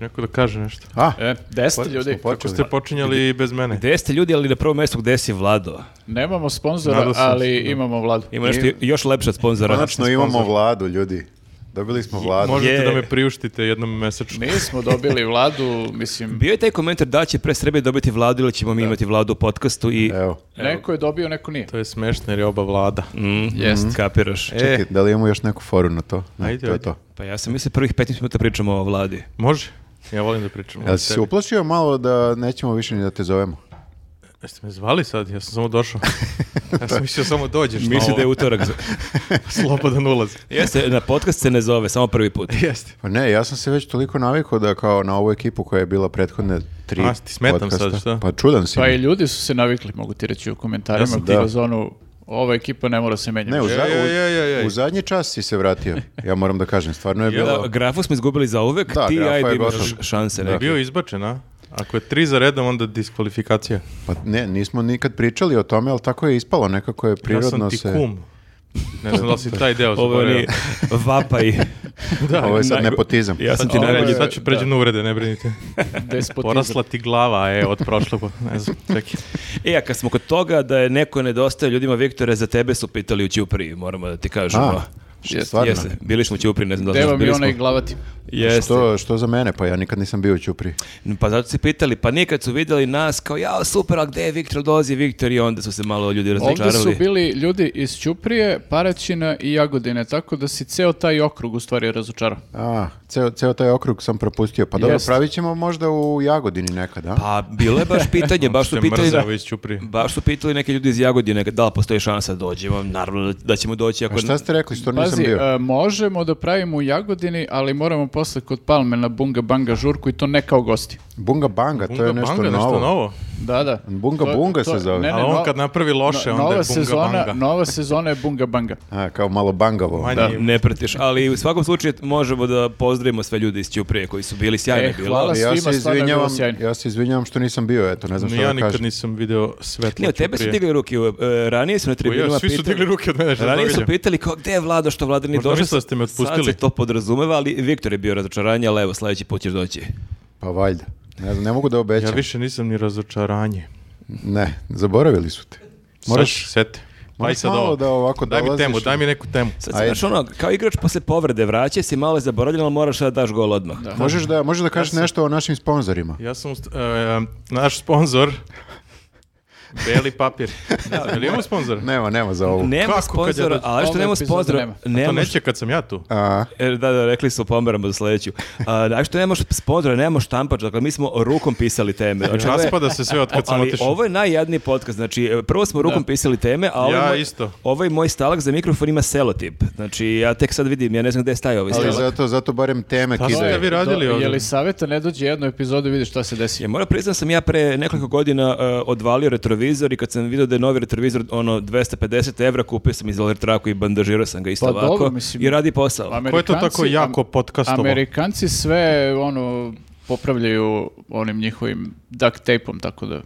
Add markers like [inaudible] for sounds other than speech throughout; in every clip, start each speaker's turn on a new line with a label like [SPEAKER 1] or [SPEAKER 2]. [SPEAKER 1] neko da kaže nešto.
[SPEAKER 2] A,
[SPEAKER 3] E, gde ste
[SPEAKER 2] po-
[SPEAKER 3] ljudi?
[SPEAKER 2] smo
[SPEAKER 1] Ako
[SPEAKER 2] počeli.
[SPEAKER 1] ste počinjali i bez mene.
[SPEAKER 4] Gde ste ljudi, ali na prvom mjestu gde si Vlado?
[SPEAKER 3] Nemamo sponzora,
[SPEAKER 1] Nadao sam se,
[SPEAKER 3] ali
[SPEAKER 1] da.
[SPEAKER 3] imamo vladu.
[SPEAKER 4] Ima nešto još lepše od sponzora.
[SPEAKER 2] Konačno imamo vladu, ljudi. Dobili smo vladu.
[SPEAKER 1] Možete
[SPEAKER 4] Je.
[SPEAKER 1] da me priuštite jednom mesečno.
[SPEAKER 3] Nismo dobili vladu,
[SPEAKER 4] [laughs]
[SPEAKER 3] mislim,
[SPEAKER 4] Bio je taj komentar da li će pre Srbije dobiti vladu ili ćemo mi imati vladu u podcastu i
[SPEAKER 2] Evo,
[SPEAKER 3] neko je dobio, neko nije.
[SPEAKER 1] To je smešno jer je oba vlada.
[SPEAKER 3] Jest.
[SPEAKER 4] mm, kapiraš.
[SPEAKER 2] čekaj, da li imamo još neku foru na to? Ne,
[SPEAKER 1] E. Ajde,
[SPEAKER 2] to je
[SPEAKER 1] ajde.
[SPEAKER 2] to.
[SPEAKER 4] Pa ja sam mislio prvih 15 minuta pričamo o vladi.
[SPEAKER 1] Može? Ja volim da pričam.
[SPEAKER 2] Jel si se uplašio malo da nećemo više ni da te zovemo?
[SPEAKER 1] Jeste me zvali sad? Ja sam samo došao.
[SPEAKER 4] [laughs]
[SPEAKER 1] Ja sam mislio samo dođeš. na
[SPEAKER 4] Misli
[SPEAKER 1] ovo.
[SPEAKER 4] da je utorak. za-
[SPEAKER 1] [laughs] Slobodan ulaz.
[SPEAKER 4] [laughs] Jeste, na podcast se ne zove, samo prvi put.
[SPEAKER 1] [laughs] Jeste.
[SPEAKER 2] Pa ne, ja sam se već toliko navikao da kao na ovu ekipu koja je bila prethodne tri
[SPEAKER 1] A, ti smetam
[SPEAKER 2] podcasta.
[SPEAKER 1] sad, šta?
[SPEAKER 2] Pa čudan si.
[SPEAKER 3] Pa
[SPEAKER 2] mi.
[SPEAKER 3] i ljudi su se navikli, mogu ti reći u
[SPEAKER 1] Ja
[SPEAKER 3] komentarima,
[SPEAKER 1] sam-
[SPEAKER 3] u
[SPEAKER 2] da.
[SPEAKER 3] fazonu, ova ekipa ne mora se menjati.
[SPEAKER 2] Ne, u, za-
[SPEAKER 1] Ej, ej, ej, ej, ej.
[SPEAKER 2] u zadnji čas si se vratio. Ja moram da kažem, stvarno je
[SPEAKER 1] [laughs]
[SPEAKER 2] bilo...
[SPEAKER 4] Da, grafu smo izgubili za uvek,
[SPEAKER 2] Da,
[SPEAKER 4] ti i
[SPEAKER 2] grafa
[SPEAKER 4] ajde
[SPEAKER 2] je
[SPEAKER 4] imaš
[SPEAKER 2] gotov.
[SPEAKER 4] šanse
[SPEAKER 1] Da.
[SPEAKER 4] neke.
[SPEAKER 1] Bio je izbačen, a? Ako je tri za redom, onda diskvalifikacija.
[SPEAKER 2] Pa ne, nismo nikad pričali o tome, ali tako je ispalo, nekako je
[SPEAKER 1] Ja
[SPEAKER 2] prirodno
[SPEAKER 1] sam ti
[SPEAKER 2] se...
[SPEAKER 1] kum. Ne znam da li si taj deo
[SPEAKER 4] Ovo
[SPEAKER 1] zaboravio.
[SPEAKER 4] ni [laughs] vapaj.
[SPEAKER 2] Ovo je sad
[SPEAKER 4] Naj-
[SPEAKER 2] nepotizam.
[SPEAKER 4] Ja sam ti
[SPEAKER 3] Ovo je-
[SPEAKER 4] najbolji.
[SPEAKER 1] Sad ću pređem na uvrede, ne brinite.
[SPEAKER 3] [laughs] Despotizam.
[SPEAKER 1] Porasla ti glava, e, od prošlog, ne znam, čekaj.
[SPEAKER 4] E, a kad smo kod toga da je neko nedostaje ljudima Viktore, za tebe su pitali u Ćupriji, moramo da ti kažemo.
[SPEAKER 2] A,
[SPEAKER 3] Jeste,
[SPEAKER 2] stvarno?
[SPEAKER 4] Jeste, bili smo u Ćupriji, ne znam da li
[SPEAKER 3] Gde
[SPEAKER 4] znaš,
[SPEAKER 3] vam
[SPEAKER 4] bili
[SPEAKER 3] je
[SPEAKER 4] smo.
[SPEAKER 3] onaj glavati?
[SPEAKER 4] Jeste.
[SPEAKER 2] Što, što za mene? Pa ja nikad nisam bio u Ćupri.
[SPEAKER 4] Pa zato se pitali, pa nikad su vidjeli nas kao, ja super, a gde je Viktor, dolazi Viktor i onda su se malo ljudi
[SPEAKER 3] Ovdje
[SPEAKER 4] razočarali.
[SPEAKER 3] su bili ljudi iz Ćuprije, Paraćina i Jagodine, tako da si ceo taj okrug u stvari razočarao.
[SPEAKER 2] A, ceo, ceo taj okrug sam propustio. Pa dobro,
[SPEAKER 3] Jeste.
[SPEAKER 2] pravit ćemo možda u Jagodini nekad, a?
[SPEAKER 4] Pa bilo je baš
[SPEAKER 1] [laughs]
[SPEAKER 4] pitanje, baš su
[SPEAKER 1] Te
[SPEAKER 4] pitali...
[SPEAKER 1] mrzeo iz Ćuprije.
[SPEAKER 4] Baš su pitali neke ljudi iz Jagodine da li postoji šansa da dođemo, naravno da ćemo doći
[SPEAKER 1] Pa,
[SPEAKER 4] ako...
[SPEAKER 2] A šta ste rekli, što Pa nisam
[SPEAKER 3] Pazi,
[SPEAKER 2] bio?
[SPEAKER 3] e, možemo da pravimo u Jagodini, ali moramo posle kod Palme na Bunga Banga žurku i to ne kao gosti.
[SPEAKER 2] Bunga Banga, to je
[SPEAKER 1] Bunga
[SPEAKER 2] nešto
[SPEAKER 1] banga,
[SPEAKER 2] novo.
[SPEAKER 1] nešto novo.
[SPEAKER 3] Da, da.
[SPEAKER 2] Bunga
[SPEAKER 3] To-
[SPEAKER 2] Bunga
[SPEAKER 3] to-
[SPEAKER 2] se zove.
[SPEAKER 3] ne, ne,
[SPEAKER 1] Ali
[SPEAKER 3] no-
[SPEAKER 1] on kad napravi loše,
[SPEAKER 3] no-
[SPEAKER 1] onda
[SPEAKER 3] nova
[SPEAKER 1] je bunga
[SPEAKER 3] sezona,
[SPEAKER 1] banga.
[SPEAKER 3] Nova sezona je Bunga Banga.
[SPEAKER 2] A, kao malo bangavo.
[SPEAKER 1] Manji-
[SPEAKER 4] Ne pretiš, ali u svakom slučaju možemo da pozdravimo sve ljude iz Ćuprije koji su bili sjajni.
[SPEAKER 3] E,
[SPEAKER 4] bilo.
[SPEAKER 3] hvala.
[SPEAKER 2] Ja se
[SPEAKER 3] Svima stvarno je bilo
[SPEAKER 2] izvinjavam,
[SPEAKER 3] sjajno.
[SPEAKER 2] ja se izvinjavam što nisam bio, eto, ne znam
[SPEAKER 1] Ni
[SPEAKER 2] što
[SPEAKER 1] ja
[SPEAKER 2] da
[SPEAKER 1] nikad
[SPEAKER 2] kažem.
[SPEAKER 1] nisam video svetlo
[SPEAKER 4] Ne, od tebe su
[SPEAKER 1] Ćuprije.
[SPEAKER 4] digli ruke, e, ranije su na tribinama
[SPEAKER 1] Ja, svi su
[SPEAKER 4] pitali-
[SPEAKER 1] digli ruke od mene, što da
[SPEAKER 4] Ranije su
[SPEAKER 1] vidim.
[SPEAKER 4] pitali kao gde je vlada što vlada nije
[SPEAKER 1] Možda
[SPEAKER 4] došla.
[SPEAKER 1] misle da ste me
[SPEAKER 4] Sad se
[SPEAKER 1] otpustili.
[SPEAKER 4] to podrazumeva, ali Viktor je bio razočaranje, ali evo sledeći put ćeš doći.
[SPEAKER 2] Pa valjda. Ne, znam, ne mogu da obećam.
[SPEAKER 1] Ja više nisam ni razočaranje.
[SPEAKER 2] Ne, zaboravili su te. Moraš,
[SPEAKER 1] Sad sete.
[SPEAKER 2] moraš
[SPEAKER 1] Aj sad
[SPEAKER 2] malo
[SPEAKER 1] ovo.
[SPEAKER 2] da ovako
[SPEAKER 1] Daj mi
[SPEAKER 2] dolaziš.
[SPEAKER 1] temu, daj mi neku temu.
[SPEAKER 4] Sad si
[SPEAKER 2] Ajde.
[SPEAKER 4] znaš ono, kao igrač posle povrede vraća si malo je zaboravljen, ali moraš da daš gol odmah.
[SPEAKER 2] možeš da, možeš da kažeš nešto o našim sponzorima.
[SPEAKER 1] Ja sam, ust- e, naš sponsor, Beli papir. Da, Jel imamo sponzor?
[SPEAKER 2] Nema, nema za ovo.
[SPEAKER 4] Nema
[SPEAKER 1] Kako kad ja
[SPEAKER 4] sponzora,
[SPEAKER 1] dođem?
[SPEAKER 4] ali što
[SPEAKER 3] Ove
[SPEAKER 4] nema
[SPEAKER 3] epizode
[SPEAKER 4] sponzora,
[SPEAKER 3] nema. A
[SPEAKER 1] To
[SPEAKER 4] nema
[SPEAKER 1] neće kad sam ja tu.
[SPEAKER 2] A,
[SPEAKER 4] E, Da, da, rekli su pomeramo za sledeću. A, dakle, što nemaš sponzora, nemaš štampač, dakle, mi smo rukom pisali teme. Znači, ovo je-
[SPEAKER 1] Raspada se sve od kad sam
[SPEAKER 4] ali
[SPEAKER 1] otišao.
[SPEAKER 4] ovo je najjadniji podcast, znači e, prvo smo rukom pisali teme, a ovaj,
[SPEAKER 1] Ja
[SPEAKER 4] moj,
[SPEAKER 1] isto.
[SPEAKER 4] ovaj moj stalak za mikrofon ima selotip. Znači ja tek sad vidim, ja ne znam gde je stajao ovaj
[SPEAKER 2] ali
[SPEAKER 4] stalak.
[SPEAKER 2] zato, zato barem teme
[SPEAKER 1] Pa ste vi
[SPEAKER 2] kidaju.
[SPEAKER 1] radili
[SPEAKER 3] Do-
[SPEAKER 1] ovdje?
[SPEAKER 3] Je li saveta ne dođe jednu epizodu i vidi šta se desi?
[SPEAKER 4] Ja moram priznam sam ja pre nekoliko godina e, odvalio retrovizor i kad sam vidio da je novi retrovizor ono 250 evra kupio sam iz Alertraku i bandažirao sam ga isto
[SPEAKER 3] Pa
[SPEAKER 4] ovako
[SPEAKER 3] dobro, mislim. pa
[SPEAKER 4] i radi posao.
[SPEAKER 1] Ko je to
[SPEAKER 3] Amerikanci-
[SPEAKER 1] tako jako podcastovo?
[SPEAKER 3] Amerikanci sve ono popravljaju onim njihovim duct tapeom, tako da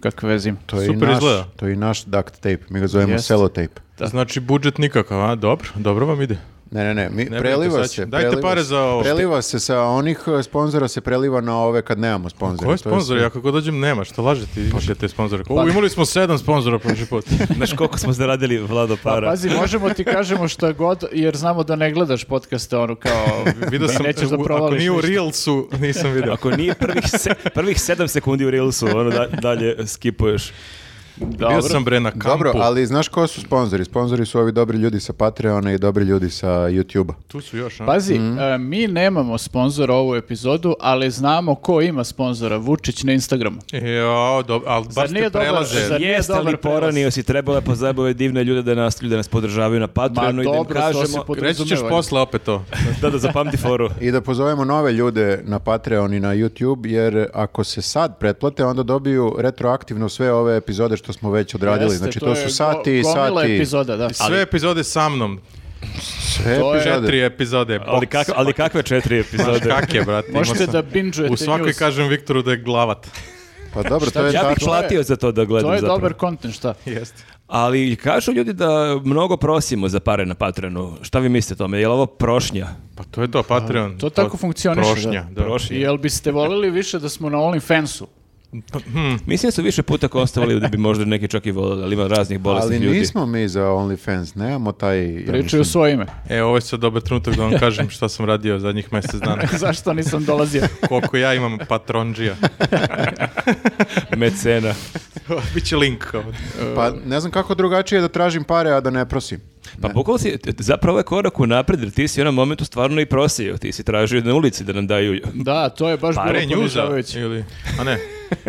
[SPEAKER 3] kakve veze ima.
[SPEAKER 2] To je, i
[SPEAKER 1] Super
[SPEAKER 2] naš,
[SPEAKER 1] izgleda.
[SPEAKER 2] to je i naš duct tape, mi ga zovemo
[SPEAKER 3] Jeste.
[SPEAKER 2] sellotape.
[SPEAKER 3] Da.
[SPEAKER 1] Znači budžet nikakav, a dobro, dobro vam ide.
[SPEAKER 2] Ne, ne, ne, mi
[SPEAKER 1] brinite,
[SPEAKER 2] preliva
[SPEAKER 1] sad
[SPEAKER 2] se.
[SPEAKER 1] ću. Dajte
[SPEAKER 2] preliva
[SPEAKER 1] pare
[SPEAKER 2] se.
[SPEAKER 1] za ovo.
[SPEAKER 2] Preliva se sa onih eh, sponzora, se preliva na ove kad nemamo sponzora.
[SPEAKER 1] Koji
[SPEAKER 2] To je
[SPEAKER 1] sponzor?
[SPEAKER 2] sve.
[SPEAKER 1] Ja kako dođem nema, što lažete,
[SPEAKER 3] Pa
[SPEAKER 1] izmišljate sponzore. O, imali smo sedam sponzora prošli
[SPEAKER 3] [laughs]
[SPEAKER 1] put.
[SPEAKER 4] Znaš koliko smo zaradili Vlado
[SPEAKER 3] Pa
[SPEAKER 4] para?
[SPEAKER 3] pazi, možemo ti kažemo šta god, jer znamo da ne gledaš podcaste, ono kao,
[SPEAKER 1] Vidio
[SPEAKER 3] da
[SPEAKER 1] sam,
[SPEAKER 3] nećeš da
[SPEAKER 1] u- ako
[SPEAKER 3] provališ
[SPEAKER 1] nije u
[SPEAKER 3] ništa.
[SPEAKER 1] Reelsu, nisam vidio.
[SPEAKER 4] Ako nije prvih, se, prvih sedam sekundi u Reelsu, ono da, dalje skipuješ.
[SPEAKER 1] [laughs]
[SPEAKER 3] Dobro.
[SPEAKER 1] Bio sam bre na kampu.
[SPEAKER 2] Dobro, ali znaš ko su sponzori? Sponzori su ovi dobri ljudi sa Patreona i dobri ljudi sa YouTube-a.
[SPEAKER 1] Tu su još, a?
[SPEAKER 3] Pazi,
[SPEAKER 2] Mhm.
[SPEAKER 3] e, mi nemamo sponzora ovu epizodu, ali znamo ko ima sponzora, Vučić na Instagramu.
[SPEAKER 1] Jo, dobro, ali baš
[SPEAKER 3] nije
[SPEAKER 1] te
[SPEAKER 3] dobar-
[SPEAKER 1] prelaze.
[SPEAKER 3] zar- nije
[SPEAKER 4] Jeste
[SPEAKER 3] dobar
[SPEAKER 4] li poranio
[SPEAKER 3] prelaz?
[SPEAKER 4] si, trebalo je pozajebati ove divne ljude da nas, ljude nas podržavaju na Patreonu i da im
[SPEAKER 3] dobro, to se
[SPEAKER 4] kažemo...
[SPEAKER 3] pod-
[SPEAKER 1] Reći ćeš
[SPEAKER 3] podrazumevanje.
[SPEAKER 1] posle opet to.
[SPEAKER 4] Da, da, zapamti foru.
[SPEAKER 2] I da pozovemo nove ljude na Patreon i na YouTube, jer ako se sad pretplate, onda dobiju retroaktivno sve ove epizode što smo već odradili.
[SPEAKER 3] Jeste,
[SPEAKER 2] znači, to,
[SPEAKER 3] je
[SPEAKER 2] su
[SPEAKER 3] go-
[SPEAKER 2] sati i
[SPEAKER 3] gomila
[SPEAKER 2] sati.
[SPEAKER 3] epizoda, da.
[SPEAKER 1] Sve epizode sa mnom.
[SPEAKER 2] Sve
[SPEAKER 3] To je-
[SPEAKER 2] epizode.
[SPEAKER 1] Četiri epizode.
[SPEAKER 4] Ali,
[SPEAKER 1] boks.
[SPEAKER 4] kak, ali kakve
[SPEAKER 3] [laughs]
[SPEAKER 4] četiri
[SPEAKER 1] Znaš
[SPEAKER 4] epizode?
[SPEAKER 1] kak je, brate. imao
[SPEAKER 3] Možete
[SPEAKER 1] sam-
[SPEAKER 3] da bingeujete
[SPEAKER 1] U svakoj
[SPEAKER 3] news.
[SPEAKER 1] kažem Viktoru da je
[SPEAKER 3] [laughs]
[SPEAKER 1] glavat.
[SPEAKER 2] Pa dobro, to je
[SPEAKER 4] Ja bih
[SPEAKER 2] tačno.
[SPEAKER 4] platio za to da gledam
[SPEAKER 3] To je
[SPEAKER 4] zapravo.
[SPEAKER 3] dobar kontent, šta?
[SPEAKER 1] Jeste.
[SPEAKER 4] Ali kažu ljudi da mnogo prosimo za pare na Patreonu. Šta vi mislite o tome? Je li ovo prošnja?
[SPEAKER 1] Pa to je to, Patreon.
[SPEAKER 3] to tako funkcioniše, da.
[SPEAKER 1] Prošnja, da.
[SPEAKER 4] Prošnja.
[SPEAKER 3] Jel biste voljeli više da smo na OnlyFansu?
[SPEAKER 1] Hmm,
[SPEAKER 4] Mislim da su više puta ostavili da bi možda neki čak i volili, ali ima raznih
[SPEAKER 2] Ali
[SPEAKER 4] bolesnih ljudi.
[SPEAKER 2] nismo mi za OnlyFans, nemamo taj... ja
[SPEAKER 3] Pričaju
[SPEAKER 2] mislim-
[SPEAKER 3] u svoje ime. [laughs]
[SPEAKER 1] E, ovo je sad dobar trenutak da vam kažem šta sam radio zadnjih mjesec dana.
[SPEAKER 3] [laughs] Zašto nisam dolazio?
[SPEAKER 1] Koliko ja imam patronđija.
[SPEAKER 4] [laughs] Mecena.
[SPEAKER 1] Biće link. kao.
[SPEAKER 2] Pa ne znam kako drugačije da tražim pare, a da ne prosim.
[SPEAKER 4] Pa bukvalo si, t- zapravo je korak u napred, jer ti si u jednom momentu stvarno i prosio. Ti si tražio na ulici da nam daju...
[SPEAKER 3] Da, to je baš
[SPEAKER 1] Pare
[SPEAKER 3] bilo
[SPEAKER 1] njuza.
[SPEAKER 3] ponižavajuće.
[SPEAKER 1] Ili, a ne.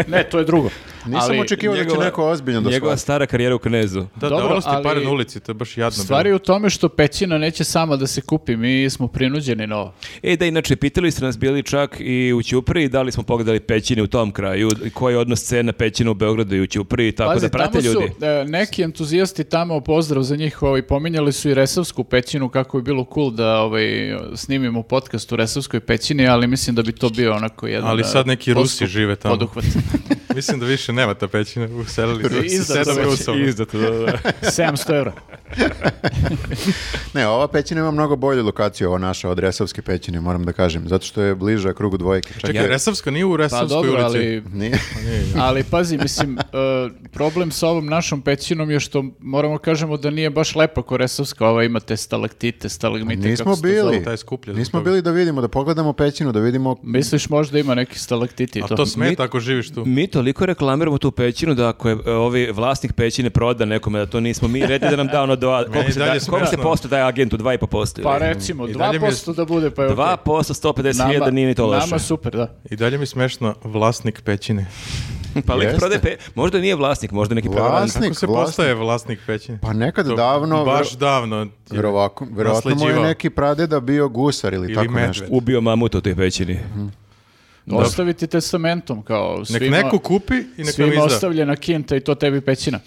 [SPEAKER 3] Ne, to je drugo.
[SPEAKER 2] Nisam
[SPEAKER 3] Ali
[SPEAKER 2] očekivao da će neko ozbiljno da
[SPEAKER 4] Njegova
[SPEAKER 2] shvati.
[SPEAKER 4] stara karijera u Knezu.
[SPEAKER 1] Da,
[SPEAKER 3] Dobro,
[SPEAKER 1] da olosti
[SPEAKER 3] ali-
[SPEAKER 1] pare na ulici, to je baš jadno.
[SPEAKER 3] Stvar je
[SPEAKER 1] bilo.
[SPEAKER 3] u tome što pećina neće sama da se kupi, mi smo prinuđeni na ovo.
[SPEAKER 4] E da, inače, pitali ste nas bili čak i u Ćupri i da li smo pogledali pećine u tom kraju, koji je odnos cena pećina u Beogradu i u Ćupri, tako
[SPEAKER 3] Pazi,
[SPEAKER 4] da prate
[SPEAKER 3] tamo su
[SPEAKER 4] ljudi.
[SPEAKER 3] e, neki entuzijasti tamo, pozdrav za njih, ovaj, pominjali su i Resavsku pećinu, kako bi bilo cool da ovaj, snimimo podcast u Resavskoj pećini, ali mislim da bi to bio onako jedan...
[SPEAKER 1] Ali
[SPEAKER 3] e,
[SPEAKER 1] sad neki Rusi
[SPEAKER 3] postup,
[SPEAKER 1] žive tamo. [laughs]
[SPEAKER 3] Poduhvat.
[SPEAKER 1] Mislim da više nema ta pećina, uselili su
[SPEAKER 3] Izdato
[SPEAKER 1] sedam
[SPEAKER 3] već,
[SPEAKER 1] Rusova.
[SPEAKER 4] Izdato, da, da.
[SPEAKER 3] 700 evra. Pa
[SPEAKER 2] Ne, ova pećina ima mnogo bolju lokaciju, ova naša od Resavske pećine, moram da kažem, zato što je bliža krugu dvojke. Čak
[SPEAKER 1] Čekaj, Pa
[SPEAKER 2] je-
[SPEAKER 1] Resavska nije u
[SPEAKER 3] Pa
[SPEAKER 1] Resavskoj
[SPEAKER 3] dobro,
[SPEAKER 1] ulici. [laughs]
[SPEAKER 3] ali...
[SPEAKER 2] Nije. [laughs]
[SPEAKER 3] Ali pazi, mislim, e, problem sa ovom našom pećinom je što moramo kažemo da nije baš lepa ko Resavska, ova ima te stalaktite, stalagmite,
[SPEAKER 2] Nismo
[SPEAKER 3] kako se to
[SPEAKER 2] bili.
[SPEAKER 3] zove.
[SPEAKER 1] Taj skuplje zbog
[SPEAKER 2] Nismo
[SPEAKER 1] toga.
[SPEAKER 2] bili da vidimo, da pogledamo pećinu, da vidimo...
[SPEAKER 3] Misliš možda ima neki stalaktiti i
[SPEAKER 1] A
[SPEAKER 3] to?
[SPEAKER 1] to smeta ako živiš tu.
[SPEAKER 4] Mi toliko reklamiramo tu pećinu da ako je e, ovi vlasnik pećine proda nekome da to nismo mi, redi da nam da ono
[SPEAKER 1] [laughs]
[SPEAKER 4] dva, koliko
[SPEAKER 1] i
[SPEAKER 4] se,
[SPEAKER 1] dalje
[SPEAKER 4] da, koliko se
[SPEAKER 1] smešno.
[SPEAKER 4] posto daje agentu, dva i po posto.
[SPEAKER 3] Pa
[SPEAKER 4] ili?
[SPEAKER 3] recimo,
[SPEAKER 1] I dalje mi je-
[SPEAKER 3] 2% da bude, pa je okej.
[SPEAKER 4] 2 posto 150 hiljada
[SPEAKER 3] Nama-
[SPEAKER 4] nije ni to loše.
[SPEAKER 3] Nama super, da.
[SPEAKER 1] I dalje mi je smešno vlasnik pećine.
[SPEAKER 4] Pa lik
[SPEAKER 2] Jeste.
[SPEAKER 4] prodaje pe... možda nije vlasnik, možda neki prevarant.
[SPEAKER 2] Vlasnik,
[SPEAKER 1] Kako se
[SPEAKER 2] vlasnik.
[SPEAKER 1] postaje vlasnik pećine?
[SPEAKER 2] Pa nekad
[SPEAKER 1] To-
[SPEAKER 2] davno...
[SPEAKER 1] Baš
[SPEAKER 2] vero-
[SPEAKER 1] davno.
[SPEAKER 2] Verovako, verovatno mu je
[SPEAKER 1] Nasleđivao.
[SPEAKER 2] neki pradeda bio gusar ili,
[SPEAKER 1] Ili
[SPEAKER 2] tako
[SPEAKER 1] medved.
[SPEAKER 2] nešto.
[SPEAKER 4] Ubio mamut u toj pećini.
[SPEAKER 1] Mhm.
[SPEAKER 3] Ostaviti testamentom, kao
[SPEAKER 1] Nek
[SPEAKER 3] svima...
[SPEAKER 1] neko kupi i nek nam
[SPEAKER 3] Svima
[SPEAKER 1] izda.
[SPEAKER 3] ostavljena kinta i to tebi pećina.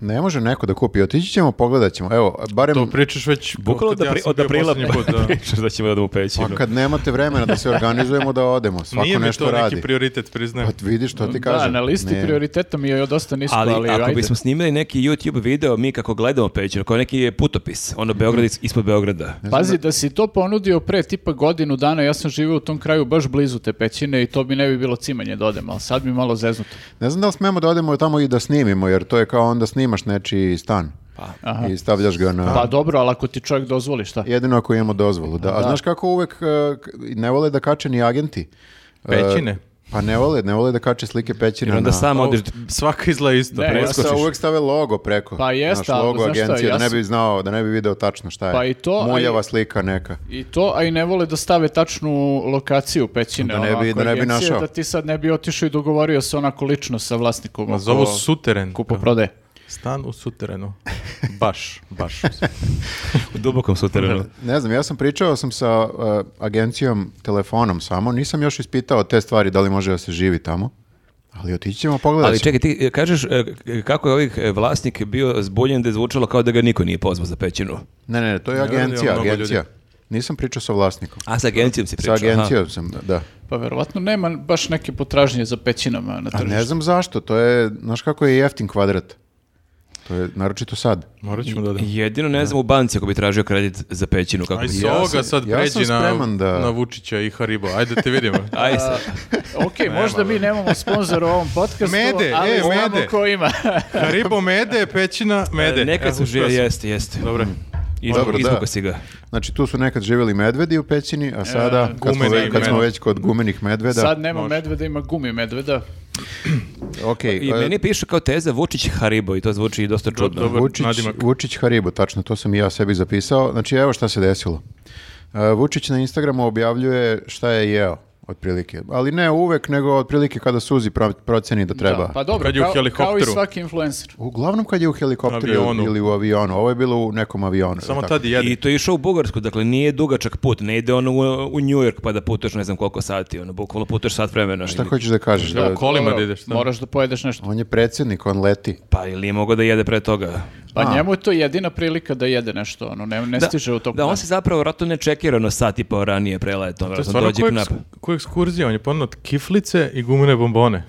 [SPEAKER 2] Ne može neko da kupi, otići ćemo, pogledat ćemo. Evo, barem
[SPEAKER 1] To pričaš već
[SPEAKER 4] Bukvalo
[SPEAKER 1] od kad
[SPEAKER 4] da
[SPEAKER 1] ja
[SPEAKER 4] pri...
[SPEAKER 1] sam
[SPEAKER 4] od
[SPEAKER 1] bio
[SPEAKER 4] aprila
[SPEAKER 1] posljednji put, da.
[SPEAKER 4] [laughs] pričaš da ćemo da u pećinu.
[SPEAKER 2] pa kad nemate vremena da se organizujemo da odemo, [laughs] svako
[SPEAKER 1] Nije mi
[SPEAKER 2] nešto
[SPEAKER 1] to
[SPEAKER 2] radi.
[SPEAKER 1] neki prioritet, priznajem.
[SPEAKER 2] Pa vidiš što ti
[SPEAKER 3] Da,
[SPEAKER 2] kažem.
[SPEAKER 3] na listi
[SPEAKER 2] Ne.
[SPEAKER 3] prioriteta mi je dosta nisko, ali,
[SPEAKER 4] Ali, ako
[SPEAKER 3] ajde.
[SPEAKER 4] bismo snimili neki YouTube video, mi kako gledamo pećinu, kao neki putopis, ono Beograd is- ispod Beograda.
[SPEAKER 3] Pazi, da si to ponudio pre tipa godinu dana, ja sam živio u tom kraju baš blizu te pećine i to bi ne bi bilo cimanje da odem, ali sad mi je malo zeznuto.
[SPEAKER 2] Ne znam da li smemo da odemo tamo i da snimimo, jer to je kao onda snimaš nečiji stan
[SPEAKER 3] Pa, Aha.
[SPEAKER 2] i stavljaš ga na...
[SPEAKER 3] Pa dobro, ali ako ti čovjek dozvoli, šta?
[SPEAKER 2] Jedino ako imamo dozvolu, da. A znaš kako uvek e, k- ne vole da kače ni agenti? E,
[SPEAKER 1] Pećine?
[SPEAKER 2] Pa ne vole, ne vole da kače slike pećina.
[SPEAKER 4] Jer onda
[SPEAKER 2] na-
[SPEAKER 4] sam
[SPEAKER 1] Ovo,
[SPEAKER 4] odeš
[SPEAKER 1] Svaka izla isto.
[SPEAKER 3] Ne,
[SPEAKER 2] Ja
[SPEAKER 4] preskočiš.
[SPEAKER 2] sam uvek stave logo preko.
[SPEAKER 3] Pa jeste,
[SPEAKER 2] Naš
[SPEAKER 3] ali
[SPEAKER 2] logo
[SPEAKER 3] znaš šta,
[SPEAKER 2] agencije,
[SPEAKER 3] ja
[SPEAKER 2] da ne
[SPEAKER 3] sam-
[SPEAKER 2] bi znao, da ne bi video tačno šta je.
[SPEAKER 3] Pa i to, a i-
[SPEAKER 2] Muljava slika neka.
[SPEAKER 3] I to, a i ne vole da stave tačnu lokaciju pećine.
[SPEAKER 2] Da ne bi-
[SPEAKER 3] ono, ako
[SPEAKER 2] da ne bi
[SPEAKER 3] agencija,
[SPEAKER 2] našao.
[SPEAKER 3] Da ti sad ne bi otišao i dogovorio se onako lično sa vlasnikom.
[SPEAKER 1] Ma
[SPEAKER 3] oko
[SPEAKER 1] zovu suteren.
[SPEAKER 3] kupoprodaje.
[SPEAKER 1] Stan u suterenu. [laughs] Baš, baš.
[SPEAKER 4] u
[SPEAKER 1] [laughs]
[SPEAKER 4] dubokom suterenu.
[SPEAKER 2] Ne znam, ja sam pričao sam sa uh, agencijom telefonom samo, nisam još ispitao te stvari da li može da se živi tamo, ali otići ćemo pogledat
[SPEAKER 4] Ali
[SPEAKER 2] ćemo.
[SPEAKER 4] čekaj, ti e, kažeš e, k- kako je ovih e, vlasnik bio zbunjen da je zvučalo kao da ga niko nije pozvao za pećinu.
[SPEAKER 2] Ne, ne, ne, to je
[SPEAKER 1] Ne, ne,
[SPEAKER 2] agencija,
[SPEAKER 1] mnogo
[SPEAKER 2] agencija. Nisam pričao sa vlasnikom.
[SPEAKER 4] A sa agencijom
[SPEAKER 2] Sa
[SPEAKER 4] si pričao. aha.
[SPEAKER 2] agencijom sam, da.
[SPEAKER 3] Pa verovatno nema baš neke potražnje za pećinama na
[SPEAKER 2] A
[SPEAKER 3] tržištu.
[SPEAKER 2] ne znam zašto, to je, znaš kako je jeftin kvadrat. To je naročito sad.
[SPEAKER 1] Morat ćemo da odemo.
[SPEAKER 4] Jedino ne znam u banci ako bi tražio kredit za pećinu. Kako
[SPEAKER 1] Aj,
[SPEAKER 4] bi...
[SPEAKER 1] s
[SPEAKER 2] Ja sam-
[SPEAKER 1] ovoga sad
[SPEAKER 2] ja sam
[SPEAKER 1] pređi na,
[SPEAKER 2] spreman da-
[SPEAKER 1] na Vučića i Haribo. Ajde da te
[SPEAKER 2] [laughs]
[SPEAKER 1] vidimo.
[SPEAKER 4] Aj, sa-
[SPEAKER 3] Ok, možda mi nemamo sponzora u
[SPEAKER 1] [laughs]
[SPEAKER 3] ovom podcastu,
[SPEAKER 1] Mede,
[SPEAKER 3] ali
[SPEAKER 1] e,
[SPEAKER 3] znamo
[SPEAKER 1] mede.
[SPEAKER 3] ko ima.
[SPEAKER 1] Haribo mede, pećina mede.
[SPEAKER 4] E, Nekad
[SPEAKER 1] Evo,
[SPEAKER 4] su
[SPEAKER 1] uspio
[SPEAKER 4] živjeli,
[SPEAKER 1] sam.
[SPEAKER 4] jeste, jeste.
[SPEAKER 1] Dobro.
[SPEAKER 4] I
[SPEAKER 2] Dobro, da.
[SPEAKER 4] izvukao si ga.
[SPEAKER 2] Znači tu su nekad živjeli medvedi u pećini, a sada, kad, smo,
[SPEAKER 1] gumeni
[SPEAKER 2] već, kad smo
[SPEAKER 1] medved.
[SPEAKER 2] već kod gumenih medveda,
[SPEAKER 3] Sad nema
[SPEAKER 1] može.
[SPEAKER 3] medveda, ima gumi medveda.
[SPEAKER 2] ok,
[SPEAKER 4] I
[SPEAKER 2] e,
[SPEAKER 4] meni piše kao teza Vučić Haribo i to zvuči dosta čudno.
[SPEAKER 1] Dobro,
[SPEAKER 2] Vučić,
[SPEAKER 1] nadimak.
[SPEAKER 2] Vučić Haribo, tačno, to sam i ja sebi zapisao. Znači, evo šta se desilo. E, Vučić na Instagramu objavljuje šta je jeo, otprilike. Ali ne uvek, nego otprilike kada suzi pro- proceni da treba.
[SPEAKER 3] Da, pa dobro,
[SPEAKER 1] Kad je u
[SPEAKER 3] kao, kao i
[SPEAKER 1] helikopteru.
[SPEAKER 3] svaki influencer.
[SPEAKER 2] Uglavnom kad je u helikopteru
[SPEAKER 1] Avionu.
[SPEAKER 2] ili u avionu. Ovo je bilo u nekom avionu.
[SPEAKER 1] Samo
[SPEAKER 2] je li tako?
[SPEAKER 1] tad i jede.
[SPEAKER 4] I to je išao u Bugarsku, dakle nije dugačak put, ne ide ono u, u New York pa da putuješ ne znam koliko sati, ono bukvalno putuješ sat vremena.
[SPEAKER 2] Šta
[SPEAKER 4] Ili-
[SPEAKER 2] hoćeš da kažeš? Da,
[SPEAKER 1] Evo, kolima da
[SPEAKER 3] Dobro,
[SPEAKER 1] ideš. šta?
[SPEAKER 3] Moraš da pojedeš nešto.
[SPEAKER 2] on je predsjednik, on leti.
[SPEAKER 4] Pa ili je mogao da jede pre toga.
[SPEAKER 3] Pa njemu je to jedina prilika da jede nešto, ono, ne, ne stiže u toku.
[SPEAKER 4] Da, on
[SPEAKER 3] dana.
[SPEAKER 4] se zapravo vratno ne čekira ono sat i pol ranije preletom,
[SPEAKER 1] To je
[SPEAKER 4] vratno
[SPEAKER 1] stvarno
[SPEAKER 4] dođe
[SPEAKER 1] ko,
[SPEAKER 4] knap.
[SPEAKER 1] eks- ko ekskurzija, on je ponuo kiflice i gumene bombone.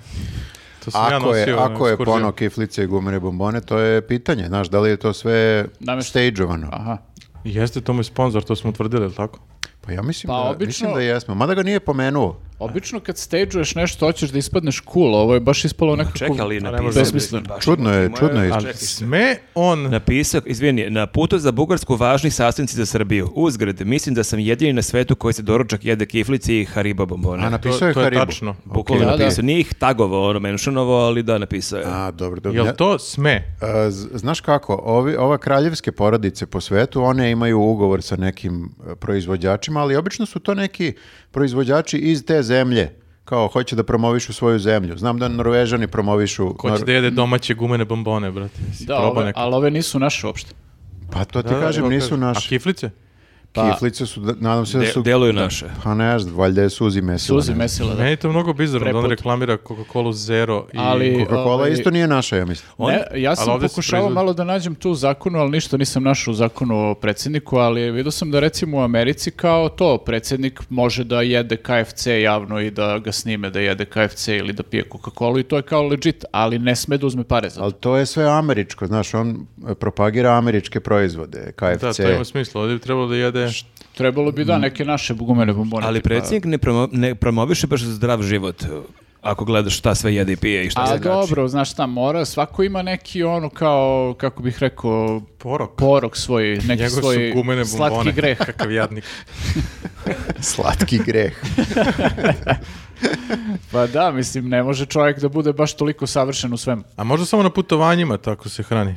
[SPEAKER 1] To sam ja
[SPEAKER 2] Ako je,
[SPEAKER 1] nosio na
[SPEAKER 2] ako je
[SPEAKER 1] ekskurziju.
[SPEAKER 2] pono kiflice i gumene bombone, to je pitanje. Znaš, da li je to sve
[SPEAKER 3] Namještaj.
[SPEAKER 2] stageovano?
[SPEAKER 3] Aha.
[SPEAKER 1] Jeste, to mu je sponsor, to smo utvrdili, jel tako?
[SPEAKER 2] Pa Pa ja mislim,
[SPEAKER 3] Pa
[SPEAKER 2] da,
[SPEAKER 3] obično-
[SPEAKER 2] mislim da jesmo. Mada ga nije pomenuo.
[SPEAKER 3] Obično kad stageuješ nešto, hoćeš da ispadneš cool, ovo je baš ispalo nekako...
[SPEAKER 4] Čekaj, ali
[SPEAKER 1] ne
[SPEAKER 4] napisao...
[SPEAKER 1] može
[SPEAKER 3] besmisleno.
[SPEAKER 4] baš
[SPEAKER 2] Čudno je,
[SPEAKER 4] moja-
[SPEAKER 2] čudno je.
[SPEAKER 1] Ali
[SPEAKER 4] čekaj se.
[SPEAKER 1] sme on...
[SPEAKER 4] Napisao, izvini, na putu za Bugarsku važni sastanci za Srbiju. Uzgred, mislim da sam jedini na svetu koji se doručak jede kiflici i hariba bombone.
[SPEAKER 2] A
[SPEAKER 1] To,
[SPEAKER 2] napisao je
[SPEAKER 1] to je
[SPEAKER 2] Haribo.
[SPEAKER 1] tačno.
[SPEAKER 4] Bukvalno
[SPEAKER 3] Da, da.
[SPEAKER 4] napisao. Nije ih tagovao, ono, menšanovo, ali da, napisao je.
[SPEAKER 2] A, dobro, dobro. Ja-
[SPEAKER 1] Jel to sme?
[SPEAKER 2] A, E, z- znaš kako, ovi, ova kraljevske porodice po svetu, one imaju ugovor sa nekim e, proizvođačima, ali obično su to neki proizvođači iz te zemlje, kao hoće da promovišu svoju zemlju. Znam da Norvežani promovišu...
[SPEAKER 1] Ko će
[SPEAKER 2] Nor-
[SPEAKER 1] da jede domaće gumene bombone, brate? Si
[SPEAKER 3] Da,
[SPEAKER 1] probao
[SPEAKER 3] ove,
[SPEAKER 1] neko?
[SPEAKER 3] ali ove nisu naše uopšte.
[SPEAKER 2] Pa to ti
[SPEAKER 1] Da, da,
[SPEAKER 2] kažem,
[SPEAKER 1] evo
[SPEAKER 2] nisu
[SPEAKER 1] kažem. A
[SPEAKER 2] naši.
[SPEAKER 1] kiflice?
[SPEAKER 3] Pa-
[SPEAKER 2] Kiflice su, da- nadam se da
[SPEAKER 4] De,
[SPEAKER 2] su...
[SPEAKER 4] deluju naše.
[SPEAKER 2] Pa ne znam, valjda je Suzi Mesila.
[SPEAKER 3] Suzi
[SPEAKER 2] ne znam.
[SPEAKER 3] mesila, da.
[SPEAKER 1] Meni je to mnogo bizarno da on
[SPEAKER 3] Preput.
[SPEAKER 1] reklamira Coca-Cola Zero i...
[SPEAKER 3] Ali-
[SPEAKER 2] Coca-Cola
[SPEAKER 3] Ovaj-
[SPEAKER 2] isto nije naša, ja mislim.
[SPEAKER 4] On-
[SPEAKER 3] Ne, ja
[SPEAKER 1] ali
[SPEAKER 3] sam
[SPEAKER 1] ovdje se
[SPEAKER 3] pokušavao
[SPEAKER 1] proizvodi.
[SPEAKER 3] malo da nađem tu u zakonu, ali ništa nisam našao u zakonu o predsjedniku, ali vidio sam da recimo u Americi kao to, predsjednik može da jede KFC javno i da ga snime da jede KFC ili da pije Coca-Cola i to je kao legit, ali ne sme da uzme pare za to.
[SPEAKER 2] Ali to je sve američko, znaš, on e, propagira američke proizvode, KFC.
[SPEAKER 1] Da, to ima smisla. Ovdje bi trebalo da jede...
[SPEAKER 3] Trebalo bi
[SPEAKER 1] Mm.
[SPEAKER 3] da neke naše gumene bombone.
[SPEAKER 4] Ali
[SPEAKER 3] tipa-
[SPEAKER 4] predsjednik ne, promo, ne promoviše baš zdrav život. Ako gledaš šta sve jede i pije i šta
[SPEAKER 3] A
[SPEAKER 4] se kači.
[SPEAKER 3] dobro, znaš šta, mora, svako ima neki ono kao, kako bih rekao,
[SPEAKER 1] Porok.
[SPEAKER 3] porok svoj, neki
[SPEAKER 1] Njegov su
[SPEAKER 3] svoj
[SPEAKER 1] gumene bombone.
[SPEAKER 3] slatki greh.
[SPEAKER 1] [laughs] Kakav jadnik.
[SPEAKER 2] Slatki greh.
[SPEAKER 3] Pa da, mislim, ne može čovjek da bude baš toliko savršen u svemu.
[SPEAKER 1] A možda samo na putovanjima tako se hrani.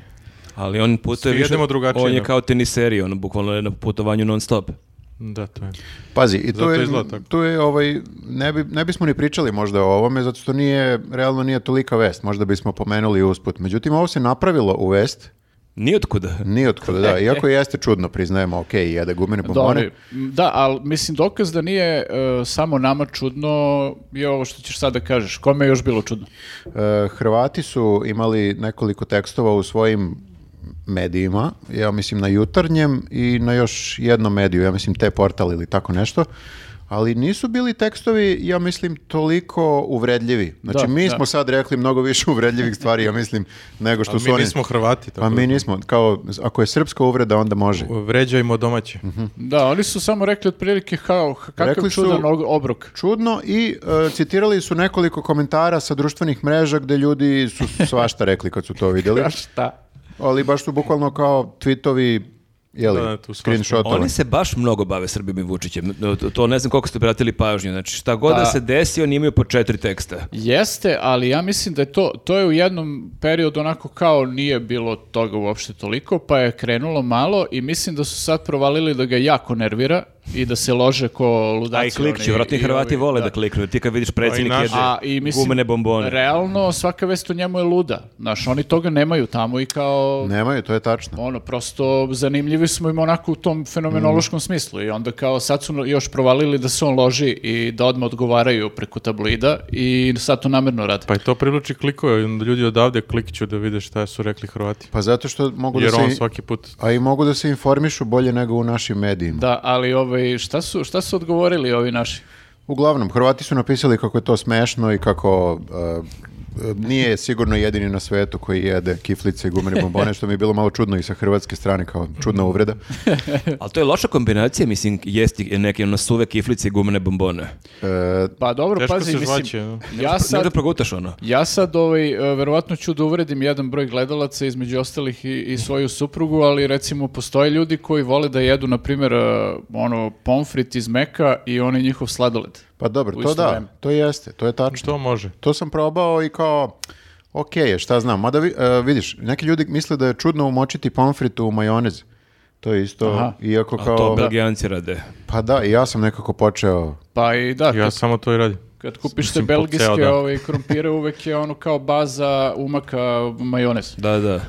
[SPEAKER 4] Ali on putuje
[SPEAKER 1] Svi
[SPEAKER 4] više,
[SPEAKER 1] jedemo drugačije,
[SPEAKER 4] on je
[SPEAKER 1] da.
[SPEAKER 4] kao teniseri, on bukvalno je na putovanju non stop.
[SPEAKER 1] Da, to je.
[SPEAKER 2] Pazi, i tu
[SPEAKER 1] Zato
[SPEAKER 2] je,
[SPEAKER 1] izgleda tako.
[SPEAKER 2] tu je ovaj, ne, bi, ne bismo ni pričali možda o ovome, zato što nije, realno nije tolika vest, možda bismo pomenuli usput. Međutim, ovo se napravilo u vest,
[SPEAKER 4] Nijotkuda.
[SPEAKER 2] nije otkuda, da, iako jeste čudno, priznajemo, ok, jede gumene bombone.
[SPEAKER 3] Dobro, da, ali mislim dokaz da nije e, samo nama čudno je ovo što ćeš sad da kažeš. Kome je još bilo čudno?
[SPEAKER 2] E, Hrvati su imali nekoliko tekstova u svojim medijima, ja mislim na jutarnjem i na još jednom mediju, ja mislim te portal ili tako nešto, ali nisu bili tekstovi, ja mislim, toliko uvredljivi. Znači,
[SPEAKER 3] Da,
[SPEAKER 2] mi
[SPEAKER 3] da.
[SPEAKER 2] smo sad rekli mnogo više uvredljivih stvari, ja mislim, nego što
[SPEAKER 1] Ali
[SPEAKER 2] su
[SPEAKER 1] mi
[SPEAKER 2] oni...
[SPEAKER 1] nismo Hrvati. Tako
[SPEAKER 2] Pa mi nismo, kao, ako je srpska uvreda, onda može.
[SPEAKER 1] da. Vređajmo domaće.
[SPEAKER 2] Mhm.
[SPEAKER 3] Da, oni su samo rekli otprilike kao, h- kakav
[SPEAKER 2] Rekli su-
[SPEAKER 3] čudan og- obrok.
[SPEAKER 2] Čudno i e, citirali su nekoliko komentara sa društvenih mreža gde ljudi su svašta rekli kad su to vidjeli.
[SPEAKER 3] šta?
[SPEAKER 2] Ali baš su bukvalno kao tweetovi, jeli,
[SPEAKER 1] Da, da, tu svašta.
[SPEAKER 2] screenshotovi.
[SPEAKER 4] Oni se baš mnogo bave Srbim i Vučićem. To- To ne znam koliko ste obratili pažnju. Znači, šta god da
[SPEAKER 3] Pa-
[SPEAKER 4] se desi, oni imaju po četiri teksta.
[SPEAKER 3] Jeste, ali ja mislim da je to, to je u jednom periodu onako kao nije bilo toga uopšte toliko, pa je krenulo malo i mislim da su sad provalili da ga jako nervira i da se lože ko ludaci.
[SPEAKER 4] A i klik će,
[SPEAKER 3] Znači, oni,
[SPEAKER 4] vratni
[SPEAKER 3] i
[SPEAKER 4] Hrvati
[SPEAKER 3] ovi,
[SPEAKER 4] vole da, kliknu. Ti kad vidiš predsjednik
[SPEAKER 1] Pa i naši.
[SPEAKER 4] jede
[SPEAKER 3] A, i mislim,
[SPEAKER 4] gumene bombone.
[SPEAKER 3] Realno, svaka vest o njemu je luda. Znaš, oni toga nemaju tamo i kao...
[SPEAKER 2] Nemaju, to je tačno.
[SPEAKER 3] Ono, prosto zanimljivi smo im onako u tom fenomenološkom
[SPEAKER 1] Mm.
[SPEAKER 3] smislu i onda kao sad su još provalili da se on loži i da odmah odgovaraju preko tabloida i sad to namjerno rade.
[SPEAKER 1] Pa i to privlači klikove. i onda Ljudi odavde klikću da vide šta su rekli Hrvati.
[SPEAKER 2] Pa zato što mogu
[SPEAKER 1] Jer
[SPEAKER 2] da se...
[SPEAKER 1] on
[SPEAKER 2] i-
[SPEAKER 1] svaki put...
[SPEAKER 2] A i mogu da se informišu bolje nego u našim medijima.
[SPEAKER 3] Da, ali ovaj, šta, su, šta su odgovorili ovi naši?
[SPEAKER 2] Uglavnom, Hrvati su napisali kako je to smešno i kako e, e, nije sigurno jedini na svetu koji jede kiflice i
[SPEAKER 1] [laughs]
[SPEAKER 2] gumene bombone, što mi je bilo malo čudno i sa hrvatske strane, kao čudna uvreda.
[SPEAKER 4] Ali to je loša kombinacija, mislim, jesti neke ono suve kiflice i gumene bombone.
[SPEAKER 2] E,
[SPEAKER 3] Pa dobro,
[SPEAKER 1] Teško
[SPEAKER 3] pazi,
[SPEAKER 1] se
[SPEAKER 3] mislim,
[SPEAKER 1] žvaće, no.
[SPEAKER 3] ja
[SPEAKER 4] Sad... Možda
[SPEAKER 3] sad,
[SPEAKER 4] progutaš ono.
[SPEAKER 3] ja sad ovaj, e, verovatno ću da uvredim jedan broj gledalaca, između ostalih i, i svoju suprugu, ali recimo postoje ljudi koji vole da jedu, na primjer, e, ono, pomfrit iz meka i onaj njihov sladoled.
[SPEAKER 2] pa dobro,
[SPEAKER 3] U
[SPEAKER 2] to
[SPEAKER 3] isto
[SPEAKER 2] da,
[SPEAKER 3] vreme.
[SPEAKER 2] to jeste, to je tačno.
[SPEAKER 1] Što može?
[SPEAKER 2] To sam probao i kao, ok je, šta znam. Mada vi- e, vidiš, neki ljudi misle da je čudno umočiti pomfrit u majonez. To je isto,
[SPEAKER 3] Aha.
[SPEAKER 2] iako
[SPEAKER 4] A
[SPEAKER 2] kao...
[SPEAKER 4] to belgijanci rade.
[SPEAKER 2] Pa da, i ja sam nekako počeo...
[SPEAKER 3] Pa i da,
[SPEAKER 1] Ja
[SPEAKER 3] kad-
[SPEAKER 1] samo to i radim.
[SPEAKER 3] Kad kupiš te
[SPEAKER 1] Mislim, po ceo
[SPEAKER 3] belgijske
[SPEAKER 1] dan.
[SPEAKER 3] ove, krompire, uvek je ono kao baza umaka majonez.
[SPEAKER 4] Da, da.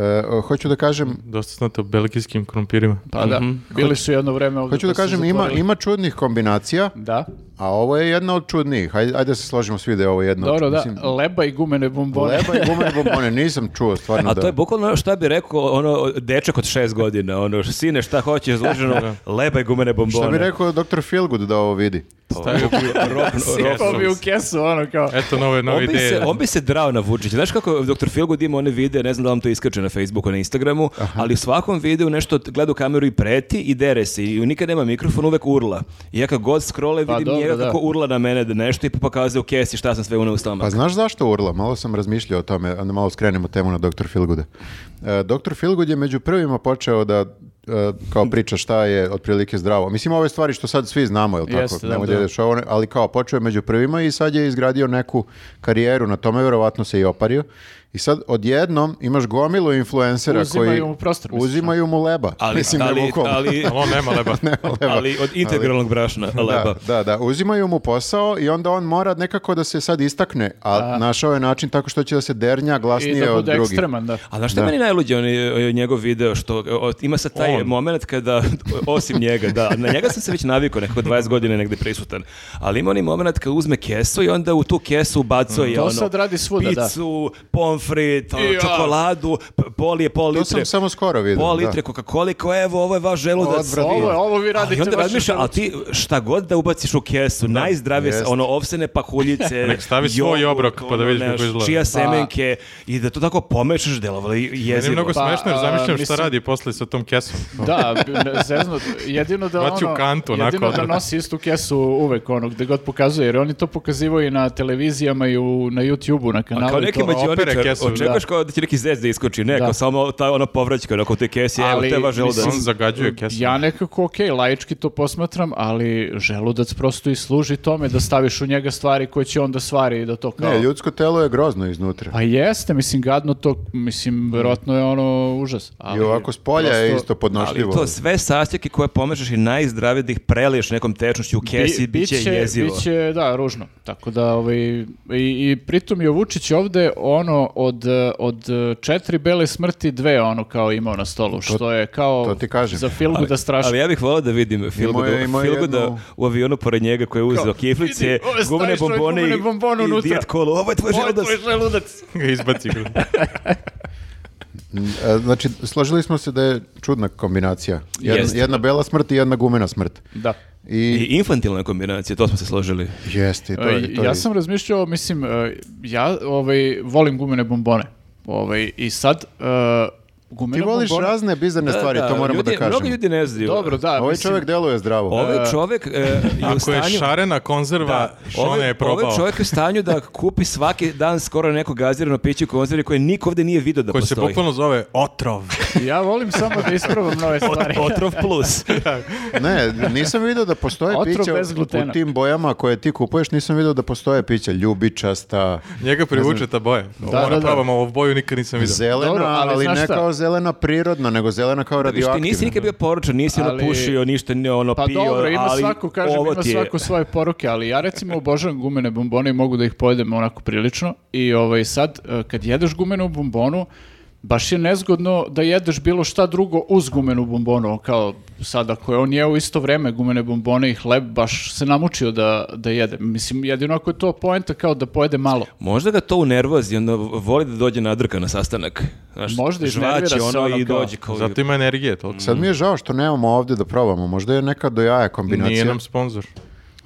[SPEAKER 2] E, hoću da kažem,
[SPEAKER 1] Dosta znate o belgijskim krompirima.
[SPEAKER 3] Pa da, bili su jedno vreme ovdje.
[SPEAKER 2] hoću da
[SPEAKER 3] pa su
[SPEAKER 2] kažem, ima,
[SPEAKER 3] zatvorili.
[SPEAKER 2] ima Znači, čudnih kombinacija,
[SPEAKER 3] Da,
[SPEAKER 2] a ovo je jedna od čudnijih. Ajde, ajde da se složimo svi da je ovo jedna
[SPEAKER 3] dobro,
[SPEAKER 2] od
[SPEAKER 3] da,
[SPEAKER 2] mislim,
[SPEAKER 3] leba i gumene bombone.
[SPEAKER 2] Leba i gumene bombone, nisam čuo stvarno
[SPEAKER 4] A
[SPEAKER 2] da...
[SPEAKER 4] to je bukvalno ono šta bi rekao ono dečak od šest godina, ono sine šta hoćeš zloženo, leba i gumene bombone.
[SPEAKER 2] Šta bi rekao doktor Feelgood da ovo vidi?
[SPEAKER 1] Stavi u [laughs]
[SPEAKER 4] Rob-
[SPEAKER 3] [laughs]
[SPEAKER 4] rob-
[SPEAKER 3] Sipao bi u kesu, ono kao...
[SPEAKER 2] E,
[SPEAKER 1] Eto nove, nove
[SPEAKER 4] On bi,
[SPEAKER 1] ideje.
[SPEAKER 4] se, on bi se drao na Vučića. Znaš kako Dr. Feelgood ima one videe, ne znam da li vam to iskače na Facebooku, na Instagramu, ali u svakom videu nešto t- gleda u kameru i preti i dere se. I nikad nema mikrofon, uvek urla. I ja kad god scrolle
[SPEAKER 3] Pa
[SPEAKER 4] vidim
[SPEAKER 3] dobro,
[SPEAKER 4] njega
[SPEAKER 3] da.
[SPEAKER 4] kako urla na mene da nešto i pa pokazuje u kesi šta sam sve unao u
[SPEAKER 2] Pa
[SPEAKER 4] stomak.
[SPEAKER 2] znaš zašto urla? Malo sam razmišljao o tome, a da malo skrenemo temu na Dr. Filguda. Dr. Filgud je među prvima počeo da e, kao priča šta je otprilike zdravo. Mislim, ove stvari što sad svi znamo, jel tako?
[SPEAKER 3] Jeste, da,
[SPEAKER 2] Nemoj
[SPEAKER 3] da.
[SPEAKER 2] ideš ovo, ne- ali kao počeo je među prvima i sad je izgradio neku karijeru, na tome verovatno se i opario. I sad odjednom imaš gomilu influencera
[SPEAKER 3] Uzimaju
[SPEAKER 2] koji
[SPEAKER 3] mu prostor, misliš,
[SPEAKER 2] uzimaju mu leba.
[SPEAKER 4] Ali,
[SPEAKER 2] Pa Mislim, ne
[SPEAKER 4] ali,
[SPEAKER 2] bukvalno.
[SPEAKER 4] ali,
[SPEAKER 1] Ali on nema leba.
[SPEAKER 4] ali od integralnog brašna. leba.
[SPEAKER 2] Da, da, da, uzimaju mu posao i onda on mora nekako da se sad istakne, a našao je način tako što će da se dernja
[SPEAKER 3] I
[SPEAKER 2] glasnije
[SPEAKER 3] da
[SPEAKER 2] pa od
[SPEAKER 3] bude
[SPEAKER 2] drugih.
[SPEAKER 3] ekstreman, da.
[SPEAKER 4] A znaš što je
[SPEAKER 2] Da.
[SPEAKER 4] meni najluđe on, je- njegov video što o, ima sad taj
[SPEAKER 1] On.
[SPEAKER 4] moment kada osim njega, da, na njega sam se već navikao nekako 20 godina negdje prisutan. Ali ima onaj moment kad uzme kesu i onda u tu kesu ubacuje
[SPEAKER 3] To
[SPEAKER 4] ono
[SPEAKER 3] sad radi svuda, da.
[SPEAKER 4] picu, pomfrit, ono,
[SPEAKER 3] Ja.
[SPEAKER 4] čokoladu, p- polije pol litre.
[SPEAKER 2] To sam samo skoro vidio.
[SPEAKER 4] Pol
[SPEAKER 2] da.
[SPEAKER 4] litre Coca-Cola, i kao, evo, ovo je vaš želudac.
[SPEAKER 2] Odvratno.
[SPEAKER 3] Ovo, je- ovo vi radite
[SPEAKER 4] Ali onda
[SPEAKER 3] vaše
[SPEAKER 4] razmišljam, ali ti šta god da ubaciš u kesu, najzdravije,
[SPEAKER 2] Jest.
[SPEAKER 4] ono, ovsene pahuljice,
[SPEAKER 1] [laughs] Nek stavi svoj
[SPEAKER 4] jogurt,
[SPEAKER 1] obrok pa da
[SPEAKER 4] ono,
[SPEAKER 1] vidiš kako
[SPEAKER 4] znaš,
[SPEAKER 1] izgleda.
[SPEAKER 4] Čija semenke i da to tako pomešaš, delovalo je
[SPEAKER 1] Meni je
[SPEAKER 4] jezivo.
[SPEAKER 1] mnogo
[SPEAKER 3] Pa,
[SPEAKER 1] smešno jer
[SPEAKER 3] a,
[SPEAKER 1] zamišljam šta
[SPEAKER 3] mislim-
[SPEAKER 1] radi posle sa tom kesom.
[SPEAKER 3] Da, bi- ne- zezno, jedino da
[SPEAKER 1] Baci u
[SPEAKER 3] ono,
[SPEAKER 1] kantu, onako,
[SPEAKER 3] jedino da
[SPEAKER 1] odvratno.
[SPEAKER 3] nosi istu kesu uvek ono, gde god pokazuje, jer oni to pokazivaju i na televizijama i u, na YouTube-u, na
[SPEAKER 4] A
[SPEAKER 3] kanalu.
[SPEAKER 4] kao
[SPEAKER 3] i
[SPEAKER 4] neki
[SPEAKER 3] to.
[SPEAKER 1] opere
[SPEAKER 4] mađioničar,
[SPEAKER 1] kesu,
[SPEAKER 4] očekuješ kao da će neki zez da iskoči, ne,
[SPEAKER 3] Da.
[SPEAKER 4] kao samo ta ona povraćka, onako u te kesi, evo,
[SPEAKER 3] Ali,
[SPEAKER 4] te vaš želudac.
[SPEAKER 3] mislim,
[SPEAKER 1] On zagađuje kesu.
[SPEAKER 3] Ja nekako, ok, laički to posmatram, ali želudac prosto i služi tome da staviš u njega stvari koje će onda stvari i da to kao...
[SPEAKER 2] Ne, ljudsko telo je grozno iznutra.
[SPEAKER 3] Pa jeste, mislim, gadno to, mislim, verovatno je ono užas. Ali,
[SPEAKER 2] I ovako s polja je
[SPEAKER 3] prosto-
[SPEAKER 2] isto podnošljivo.
[SPEAKER 4] Ali to sve sastojke koje pomešaš i najzdravije da ih preliješ nekom tečnošću u kesi,
[SPEAKER 3] Bi-
[SPEAKER 4] bit će jezivo.
[SPEAKER 3] biće, da, ružno. Tako da, ovaj, i, i pritom je Vučić ovde ono od, eh, od eh, četiri bele smrti dve ono kao imao na stolu, što je kao
[SPEAKER 2] to ti kažem.
[SPEAKER 3] za filmu da strašno.
[SPEAKER 4] Ali ja bih volao da vidim Filgoda,
[SPEAKER 2] je- imao je
[SPEAKER 4] Filgoda
[SPEAKER 2] jednu-
[SPEAKER 4] u avionu pored njega koji je uzeo
[SPEAKER 3] Kao,
[SPEAKER 4] kiflice,
[SPEAKER 3] vidi, ovo staviš
[SPEAKER 4] gumene
[SPEAKER 3] ovaj
[SPEAKER 4] bombone i,
[SPEAKER 3] gumene bombone
[SPEAKER 4] i
[SPEAKER 3] unutra.
[SPEAKER 4] dijet kolu. Ovo je tvoj želudac.
[SPEAKER 3] želudac.
[SPEAKER 1] [laughs] Ga izbaci.
[SPEAKER 2] E, Znači, složili smo se da je čudna kombinacija. Jedna,
[SPEAKER 4] Jeste.
[SPEAKER 2] jedna bela smrt i jedna gumena smrt.
[SPEAKER 3] Da.
[SPEAKER 4] I
[SPEAKER 2] I,
[SPEAKER 4] infantilna kombinacija, to smo se složili.
[SPEAKER 2] jeste, i to, je-
[SPEAKER 3] E,
[SPEAKER 2] to
[SPEAKER 3] ja
[SPEAKER 2] je-
[SPEAKER 3] sam razmišljao, mislim, e, ja ovaj, volim gumene bombone. Ovaj, I sad, e, gumene
[SPEAKER 2] Ti voliš
[SPEAKER 3] bombone...
[SPEAKER 2] razne bizarne stvari, to moramo
[SPEAKER 4] ljudi,
[SPEAKER 2] da kažemo.
[SPEAKER 4] Mnogo ljudi ne znaju.
[SPEAKER 3] Dobro, da,
[SPEAKER 2] Ovaj
[SPEAKER 3] mislim,
[SPEAKER 2] čovjek deluje zdravo.
[SPEAKER 4] Ovaj čovjek e, je u
[SPEAKER 1] Ako je
[SPEAKER 4] stanju...
[SPEAKER 1] šarena konzerva, Šone
[SPEAKER 4] ovaj-
[SPEAKER 1] je probao.
[SPEAKER 4] Ovaj čovjek je u stanju da kupi svaki dan skoro neko gazirano piće u konzervi koje niko ovdje nije vidio da
[SPEAKER 1] Koji se
[SPEAKER 4] postoji.
[SPEAKER 1] bukvalno zove otrov.
[SPEAKER 3] ja volim samo da isprobam
[SPEAKER 2] [laughs]
[SPEAKER 3] nove stvari.
[SPEAKER 4] Otrov plus. Znači,
[SPEAKER 2] Ne, nisam vidio da postoje
[SPEAKER 3] Otrov
[SPEAKER 2] pića
[SPEAKER 3] bez glutena.
[SPEAKER 2] u tim bojama koje ti kupuješ, nisam vidio da postoje pića ljubičasta,
[SPEAKER 1] Njega privuče ta boja. Da,
[SPEAKER 3] da,
[SPEAKER 1] Moram
[SPEAKER 3] da.
[SPEAKER 1] probam, ovo boju nikad nisam vidio.
[SPEAKER 2] zelena,
[SPEAKER 3] Dobro, ali
[SPEAKER 2] ali,
[SPEAKER 3] znaš
[SPEAKER 2] ne
[SPEAKER 3] šta?
[SPEAKER 2] kao zelena prirodna, nego zelena kao
[SPEAKER 4] Viš, ti
[SPEAKER 2] radioaktivna.
[SPEAKER 4] nisi nikad bio poročan, nisi ono
[SPEAKER 3] Ali-
[SPEAKER 4] pušio, ništa ne ono
[SPEAKER 3] Pa
[SPEAKER 4] pio,
[SPEAKER 3] dobro, ima
[SPEAKER 4] ali
[SPEAKER 3] svako, kažem,
[SPEAKER 4] ovo
[SPEAKER 3] ima
[SPEAKER 4] ti je...
[SPEAKER 3] svako svoje poruke, ali ja recimo obožavam gumene bombone i mogu da ih pojedem onako prilično. I ovaj, sad, e, kad jedeš gumenu bombonu, baš je nezgodno da jedeš bilo šta drugo uz gumenu bombonu. Kao sad, ako je on je u isto vreme gumene bombone i hleb, baš se namučio da, da jede. Mislim, jedino ako je to poenta kao da pojede malo.
[SPEAKER 4] Možda ga to unervozi, onda voli da dođe nadrka na sastanak. Znaš,
[SPEAKER 3] Možda iznervira
[SPEAKER 4] žvaće
[SPEAKER 3] se
[SPEAKER 4] ono,
[SPEAKER 3] ono
[SPEAKER 4] i
[SPEAKER 3] kao-
[SPEAKER 4] dođe kao...
[SPEAKER 1] Zato ima energije toliko.
[SPEAKER 2] Sad mi je žao što nemamo ovdje da probamo, možda je neka do jaja kombinacija.
[SPEAKER 1] Nije nam sponsor.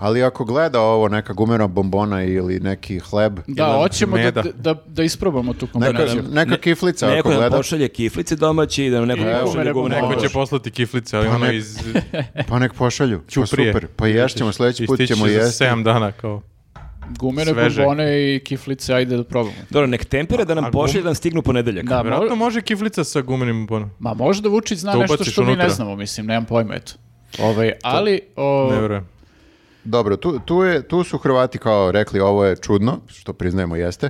[SPEAKER 2] Ali ako gleda ovo neka gumena bombona ili neki hleb,
[SPEAKER 3] Da,
[SPEAKER 1] Jedan
[SPEAKER 3] hoćemo da,
[SPEAKER 1] meda.
[SPEAKER 3] da, da, isprobamo tu
[SPEAKER 2] neka,
[SPEAKER 3] kombinaciju.
[SPEAKER 2] neka kiflica ako
[SPEAKER 4] Neko nam
[SPEAKER 2] gleda,
[SPEAKER 4] pošalje kiflice domaće i da nam neko
[SPEAKER 3] Evo,
[SPEAKER 4] pošalje
[SPEAKER 3] neko
[SPEAKER 4] gumene
[SPEAKER 3] može.
[SPEAKER 1] Neko će
[SPEAKER 4] bombone.
[SPEAKER 1] poslati kiflice, ali ono
[SPEAKER 2] nek-
[SPEAKER 1] iz...
[SPEAKER 2] pa nek pošalju. Pa
[SPEAKER 1] Ćuprije.
[SPEAKER 2] super, pa ješćemo, sljedeći put
[SPEAKER 1] ističe
[SPEAKER 2] ćemo
[SPEAKER 1] za
[SPEAKER 2] jesti.
[SPEAKER 1] 7 dana kao.
[SPEAKER 3] Gumene
[SPEAKER 1] sveže.
[SPEAKER 3] bombone i kiflice, ajde da probamo.
[SPEAKER 4] Dobro, nek tempira da
[SPEAKER 1] A- a
[SPEAKER 4] nam pošalje da nam stignu ponedeljak.
[SPEAKER 3] Da, mo-
[SPEAKER 1] Vjerojatno može kiflica sa gumenim bonom.
[SPEAKER 3] Ma možda Vučić zna
[SPEAKER 1] To
[SPEAKER 3] nešto
[SPEAKER 1] ubaciš
[SPEAKER 3] što mi
[SPEAKER 1] unutra.
[SPEAKER 3] ne znamo, mislim, nemam pojma, eto. Ovaj, ali, o,
[SPEAKER 1] Ne vjerujem.
[SPEAKER 2] Dobro, tu, tu, je, tu su Hrvati kao rekli ovo je čudno, što priznajemo jeste,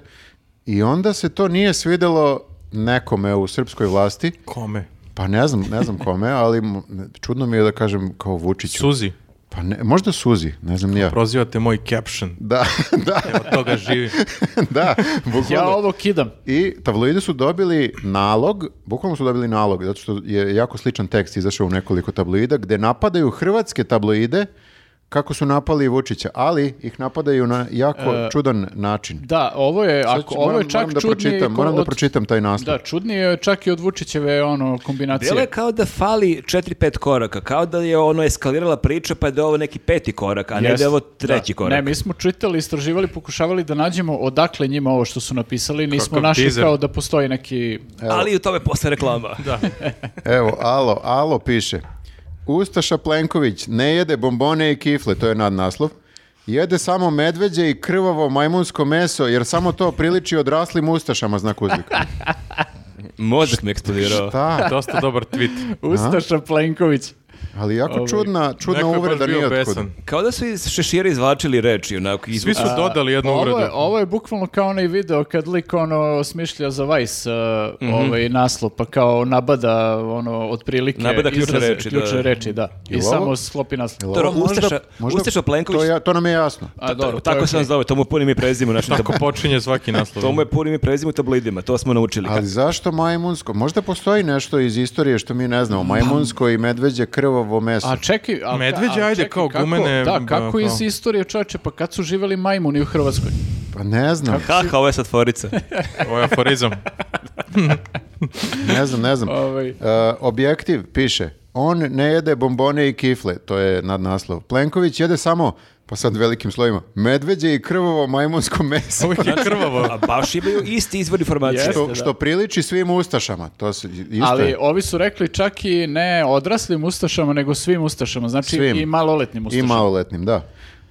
[SPEAKER 2] i onda se to nije svidelo nekome u srpskoj vlasti,
[SPEAKER 1] Kome?
[SPEAKER 2] pa ne znam, ne znam kome, ali m- čudno mi je da kažem kao Vučiću.
[SPEAKER 1] Suzi,
[SPEAKER 2] Pa ne, možda Suzi, ne znam ni ja.
[SPEAKER 1] prozivate moj caption.
[SPEAKER 2] Da, [laughs] da,
[SPEAKER 1] Od toga živim.
[SPEAKER 2] da,
[SPEAKER 3] ja
[SPEAKER 2] bukvalno.
[SPEAKER 3] ovo kidam.
[SPEAKER 2] I tabloidi su dobili nalog, bukvalno su dobili nalog, zato što je jako sličan tekst izašao u nekoliko tabloida, gde napadaju hrvatske tabloide kako su napali Vučića, ali ih napadaju na jako čudan način.
[SPEAKER 3] Da, ovo je,
[SPEAKER 2] Sad
[SPEAKER 3] E, ako,
[SPEAKER 2] ću-
[SPEAKER 3] ovo je
[SPEAKER 2] moram-
[SPEAKER 3] čak
[SPEAKER 2] moram da
[SPEAKER 3] čudnije
[SPEAKER 2] pročitam,
[SPEAKER 3] ko-
[SPEAKER 2] moram da
[SPEAKER 3] od-
[SPEAKER 2] pročitam taj naslov.
[SPEAKER 3] Da, čudnije je čak i od Vučićeve ono, kombinacije.
[SPEAKER 4] Djelo je kao da fali 4-5 koraka, kao da je ono eskalirala priča pa je da je ovo neki peti korak, a ne da
[SPEAKER 3] Jeste.
[SPEAKER 4] je ovo treći
[SPEAKER 3] Da.
[SPEAKER 4] korak.
[SPEAKER 3] Ne, mi smo čitali, istraživali, pokušavali da nađemo odakle njima ovo što su napisali, nismo
[SPEAKER 1] Kakav
[SPEAKER 3] našli
[SPEAKER 1] teaser.
[SPEAKER 3] kao da postoji neki... e,
[SPEAKER 4] Ali i u tome posle reklama.
[SPEAKER 2] Evo, alo, alo piše. Ustaša Plenković ne jede bombone i kifle, to je nadnaslov. Jede samo medveđe i krvavo majmunsko meso, jer samo to priliči odraslim ustašama, znak uzvika.
[SPEAKER 4] Mozak mi je eksplodirao.
[SPEAKER 2] Šta?
[SPEAKER 1] [laughs] Dosta dobar tweet.
[SPEAKER 3] Ustaša Plenković.
[SPEAKER 2] Ali jako čudna, čudna
[SPEAKER 1] Ovaj, Neko je baš
[SPEAKER 2] uvreda
[SPEAKER 1] bio
[SPEAKER 2] nije otkud.
[SPEAKER 1] besan.
[SPEAKER 4] Kao da su iz šešira izvlačili reči, onako. Iz...
[SPEAKER 1] Svi su dodali jednu
[SPEAKER 3] Pa Ovo je,
[SPEAKER 1] uvredu.
[SPEAKER 3] ovo je bukvalno kao onaj video kad lik ono smišlja za Vice uh,
[SPEAKER 1] Mhm.
[SPEAKER 3] ovaj naslov, pa kao nabada ono otprilike
[SPEAKER 4] Nabada ključne
[SPEAKER 3] izraze-
[SPEAKER 4] reči, da.
[SPEAKER 3] ključne reči, da. I
[SPEAKER 2] Jel ovo-
[SPEAKER 3] samo sklopi naslov.
[SPEAKER 4] Dobro,
[SPEAKER 2] Možda-
[SPEAKER 4] Ustaša,
[SPEAKER 2] možda-
[SPEAKER 4] Ustaša Plenković,
[SPEAKER 2] To, ja, to nam je jasno.
[SPEAKER 3] A, dobro, to je
[SPEAKER 4] tako se on
[SPEAKER 3] okej.
[SPEAKER 4] zove, to mu je punim i znači prezimo. Našim
[SPEAKER 1] Tako počinje svaki naslov.
[SPEAKER 4] To mu je punim i prezimo u tablidima, to smo naučili.
[SPEAKER 2] Ali zašto majmunsko? Možda postoji nešto iz istorije što mi ne znamo. Majmunsko i medveđe krvavo meso.
[SPEAKER 3] A čekaj, a,
[SPEAKER 1] Medveđe,
[SPEAKER 3] a
[SPEAKER 1] ajde,
[SPEAKER 3] čekaj,
[SPEAKER 1] kao
[SPEAKER 3] kako-
[SPEAKER 1] gumene,
[SPEAKER 3] Da,
[SPEAKER 1] ba,
[SPEAKER 3] kako
[SPEAKER 1] kao-
[SPEAKER 3] iz istorije čoveče, pa kad su živeli majmuni u Hrvatskoj?
[SPEAKER 2] Pa ne znam,
[SPEAKER 4] Ha, ha, ovo je sad forica.
[SPEAKER 1] Ovo je aforizam.
[SPEAKER 2] ne znam,
[SPEAKER 1] [laughs]
[SPEAKER 2] ne znam.
[SPEAKER 3] Ovaj.
[SPEAKER 2] E, objektiv piše, on ne jede bombone i kifle, to je nadnaslov. Plenković jede samo, pa sad velikim slovima, medveđe i krvavo majmunsko meso.
[SPEAKER 1] Uvijek je krvavo.
[SPEAKER 4] A baš imaju isti izvor informacije.
[SPEAKER 3] Jeste,
[SPEAKER 2] Što,
[SPEAKER 3] da.
[SPEAKER 2] što priliči svim ustašama. To se, isto
[SPEAKER 3] Ali
[SPEAKER 2] je.
[SPEAKER 3] ovi su rekli čak i ne odraslim ustašama, nego svim ustašama, znači
[SPEAKER 2] Svim.
[SPEAKER 3] i maloletnim
[SPEAKER 2] I
[SPEAKER 3] ustašama.
[SPEAKER 2] maloletnim, da.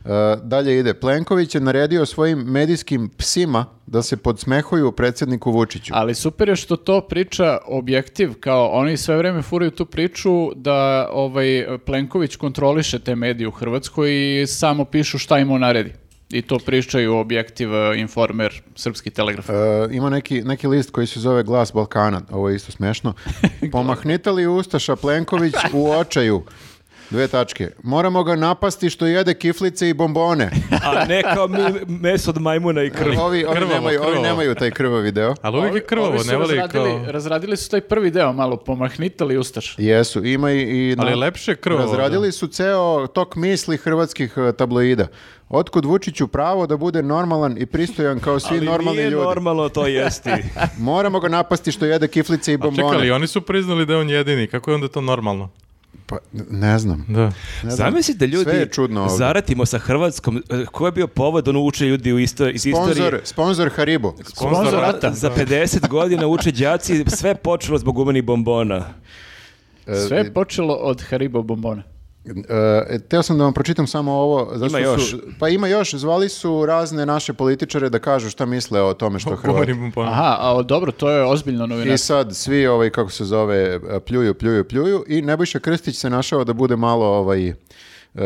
[SPEAKER 2] E, dalje ide. Plenković je naredio svojim medijskim psima da se podsmehuju predsjedniku Vučiću.
[SPEAKER 3] Ali super je što to priča objektiv, kao oni sve vrijeme furaju tu priču da ovaj Plenković kontroliše te medije u Hrvatskoj i samo pišu šta im on naredi. I to pričaju objektiv, eh, informer, srpski telegraf.
[SPEAKER 2] E, ima neki, neki list koji se zove Glas Balkana, ovo je isto
[SPEAKER 1] [laughs]
[SPEAKER 2] smešno. Pomahnita li Ustaša Plenković u očaju? Dve tačke. Moramo ga napasti što jede kiflice i bombone.
[SPEAKER 4] A ne kao mi meso od majmuna i krv.
[SPEAKER 2] Ovi, ovi,
[SPEAKER 1] Krvavo,
[SPEAKER 2] nemaju, ovi
[SPEAKER 1] krvavo.
[SPEAKER 2] nemaju taj krvavi deo.
[SPEAKER 1] Ali uvijek je krvavo,
[SPEAKER 3] Ovi su
[SPEAKER 1] ne voli
[SPEAKER 3] razradili,
[SPEAKER 1] kao...
[SPEAKER 3] razradili su taj prvi deo malo, pomahnitali ustaš.
[SPEAKER 2] Jesu, ima i... i
[SPEAKER 1] Ali lepše je krvavo.
[SPEAKER 2] Razradili su ceo tok misli hrvatskih e, tabloida. Otkud Vučiću pravo da bude normalan i pristojan kao svi
[SPEAKER 4] Ali
[SPEAKER 2] normalni
[SPEAKER 4] nije
[SPEAKER 2] ljudi.
[SPEAKER 4] normalno to jesti.
[SPEAKER 2] Moramo ga napasti što jede kiflice i
[SPEAKER 1] da. A čekali,
[SPEAKER 2] bombone.
[SPEAKER 1] oni su priznali da je on jedini. Kako je onda to normalno?
[SPEAKER 2] Pa, ne znam.
[SPEAKER 1] Da.
[SPEAKER 2] [laughs] Ne znam.
[SPEAKER 4] Zamislite ljudi,
[SPEAKER 2] Sve je čudno ovdje.
[SPEAKER 4] zaratimo sa Hrvatskom, e, ko je bio povod, ono uče ljudi u isto, iz
[SPEAKER 2] Sponzor,
[SPEAKER 4] istorije.
[SPEAKER 2] sponzor Haribo.
[SPEAKER 1] Sponzor rata.
[SPEAKER 4] Za 50 godina uče đaci, sve počelo zbog umenih bombona.
[SPEAKER 1] E,
[SPEAKER 3] Sve je počelo od Haribo bombona.
[SPEAKER 2] E, teo sam da vam pročitam samo ovo. Zašto
[SPEAKER 4] Ima još.
[SPEAKER 2] Su, pa ima još. Zvali su razne naše političare da kažu šta misle o tome što Hrvati.
[SPEAKER 1] [laughs] Govorim ponovno.
[SPEAKER 3] Aha, a o, dobro, to je ozbiljno
[SPEAKER 2] I
[SPEAKER 3] novinarstvo.
[SPEAKER 2] sad svi ovaj, kako se zove, e, pljuju, pljuju, pljuju i Nebojša Krstić se našao da bude malo ovaj, e,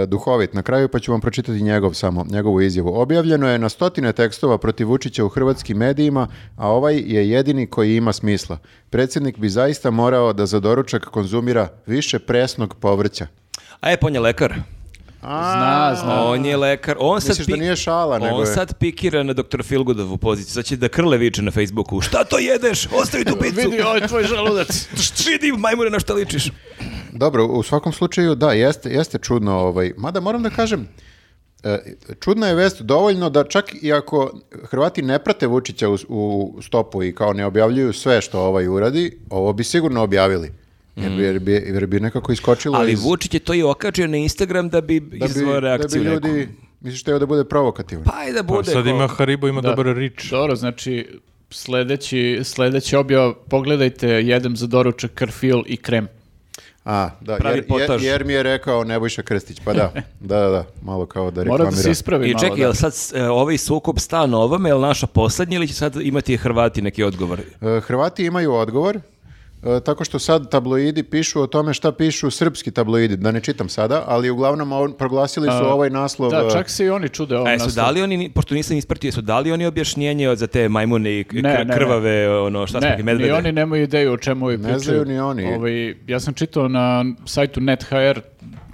[SPEAKER 2] duhovit na kraju, pa ću vam pročitati njegov samo, njegovu izjavu. Objavljeno je na stotine tekstova protiv Vučića u hrvatskim medijima, a ovaj je jedini koji ima smisla. Predsjednik bi zaista morao da za doručak konzumira više presnog povrća.
[SPEAKER 4] A je, pa on je lekar.
[SPEAKER 3] Zna, zna.
[SPEAKER 4] On je lekar. On sad
[SPEAKER 2] Misliš da
[SPEAKER 4] pi-
[SPEAKER 2] nije šala, nego
[SPEAKER 4] On
[SPEAKER 2] je-
[SPEAKER 4] sad pikira na dr. Filgudovu poziciju. Sad će da krle viče na Facebooku. Šta to jedeš? Ostavi tu picu.
[SPEAKER 3] Vidi, ovo je tvoj želudac.
[SPEAKER 4] [laughs] Vidi majmure na šta ličiš.
[SPEAKER 2] Dobro, u svakom slučaju, da, jeste, jeste čudno, ovaj, mada moram da kažem, e, čudna je vest dovoljno da čak i ako Hrvati ne prate Vučića u, u stopu i kao ne objavljuju sve što ovaj uradi, ovo bi sigurno objavili. Jer bi, jer bi, jer bi nekako iskočilo
[SPEAKER 4] Mhm. Ali
[SPEAKER 2] iz...
[SPEAKER 4] Vučić je to i okačio na Instagram da bi
[SPEAKER 2] da bi,
[SPEAKER 4] izvao
[SPEAKER 2] da bi
[SPEAKER 4] reakciju neku.
[SPEAKER 2] ljudi, misliš teo da bude provokativan.
[SPEAKER 4] Pa i
[SPEAKER 1] Pa
[SPEAKER 4] da bude.
[SPEAKER 1] sad
[SPEAKER 4] ko-
[SPEAKER 1] ima Haribo, ima dobar rič.
[SPEAKER 3] Dobro, znači sledeći, sledeći objava, pogledajte, jedem za doručak karfil i krem.
[SPEAKER 2] A, da,
[SPEAKER 4] Pravi
[SPEAKER 2] jer, jer,
[SPEAKER 4] potaž.
[SPEAKER 2] jer mi je rekao Nebojša Krstić, pa
[SPEAKER 4] [laughs]
[SPEAKER 2] da, da, da, da, malo kao da reklamira.
[SPEAKER 3] Mora da se ispravi
[SPEAKER 4] I
[SPEAKER 3] malo.
[SPEAKER 4] čekaj,
[SPEAKER 3] da.
[SPEAKER 4] jel sad e, ovaj sukob stan ovome, jel naša poslednja ili će sad imati Hrvati neki odgovor?
[SPEAKER 2] E, Hrvati imaju odgovor, e, tako što sad tabloidi pišu o tome šta pišu srpski tabloidi, da ne čitam sada, ali uglavnom on, proglasili su ovaj naslov.
[SPEAKER 3] Da,
[SPEAKER 2] e,
[SPEAKER 3] čak se i oni čude ovom
[SPEAKER 4] A jesu
[SPEAKER 3] naslovu.
[SPEAKER 4] dali oni, ni- pošto nisam ispratio, jesu dali oni objašnjenje od- za te majmune i k-
[SPEAKER 3] Ne,
[SPEAKER 4] kr-
[SPEAKER 3] ne, ne.
[SPEAKER 4] krvave, ono, šta smo rekli,
[SPEAKER 3] Ne, ni
[SPEAKER 4] medvede?
[SPEAKER 3] oni nemaju ideju o čemu ovi pričaju.
[SPEAKER 2] znaju ni oni.
[SPEAKER 3] Ovaj, ja sam čitao na sajtu net.hr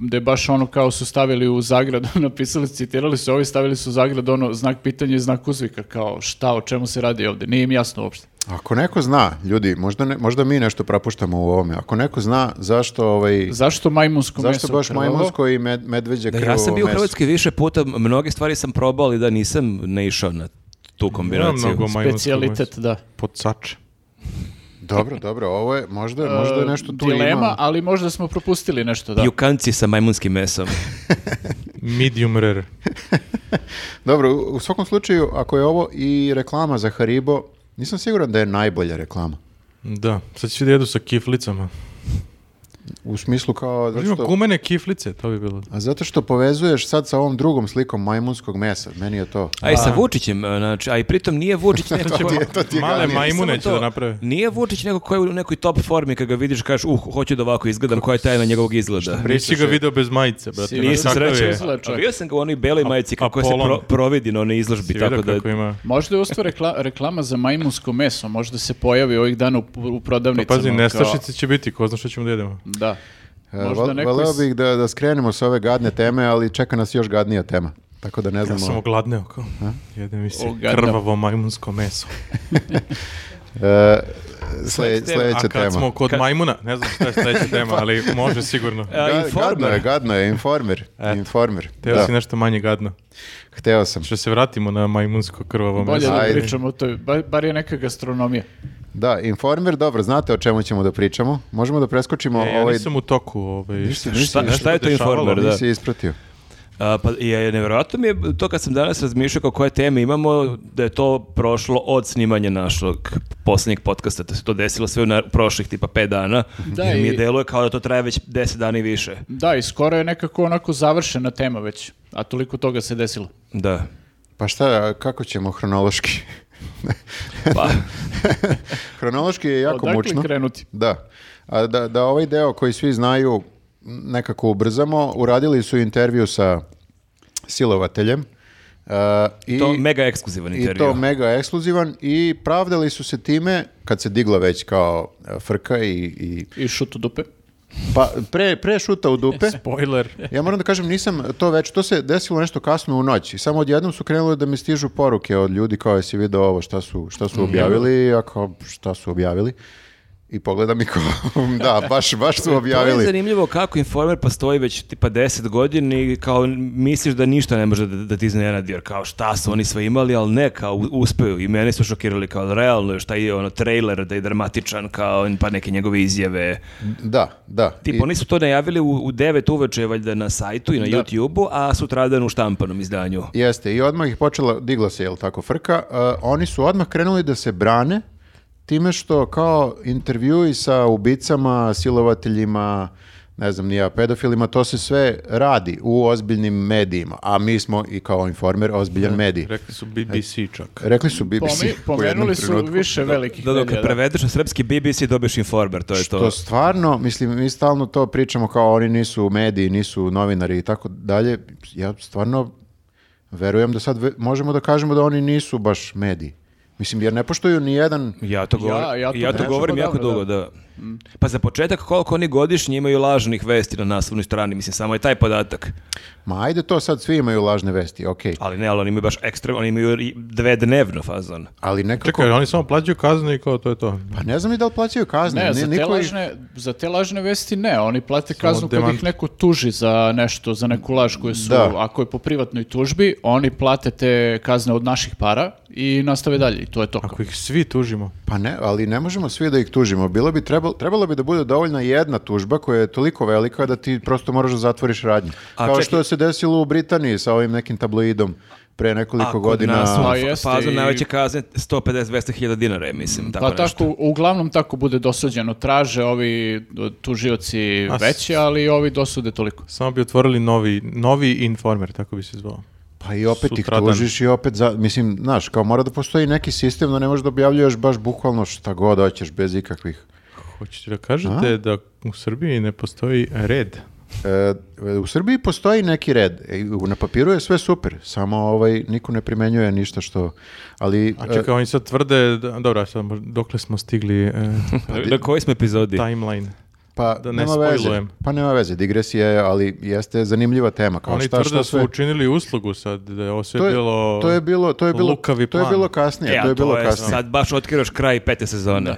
[SPEAKER 3] gde baš ono kao su stavili u zagradu, [laughs] napisali, citirali su ovi, stavili su u zagradu ono znak pitanja i znak uzvika, kao šta, o čemu se radi ovdje, nije im jasno uopšte.
[SPEAKER 2] Ako neko zna, ljudi, možda, ne- možda mi nešto propuštamo u ovome, ako neko zna zašto ovaj...
[SPEAKER 3] Zašto majmunsko meso?
[SPEAKER 2] Zašto baš
[SPEAKER 3] krvavo?
[SPEAKER 2] majmunsko i med, medveđe
[SPEAKER 4] Da,
[SPEAKER 2] krvovo
[SPEAKER 4] ja sam bio u
[SPEAKER 2] meso?
[SPEAKER 4] Hrvatskoj više puta, mnoge stvari sam probao, ali da nisam ne išao na tu
[SPEAKER 1] Ima
[SPEAKER 4] kombinaciju.
[SPEAKER 1] mnogo majmunskog
[SPEAKER 3] Specijalitet, da.
[SPEAKER 1] Pocače.
[SPEAKER 2] Dobro, dobro, ovo je, možda, možda je nešto tu
[SPEAKER 3] E, Dilema,
[SPEAKER 2] ima.
[SPEAKER 3] ali možda smo propustili nešto, da.
[SPEAKER 4] Jukanci sa majmunskim mesom.
[SPEAKER 1] Medium rare.
[SPEAKER 2] Dobro, u- u svakom slučaju, ako je ovo i reklama za Haribo, nisam siguran da je najbolja reklama.
[SPEAKER 1] Da, sad će da jedu sa kiflicama.
[SPEAKER 2] U smislu kao...
[SPEAKER 1] Ima
[SPEAKER 2] zato što-
[SPEAKER 1] gumene kiflice, to bi bilo.
[SPEAKER 2] a zato što povezuješ sad sa ovom drugom slikom majmunskog mesa, meni je to...
[SPEAKER 4] A i sa Vučićem, e, znači, a i pritom nije
[SPEAKER 2] [laughs]
[SPEAKER 4] Vučić neko ko-
[SPEAKER 2] to ti je
[SPEAKER 1] Male
[SPEAKER 2] gadnije.
[SPEAKER 1] majmune
[SPEAKER 4] Samo
[SPEAKER 1] će
[SPEAKER 4] to,
[SPEAKER 1] da naprave.
[SPEAKER 4] Nije Vučić neko koji je u nekoj top formi kad ga vidiš kažeš uh hoću da ovako izgledam, koja je tajna njegovog izgleda.
[SPEAKER 1] Reći ga video bez majice, brate.
[SPEAKER 3] Silver
[SPEAKER 1] Nisam
[SPEAKER 4] Nisam
[SPEAKER 3] Kakav
[SPEAKER 1] srećan.
[SPEAKER 3] je?
[SPEAKER 4] srećan. A Bio sam ga u onoj beloj majici kako se
[SPEAKER 1] Apollon.
[SPEAKER 4] pro, providi na onoj izložbi, tako da...
[SPEAKER 1] kako ima.
[SPEAKER 3] Možda je ustvo rekla, reklama za majmunsko meso, možda se pojavi ovih dana u, u
[SPEAKER 1] Pa
[SPEAKER 3] prodavnicama.
[SPEAKER 1] pazi,
[SPEAKER 3] kao-
[SPEAKER 1] nestašice će biti, ko zna što ćemo da jedemo.
[SPEAKER 3] Da.
[SPEAKER 2] E,
[SPEAKER 3] Možda
[SPEAKER 2] val-
[SPEAKER 3] neko
[SPEAKER 2] Valeo
[SPEAKER 3] iz-
[SPEAKER 2] bih da, da skrenemo sa ove gadne teme, ali čeka nas još gadnija tema. Tako da ne
[SPEAKER 1] Ja
[SPEAKER 2] znamo...
[SPEAKER 1] sam ogladneo kao. Jedem mi se
[SPEAKER 3] Ogadneo.
[SPEAKER 1] krvavo majmunsko meso.
[SPEAKER 2] E, sle-
[SPEAKER 1] A
[SPEAKER 2] sledeća
[SPEAKER 1] kad
[SPEAKER 2] tema.
[SPEAKER 1] smo kod majmuna, ne znam šta je sledeća tema, ali može sigurno.
[SPEAKER 4] A,
[SPEAKER 2] Ga- Gadno je,
[SPEAKER 4] informer.
[SPEAKER 2] gadno je, informer. Informer.
[SPEAKER 1] Teo
[SPEAKER 2] da,
[SPEAKER 1] si nešto manje gadno.
[SPEAKER 2] Hteo sam.
[SPEAKER 1] Što se vratimo na majmunsko krvavo
[SPEAKER 3] Bolje
[SPEAKER 1] meso.
[SPEAKER 3] da
[SPEAKER 2] Ajde.
[SPEAKER 3] pričamo o toj, bar, bar je neka gastronomija.
[SPEAKER 2] Da, informer, dobro, znate o čemu ćemo da pričamo. Možemo da preskočimo
[SPEAKER 1] E, ja
[SPEAKER 2] ovaj...
[SPEAKER 1] nisam u toku. Ovaj,
[SPEAKER 2] Nisi- nisi-
[SPEAKER 4] Šta- šta je to
[SPEAKER 1] dešavalo?
[SPEAKER 4] informer, da?
[SPEAKER 2] nisi ispratio.
[SPEAKER 4] A, pa je, nevjerojatno mi je to kad sam danas razmišljao kao koje teme imamo, da je to prošlo od snimanja našeg posljednjeg podcasta, da se to desilo sve u na- prošlih tipa 5 dana,
[SPEAKER 3] Da,
[SPEAKER 4] jer mi je
[SPEAKER 3] i-
[SPEAKER 4] deluje kao da to traje već 10 dana i više.
[SPEAKER 3] Da, i skoro je nekako onako završena tema već, a toliko toga se desilo.
[SPEAKER 4] Da.
[SPEAKER 2] Pa šta, kako ćemo hronološki?
[SPEAKER 4] Pa,
[SPEAKER 2] [laughs] hronološki je jako
[SPEAKER 3] Odakle
[SPEAKER 2] mučno.
[SPEAKER 3] krenuti?
[SPEAKER 2] Da. A da, da ovaj deo koji svi znaju nekako ubrzamo, uradili su intervju sa silovateljem. e, i,
[SPEAKER 4] to mega ekskluzivan
[SPEAKER 2] I
[SPEAKER 4] intervju.
[SPEAKER 2] to mega ekskluzivan i pravdali su se time, kad se digla već kao e, frka i, i
[SPEAKER 3] I šutu dupe.
[SPEAKER 2] pa pre, pre šuta u dupe.
[SPEAKER 1] Spoiler.
[SPEAKER 2] Ja moram da kažem, nisam to već, to se desilo nešto kasno u noć i samo odjednom su krenule da mi stižu poruke od ljudi kao jesi video ovo, šta su, šta su objavili, ako šta su objavili. I pogledam i kao, [laughs] da, baš, baš su
[SPEAKER 4] To je
[SPEAKER 2] objavili.
[SPEAKER 4] zanimljivo kako Informer postoji već tipa 10 godina i kao misliš da ništa ne može da, da ti iznenadi, jer kao šta su oni sve imali, ali ne, kao u- uspeju i mene su šokirali kao realno šta je ono trailer da je dramatičan kao pa neke njegove izjave.
[SPEAKER 2] Da, da. I-
[SPEAKER 4] Tipo, oni su to najavili u, u 9 uveče valjda na sajtu i na YouTube-u, a sutradan u štampanom izdanju.
[SPEAKER 2] Jeste, i odmah ih počela, digla se, jel tako, frka. E, oni su odmah krenuli da se brane time što kao intervjui sa ubicama, silovateljima, ne znam, nija pedofilima, to se sve radi u ozbiljnim medijima, a mi smo i kao informer ozbiljan medij.
[SPEAKER 1] Rekli su BBC čak.
[SPEAKER 2] Rekli su BBC
[SPEAKER 3] Pomi,
[SPEAKER 2] u jednom
[SPEAKER 3] pomenuli su
[SPEAKER 2] trenutku.
[SPEAKER 3] više velikih
[SPEAKER 4] Da, dok
[SPEAKER 3] medija, e, da.
[SPEAKER 4] prevedeš na srpski BBC dobiješ Informer, to je to.
[SPEAKER 2] To stvarno, mislim, mi stalno to pričamo kao oni nisu mediji, nisu novinari i tako dalje. Ja stvarno verujem da sad ve- možemo da kažemo da oni nisu baš mediji. Mislim, jer ne poštuju ni jedan...
[SPEAKER 4] Ja to, govorim, ja,
[SPEAKER 3] ja to
[SPEAKER 4] to,
[SPEAKER 3] kažem,
[SPEAKER 4] govorim
[SPEAKER 3] pa
[SPEAKER 4] jako
[SPEAKER 3] dobro,
[SPEAKER 4] dugo, da. Pa za početak, koliko oni godišnje imaju lažnih vesti na naslovnoj strani, mislim, samo je taj podatak.
[SPEAKER 2] Ma ajde to sad, svi imaju lažne vesti, okej.
[SPEAKER 4] Ali ne, ali oni imaju baš ekstrem, oni imaju i dve dnevno fazon.
[SPEAKER 2] Ali nekako...
[SPEAKER 1] Čekaj, oni samo plaćaju kazne i kao to je to.
[SPEAKER 2] Pa ne znam i da li plaćaju kazne.
[SPEAKER 3] Ne,
[SPEAKER 2] ni-
[SPEAKER 3] za te,
[SPEAKER 2] niko ih-
[SPEAKER 3] lažne, za te lažne vesti ne, oni plate kaznu kad
[SPEAKER 1] demant.
[SPEAKER 3] ih neko tuži za nešto, za neku laž koju su,
[SPEAKER 2] Da.
[SPEAKER 3] ako je po privatnoj tužbi, oni plate te kazne od naših para i nastave dalje i to je to.
[SPEAKER 1] Ako ih svi tužimo.
[SPEAKER 2] Pa ne, ali ne možemo svi da ih tužimo. Bilo bi trebalo, trebalo bi da bude dovoljna jedna tužba koja je toliko velika da ti prosto moraš da zatvoriš radnju.
[SPEAKER 4] A
[SPEAKER 2] Kao
[SPEAKER 4] čekaj-
[SPEAKER 2] što se desilo u Britaniji sa ovim nekim tabloidom pre nekoliko godina.
[SPEAKER 4] nas
[SPEAKER 3] Pa
[SPEAKER 4] u
[SPEAKER 3] jeste
[SPEAKER 4] fazon
[SPEAKER 3] i-
[SPEAKER 4] najveće kazne 150-200 hiljada dinara, je, mislim, tako
[SPEAKER 3] Pa
[SPEAKER 4] nešto.
[SPEAKER 3] tako, uglavnom tako bude dosuđeno. Traže ovi tužioci
[SPEAKER 1] A s-
[SPEAKER 3] veće, ali ovi dosude toliko.
[SPEAKER 1] Samo bi otvorili novi, novi informer, tako bi se zvao.
[SPEAKER 2] Pa i opet ih
[SPEAKER 1] Sutradan.
[SPEAKER 2] tužiš i opet, za, mislim, znaš, kao mora da postoji neki sistem da ne možeš da objavljuješ baš bukvalno šta god hoćeš bez ikakvih.
[SPEAKER 1] Hoćete da kažete da u Srbiji ne postoji red?
[SPEAKER 2] E, u Srbiji postoji neki red. E, na papiru je sve super, samo ovaj, niko ne primenjuje ništa što... Ali,
[SPEAKER 1] A
[SPEAKER 2] e,
[SPEAKER 1] čekaj, Znači, oni
[SPEAKER 2] [laughs]
[SPEAKER 1] sad tvrde, da, dobro, sad, mo- dokle smo stigli e,
[SPEAKER 4] Na kojoj smo epizodi?
[SPEAKER 1] timeline?
[SPEAKER 2] Pa,
[SPEAKER 1] Da ne
[SPEAKER 2] nema veze.
[SPEAKER 1] spojlujem.
[SPEAKER 2] Pa nema veze, digresija je, ali jeste zanimljiva tema. Kao
[SPEAKER 1] Oni
[SPEAKER 2] šta,
[SPEAKER 1] tvrde
[SPEAKER 2] što
[SPEAKER 1] da su
[SPEAKER 2] sve...
[SPEAKER 1] učinili uslugu sad, da je ovo sve
[SPEAKER 2] To je,
[SPEAKER 1] bilo...
[SPEAKER 2] to je bilo, to je bilo,
[SPEAKER 1] lukavi
[SPEAKER 2] to je
[SPEAKER 1] plan.
[SPEAKER 2] bilo kasnije,
[SPEAKER 4] E, a
[SPEAKER 2] to je bilo kasnije.
[SPEAKER 4] sad baš otkrivaš kraj pete sezone.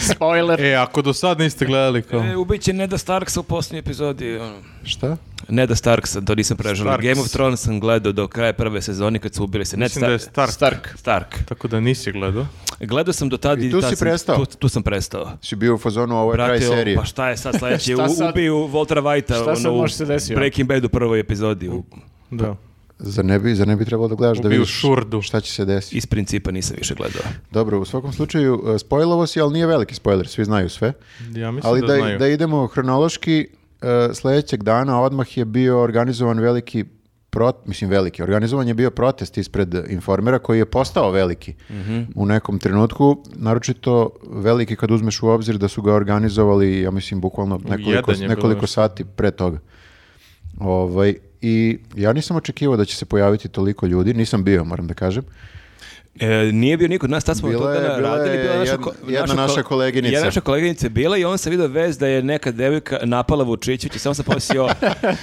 [SPEAKER 3] Spoiler.
[SPEAKER 1] E, ako do sad niste gledali kao...
[SPEAKER 4] E, ubiće Neda Starksa u posljednjoj epizodi. Ono.
[SPEAKER 2] Šta?
[SPEAKER 4] Neda Starksa, to nisam preželio.
[SPEAKER 1] Starks.
[SPEAKER 4] Game of Thrones sam gledao do kraja prve sezoni kad su ubili se. Ned
[SPEAKER 1] Mislim da je
[SPEAKER 4] Stark-
[SPEAKER 1] Stark.
[SPEAKER 3] Stark.
[SPEAKER 4] Stark.
[SPEAKER 1] Tako da nisi gledao.
[SPEAKER 4] Gledao sam do tada
[SPEAKER 2] I tu si prestao?
[SPEAKER 4] Tu, tu sam prestao.
[SPEAKER 2] Si bio u fazonu ovo je kraj
[SPEAKER 4] Brate, o,
[SPEAKER 2] serije.
[SPEAKER 4] pa šta je
[SPEAKER 2] [laughs]
[SPEAKER 4] sad sledeće?
[SPEAKER 3] Šta
[SPEAKER 4] U-
[SPEAKER 3] sad?
[SPEAKER 4] Ubiju Voltera Vajta
[SPEAKER 3] Šta sad
[SPEAKER 4] ono, u
[SPEAKER 3] može se desiti, ono?
[SPEAKER 4] Breaking Bad u prvoj epizodi. U,
[SPEAKER 1] Da.
[SPEAKER 2] Zar ne bi, zar ne bi trebalo da gledaš da
[SPEAKER 1] Ubiju
[SPEAKER 2] Pa, vidiš
[SPEAKER 1] Šurdu.
[SPEAKER 2] šta će se desiti?
[SPEAKER 4] iz principa nisam više gledao.
[SPEAKER 2] Dobro, u svakom slučaju, e, spojlovo si, ali nije veliki spoiler, svi znaju sve.
[SPEAKER 1] Ja mislim
[SPEAKER 2] ali
[SPEAKER 1] da,
[SPEAKER 2] da,
[SPEAKER 1] znaju.
[SPEAKER 2] da idemo hronološki, e, sledećeg dana odmah je bio organizovan veliki prot, mislim veliki, organizovan je bio protest ispred informera koji je postao veliki
[SPEAKER 4] Mhm.
[SPEAKER 2] u nekom trenutku, naročito veliki kad uzmeš u obzir da su ga organizovali, ja mislim, bukvalno nekoliko,
[SPEAKER 1] jedan je bilo
[SPEAKER 2] nekoliko
[SPEAKER 1] još.
[SPEAKER 2] sati pre toga. Ovaj, I ja nisam očekivao da će se pojaviti toliko ljudi, nisam bio, moram da kažem.
[SPEAKER 4] E, nije bio niko od nas, tad smo
[SPEAKER 2] Bila
[SPEAKER 4] to
[SPEAKER 2] je-
[SPEAKER 4] dana
[SPEAKER 2] bila
[SPEAKER 4] radili.
[SPEAKER 2] je
[SPEAKER 4] bila naša,
[SPEAKER 2] jedna-
[SPEAKER 4] ko-
[SPEAKER 2] jedna naša
[SPEAKER 4] ko-
[SPEAKER 2] koleginica.
[SPEAKER 4] Jedna naša koleginica je bila i on se vidio vez da je neka devojka napala Vučićić i samo sam
[SPEAKER 2] [laughs]
[SPEAKER 4] posio,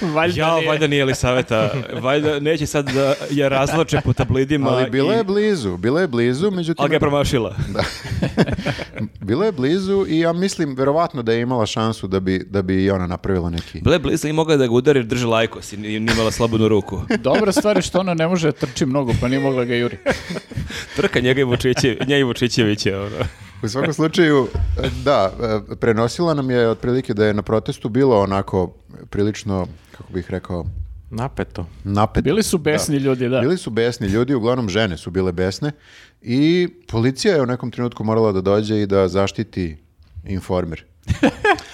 [SPEAKER 3] Valjda
[SPEAKER 4] jao,
[SPEAKER 3] nije.
[SPEAKER 4] valjda nije
[SPEAKER 3] [laughs]
[SPEAKER 4] Elisaveta, valjda neće sad da je razloče po tablidima.
[SPEAKER 2] Ali bila
[SPEAKER 4] i-
[SPEAKER 2] je blizu, bila je blizu, međutim...
[SPEAKER 4] Ali ga je promašila.
[SPEAKER 2] Bila je blizu i ja mislim verovatno da je imala šansu da bi, da bi i ona napravila neki...
[SPEAKER 4] Bila je blizu i mogla da ga udari jer drži lajkos i nije nije imala slobodnu ruku.
[SPEAKER 3] Dobra stvar je što ona ne može da trči mnogo, pa nije mogla ga juri.
[SPEAKER 4] Trka njega i Vučiće, nje i Vučićevića. Ono.
[SPEAKER 2] U svakom slučaju, da, e, prenosila nam je otprilike da je na protestu bilo onako prilično, kako bih rekao,
[SPEAKER 1] Napeto.
[SPEAKER 2] napet.
[SPEAKER 3] Bili su besni ljudi, da.
[SPEAKER 2] Bili su besni ljudi, uglavnom žene su bile besne i policija je u nekom trenutku morala da dođe i da zaštiti informer.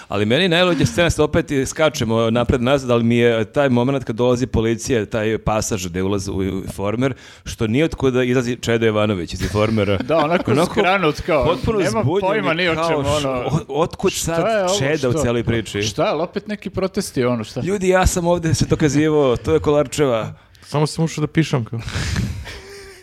[SPEAKER 4] Ali meni najluđa scena, sad opet i skačemo napred nazad, ali mi je taj moment kad dolazi policija, taj pasaž gde ulazi u informer, što nije otkuda izlazi Čedo Jovanović iz informera.
[SPEAKER 3] Da, onako skranut kao,
[SPEAKER 4] potpuno
[SPEAKER 3] nema
[SPEAKER 4] zbunjen
[SPEAKER 3] pojma
[SPEAKER 4] je,
[SPEAKER 3] ni o
[SPEAKER 4] kao,
[SPEAKER 3] čemu,
[SPEAKER 4] š-
[SPEAKER 3] ono.
[SPEAKER 4] o- Otkud sad
[SPEAKER 3] Šta je ovo,
[SPEAKER 4] Čeda u
[SPEAKER 3] što?
[SPEAKER 4] cijeloj priči?
[SPEAKER 3] Šta, ali opet neki protesti, ono, šta?
[SPEAKER 4] Ljudi, ja sam ovde se dokazivao, to je Kolarčeva.
[SPEAKER 1] Samo sam ušao da pišem kao.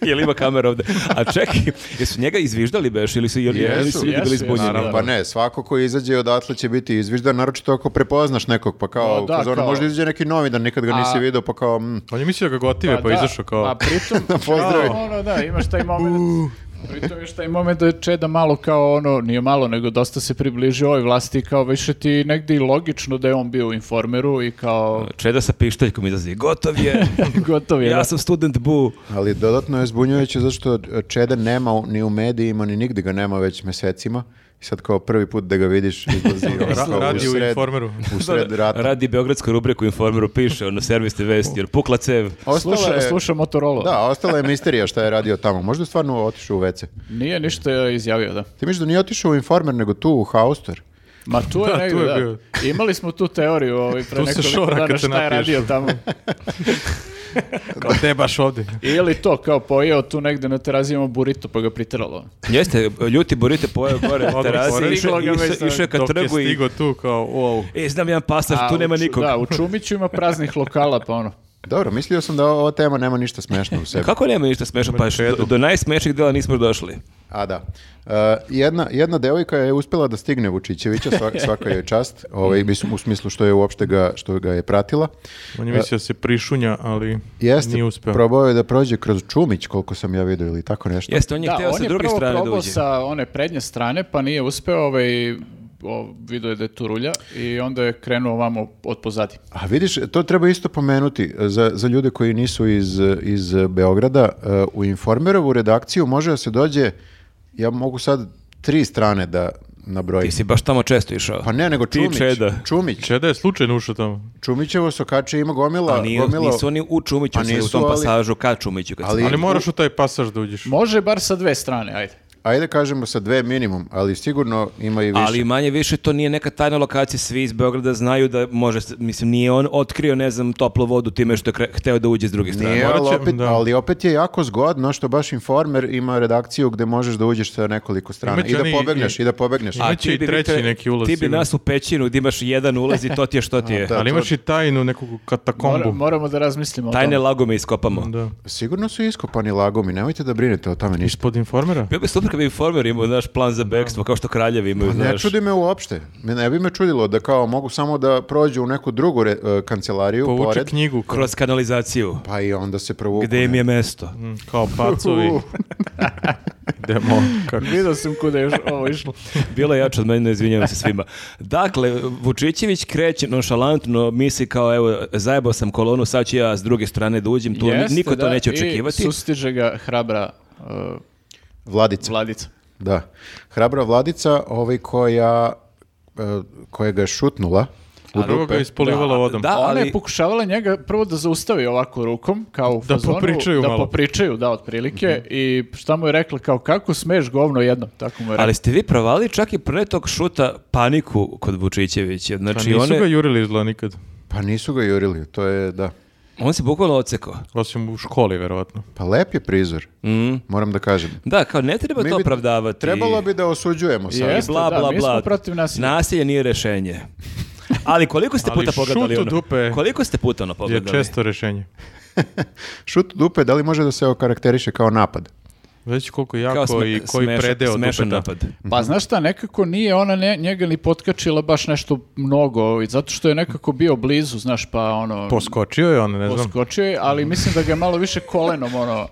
[SPEAKER 4] Jel ima kamera ovde? A čekaj, jesu njega izviždali beš ili su, jel,
[SPEAKER 2] Jesu,
[SPEAKER 4] ili su ljudi
[SPEAKER 3] jesu,
[SPEAKER 4] bili zbunjeni?
[SPEAKER 3] naravno.
[SPEAKER 2] Pa ne, svako ko izađe odatle će biti izviždan, naročito ako prepoznaš nekog, pa kao,
[SPEAKER 3] O, da,
[SPEAKER 2] fazonu,
[SPEAKER 3] kao-
[SPEAKER 2] možda izađe neki novinar, nikad ga nisi
[SPEAKER 3] A-
[SPEAKER 2] video, pa kao, mm,
[SPEAKER 1] On je mislio da ga gotive, pa,
[SPEAKER 3] da,
[SPEAKER 1] izašao kao...
[SPEAKER 3] Pa pritom,
[SPEAKER 1] [laughs]
[SPEAKER 2] Pozdravi.
[SPEAKER 3] kao, ono, da, imaš taj moment. Pritom još taj moment da je Čeda malo kao ono, nije malo, nego dosta se približio ovoj vlasti i kao više ti negdje i logično da je on bio u informeru i
[SPEAKER 1] [laughs]
[SPEAKER 3] kao
[SPEAKER 4] Čeda sa pištaljkom izlazi, gotov je,
[SPEAKER 3] gotov je.
[SPEAKER 4] [laughs] ja
[SPEAKER 3] da.
[SPEAKER 4] sam student bu.
[SPEAKER 2] Ali dodatno je zbunjujuće zato što Čeda nema u- ni u medijima, ni nigde ga nema već mesecima. I sad kao prvi put da ga vidiš izlazi
[SPEAKER 1] [laughs] Mislim,
[SPEAKER 2] ovako
[SPEAKER 1] radi u
[SPEAKER 2] sred-
[SPEAKER 1] Informeru.
[SPEAKER 2] Pa, [laughs] U sred rata.
[SPEAKER 4] Radi beogradsku rubriku u informeru, piše ono servisne vesti, jer pukla cev.
[SPEAKER 2] Ostala
[SPEAKER 3] Sluša,
[SPEAKER 2] je-
[SPEAKER 3] sluša Motorola.
[SPEAKER 2] Da, ostala je misterija šta je radio tamo. Možda je stvarno otišao u WC.
[SPEAKER 3] Nije ništa izjavio, da.
[SPEAKER 2] Ti misliš da nije otišao u informer, nego tu u haustor?
[SPEAKER 3] Ma tu je
[SPEAKER 1] Da,
[SPEAKER 3] negdje,
[SPEAKER 1] tu je
[SPEAKER 3] da.
[SPEAKER 1] bio.
[SPEAKER 3] Imali smo tu teoriju ovaj, pre
[SPEAKER 1] Tu se
[SPEAKER 3] nekoliko
[SPEAKER 1] šora kad te
[SPEAKER 3] dana šta je
[SPEAKER 1] napiješ. [laughs]
[SPEAKER 3] radio tamo.
[SPEAKER 1] Kao te baš ovdje.
[SPEAKER 3] Ili to, kao pojeo tu negdje na terazijama burrito pa ga priteralo.
[SPEAKER 4] Jeste, ljuti burite pojeo gore na
[SPEAKER 1] Odmah
[SPEAKER 4] terasi,
[SPEAKER 1] gore.
[SPEAKER 4] išao
[SPEAKER 3] Stiglo ga već
[SPEAKER 4] išao- išao je ka
[SPEAKER 1] Dok je
[SPEAKER 4] trgu i...
[SPEAKER 1] stigo tu kao, wow.
[SPEAKER 4] E, znam jedan pasaž,
[SPEAKER 3] A
[SPEAKER 4] tu nema
[SPEAKER 3] u Ču-
[SPEAKER 4] nikog.
[SPEAKER 3] Da, u Čumiću ima
[SPEAKER 4] [laughs]
[SPEAKER 3] praznih lokala, pa ono.
[SPEAKER 2] Dobro, mislio sam da ova tema nema ništa smešno u sebi.
[SPEAKER 4] [laughs] Kako nema ništa smešno, pa
[SPEAKER 1] Čedu.
[SPEAKER 4] do, do najsmešnijeg dela nismo došli.
[SPEAKER 2] A da. E, jedna, jedna devojka je uspjela da stigne Vučićevića, svaka, svaka joj čast, ovaj, mislim, u smislu što je uopšte ga, što ga je pratila.
[SPEAKER 1] On je mislio da se prišunja, ali
[SPEAKER 2] E, Jeste,
[SPEAKER 1] nije uspeo.
[SPEAKER 2] probao je da prođe kroz Čumić, koliko sam ja vidio, ili tako nešto.
[SPEAKER 4] Jeste, on je
[SPEAKER 3] Da,
[SPEAKER 4] hteo
[SPEAKER 3] on
[SPEAKER 4] sa
[SPEAKER 3] je
[SPEAKER 4] druge
[SPEAKER 3] prvo
[SPEAKER 4] strane da
[SPEAKER 3] probao
[SPEAKER 4] uđe.
[SPEAKER 3] sa one prednje strane, pa nije uspeo, ovaj, o, vidio je da je tu rulja i onda je krenuo vamo od pozadi.
[SPEAKER 2] A vidiš, to treba isto pomenuti e, za, za ljude koji nisu iz, iz Beograda. e, U Informerovu redakciju može da se dođe, ja mogu sad tri strane da nabrojim.
[SPEAKER 4] Ti si baš tamo često išao.
[SPEAKER 2] Pa ne, nego
[SPEAKER 4] Ti
[SPEAKER 2] Čumić.
[SPEAKER 4] Čeda.
[SPEAKER 2] Čumić.
[SPEAKER 1] Čeda je slučajno ušao tamo.
[SPEAKER 2] Čumićevo sokače ima gomila.
[SPEAKER 4] A nije,
[SPEAKER 2] gomila-
[SPEAKER 4] nisu oni u Čumiću,
[SPEAKER 2] Pa
[SPEAKER 4] sad u
[SPEAKER 2] nisu,
[SPEAKER 4] tom
[SPEAKER 2] ali-
[SPEAKER 4] pasažu, ka Čumiću. Kad
[SPEAKER 2] Ali-
[SPEAKER 4] ali...
[SPEAKER 1] Ali moraš u taj pasaž da uđeš.
[SPEAKER 3] Može bar sa dve strane, ajde.
[SPEAKER 2] Ajde kažemo sa dve minimum, ali sigurno ima i više.
[SPEAKER 4] Ali manje više to nije neka tajna lokacija, svi iz Beograda znaju da može, se- mislim, nije on otkrio, ne znam, toplu vodu time što je kre- hteo da uđe s druge strane.
[SPEAKER 2] Nije,
[SPEAKER 1] morat
[SPEAKER 2] ali
[SPEAKER 1] će-
[SPEAKER 2] opet,
[SPEAKER 1] da.
[SPEAKER 2] ali opet je jako zgodno što baš Informer ima redakciju gde možeš da uđeš sa nekoliko strana
[SPEAKER 1] Imaće
[SPEAKER 2] i da
[SPEAKER 1] oni i-
[SPEAKER 2] pobegneš, i, da pobegneš.
[SPEAKER 1] A- Imaće
[SPEAKER 4] ti
[SPEAKER 1] i
[SPEAKER 4] bi,
[SPEAKER 1] treći
[SPEAKER 4] Viktor,
[SPEAKER 1] neki ulaz
[SPEAKER 4] Ti bi
[SPEAKER 1] sigurno.
[SPEAKER 4] nas u pećinu gdje imaš jedan ulaz i to ti je
[SPEAKER 2] [laughs]
[SPEAKER 4] što ti je.
[SPEAKER 2] da,
[SPEAKER 1] ali
[SPEAKER 2] to-
[SPEAKER 1] imaš i tajnu neku
[SPEAKER 3] Mora-
[SPEAKER 1] katakombu.
[SPEAKER 3] moramo da razmislimo
[SPEAKER 4] Tajne
[SPEAKER 3] o tome.
[SPEAKER 4] lagome iskopamo.
[SPEAKER 1] Da.
[SPEAKER 2] Sigurno su iskopani lagomi, nemojte da brinete o tome ništa.
[SPEAKER 1] Ispod informera?
[SPEAKER 4] Bio bi super kad bi informer imao, znaš, plan za bekstvo, kao što kraljevi imaju,
[SPEAKER 2] Pa Ne
[SPEAKER 4] znaš.
[SPEAKER 2] čudi me uopšte. Me- Ne bi me čudilo da kao mogu samo da prođu u neku drugu re- e, kancelariju
[SPEAKER 1] Povuče
[SPEAKER 2] pored,
[SPEAKER 1] knjigu ko-
[SPEAKER 4] Kroz kanalizaciju.
[SPEAKER 2] pa i onda se provuku.
[SPEAKER 4] Gde im
[SPEAKER 2] ne.
[SPEAKER 4] je mesto?
[SPEAKER 1] Mm, kao
[SPEAKER 2] [laughs]
[SPEAKER 1] pacovi.
[SPEAKER 2] U.
[SPEAKER 1] Idemo. Kako?
[SPEAKER 3] Vidio sam kuda je ovo išlo.
[SPEAKER 4] Bilo je jače od mene, izvinjavam se svima. Dakle, Vučićević kreće nonšalantno, misli kao, evo, zajebao sam kolonu, sad ću ja s druge strane da uđem, [laughs] tu
[SPEAKER 3] Jeste,
[SPEAKER 4] niko to
[SPEAKER 3] da,
[SPEAKER 4] neće
[SPEAKER 3] i
[SPEAKER 4] očekivati.
[SPEAKER 3] sustiže ga hrabra uh,
[SPEAKER 2] Vladica.
[SPEAKER 3] vladica.
[SPEAKER 2] Da. Hrabra Vladica, ovaj koja, e, koja ga je šutnula u
[SPEAKER 1] Prvo ga
[SPEAKER 2] dupe.
[SPEAKER 1] je ispolivala
[SPEAKER 4] Da,
[SPEAKER 1] vodom.
[SPEAKER 4] da.
[SPEAKER 3] Ona
[SPEAKER 4] ali-
[SPEAKER 3] je pokušavala njega prvo da zaustavi ovako rukom, kao u
[SPEAKER 1] Da
[SPEAKER 3] fazonu,
[SPEAKER 1] popričaju
[SPEAKER 3] da
[SPEAKER 1] malo.
[SPEAKER 3] popričaju, da, otprilike,
[SPEAKER 4] Mhm.
[SPEAKER 3] i šta mu je rekla, kao kako smeš govno jednom, tako mu je rekla.
[SPEAKER 4] Ali ste vi provali čak i pre tog šuta paniku kod Vučićevića.
[SPEAKER 1] Pa
[SPEAKER 4] Znači,
[SPEAKER 1] nisu
[SPEAKER 4] one-
[SPEAKER 1] ga jurili iz zla nikad.
[SPEAKER 2] Pa nisu ga jurili, to je, da.
[SPEAKER 4] on se bukvalno ocekao.
[SPEAKER 1] Osim u školi, verovatno.
[SPEAKER 2] Pa lep je prizor,
[SPEAKER 1] Mm.
[SPEAKER 2] moram da kažem.
[SPEAKER 4] Da, kao ne treba
[SPEAKER 2] Mi
[SPEAKER 4] to
[SPEAKER 2] bi-
[SPEAKER 4] opravdavati.
[SPEAKER 2] Trebalo bi da osuđujemo sad.
[SPEAKER 3] Jeste,
[SPEAKER 4] bla,
[SPEAKER 3] da,
[SPEAKER 4] bla,
[SPEAKER 3] mi smo
[SPEAKER 4] bla.
[SPEAKER 3] protiv nasilja.
[SPEAKER 4] Nasilje nije rešenje. Ali koliko ste
[SPEAKER 1] Ali
[SPEAKER 4] puta pogledali
[SPEAKER 1] šut u
[SPEAKER 4] ono?
[SPEAKER 1] dupe
[SPEAKER 4] Koliko ste puta ono
[SPEAKER 1] Je
[SPEAKER 4] pogledali?
[SPEAKER 1] često rešenje.
[SPEAKER 2] Šut u dupe, da li može da se okarakteriše kao napad?
[SPEAKER 1] Već koliko
[SPEAKER 4] Kao
[SPEAKER 1] jako
[SPEAKER 4] sme-
[SPEAKER 1] i koji
[SPEAKER 4] smešan-
[SPEAKER 1] predeo
[SPEAKER 4] smešan
[SPEAKER 1] dupeta.
[SPEAKER 4] napad.
[SPEAKER 1] Mhm.
[SPEAKER 3] Pa znaš šta, nekako nije ona ne- njega ni potkačila baš nešto mnogo, ovaj, zato što je nekako bio blizu, znaš, pa ono...
[SPEAKER 1] Poskočio je on, ne znam.
[SPEAKER 3] Poskočio je, ali mislim da ga je malo više kolenom, ono...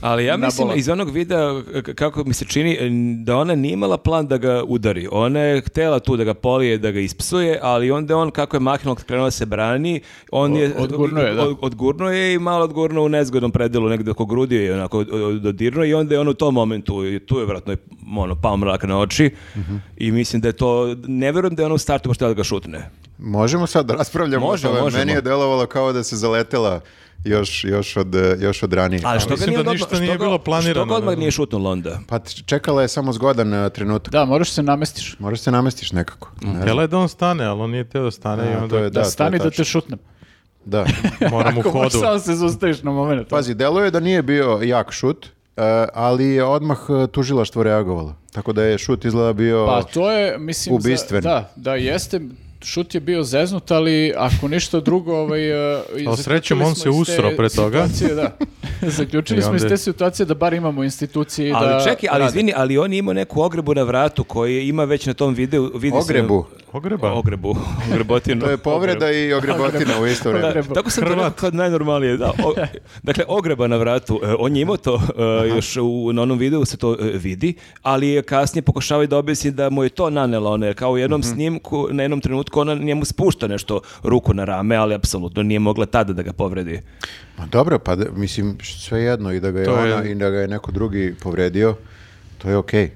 [SPEAKER 4] Ali ja mislim
[SPEAKER 3] Nabola.
[SPEAKER 4] iz onog videa k- kako mi se čini da ona nije imala plan da ga udari. Ona je htela tu da ga polije, da ga ispsuje, ali onda on kako je maknuo krenuo da se brani, on
[SPEAKER 3] O-
[SPEAKER 4] je
[SPEAKER 3] odgurnuo je, da.
[SPEAKER 4] od- odgurnuo je i malo odgurnuo u nezgodnom predelu negde oko grudi je onako od- od- dodirnuo i onda je on u tom momentu i tu je vratno ono pao mrak na oči
[SPEAKER 3] Mhm.
[SPEAKER 4] i mislim da je to ne verujem da je ona u startu baš htela da ga šutne.
[SPEAKER 2] Možemo sad da raspravljamo
[SPEAKER 4] Može,
[SPEAKER 2] o tome.
[SPEAKER 4] možemo.
[SPEAKER 2] Meni je delovalo kao da se zaletela još, još, od, e, još od ranije.
[SPEAKER 4] Ali što ga
[SPEAKER 1] mislim
[SPEAKER 4] nije,
[SPEAKER 1] da
[SPEAKER 4] odmah-
[SPEAKER 1] ništa
[SPEAKER 4] što
[SPEAKER 1] nije
[SPEAKER 4] ga-
[SPEAKER 1] bilo planirano,
[SPEAKER 4] Što ga odmah
[SPEAKER 1] ne znam.
[SPEAKER 4] nije šutnulo onda?
[SPEAKER 2] Pa t- čekala je samo zgodan e, trenutak.
[SPEAKER 3] Da, moraš se namestiš.
[SPEAKER 2] Moraš se namestiš nekako. Ne
[SPEAKER 4] Mm.
[SPEAKER 2] znam.
[SPEAKER 1] Htjela je da on stane, ali on nije teo da stane i
[SPEAKER 2] A,
[SPEAKER 1] onda
[SPEAKER 2] to je,
[SPEAKER 3] Da,
[SPEAKER 2] da, to je
[SPEAKER 3] stani da
[SPEAKER 2] tačno.
[SPEAKER 3] te šutnem.
[SPEAKER 2] Da.
[SPEAKER 1] moram u
[SPEAKER 3] Ako možeš
[SPEAKER 1] hodu.
[SPEAKER 3] samo se zaustaviš na moment.
[SPEAKER 2] Pazi, deluje da nije bio jak šut, e, ali je odmah e, tužilaštvo reagovalo. Tako da je šut izgleda bio...
[SPEAKER 3] Pa to je, mislim... za-
[SPEAKER 2] Ubistven.
[SPEAKER 3] Da, da, jeste, šut je bio zeznut, ali ako ništa drugo... Ovaj, uh, i
[SPEAKER 1] Ali srećom, on
[SPEAKER 3] zaključili
[SPEAKER 1] se
[SPEAKER 3] smo iz te
[SPEAKER 1] usro pre toga.
[SPEAKER 3] situacije,
[SPEAKER 1] [laughs]
[SPEAKER 3] da. zaključili
[SPEAKER 1] I
[SPEAKER 3] smo iz
[SPEAKER 1] onda-
[SPEAKER 3] te situacije da bar imamo institucije i da...
[SPEAKER 4] Ali čekaj, ali
[SPEAKER 3] rade.
[SPEAKER 4] izvini, ali on je imao neku ogrebu na vratu koji je ima već na tom videu. Vidi se-
[SPEAKER 2] Ogrebu.
[SPEAKER 1] Ogreba. [laughs]
[SPEAKER 4] Ogrebu. Ogrebotinu.
[SPEAKER 2] To je povreda i ogrebotina u
[SPEAKER 4] [laughs]
[SPEAKER 2] isto
[SPEAKER 4] Da,
[SPEAKER 2] vrijeme.
[SPEAKER 3] Ogrebu.
[SPEAKER 4] tako sam to rekao kao najnormalnije. Da.
[SPEAKER 1] [laughs]
[SPEAKER 4] O- dakle, ogreba na vratu. E, on je imao to, e, još u, na onom videu se to e, vidi, ali je kasnije pokušavao da objasni da mu je to nanela ona, jer kao u
[SPEAKER 2] Mhm.
[SPEAKER 4] jednom snimku, na jednom trenutku ona njemu spušta nešto ruku na rame, ali apsolutno nije mogla tada da ga povredi.
[SPEAKER 2] Ma dobro, pa da- mislim, sve jedno i da ga je,
[SPEAKER 1] To je-
[SPEAKER 2] ona i da ga je neko drugi povredio, to je okej.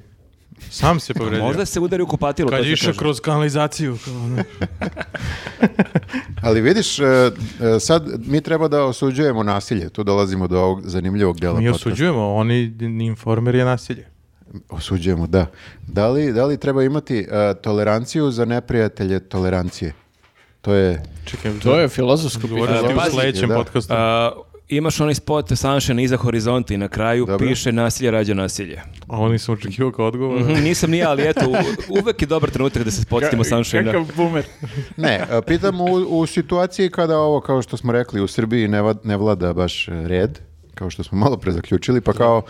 [SPEAKER 1] Sam se povredio.
[SPEAKER 4] Možda se udari u kupatilo. to
[SPEAKER 1] Kad
[SPEAKER 4] ti
[SPEAKER 1] je išao
[SPEAKER 4] kažem.
[SPEAKER 1] kroz kanalizaciju. kao ono.
[SPEAKER 2] Ali vidiš, e, e, sad mi treba da osuđujemo nasilje. Tu dolazimo do ovog zanimljivog dela.
[SPEAKER 1] Mi
[SPEAKER 2] podcasta.
[SPEAKER 1] osuđujemo, oni informer je nasilje.
[SPEAKER 2] Osuđujemo, da. Da li, da li treba imati e, toleranciju za neprijatelje tolerancije? To je...
[SPEAKER 1] Čekaj,
[SPEAKER 3] To je filozofsko pitanje.
[SPEAKER 1] Govorili ste u
[SPEAKER 4] pazi,
[SPEAKER 1] sledećem
[SPEAKER 2] da.
[SPEAKER 1] podcastu.
[SPEAKER 4] A, Uh, imaš onaj spot Sunshine iza horizonta i na kraju
[SPEAKER 2] Dobro.
[SPEAKER 4] piše nasilje rađa nasilje.
[SPEAKER 1] A oni su očekivao kao odgovor.
[SPEAKER 4] Mhm, Nisam ni ja, ali eto, u- uvek je dobar trenutak da se spotimo Sunshine.
[SPEAKER 3] Kakav boomer.
[SPEAKER 2] Ne, e, pitam u, u situaciji kada ovo, kao što smo rekli, u Srbiji ne, va- ne vlada baš e, red, kao što smo malo pre zaključili, pa kao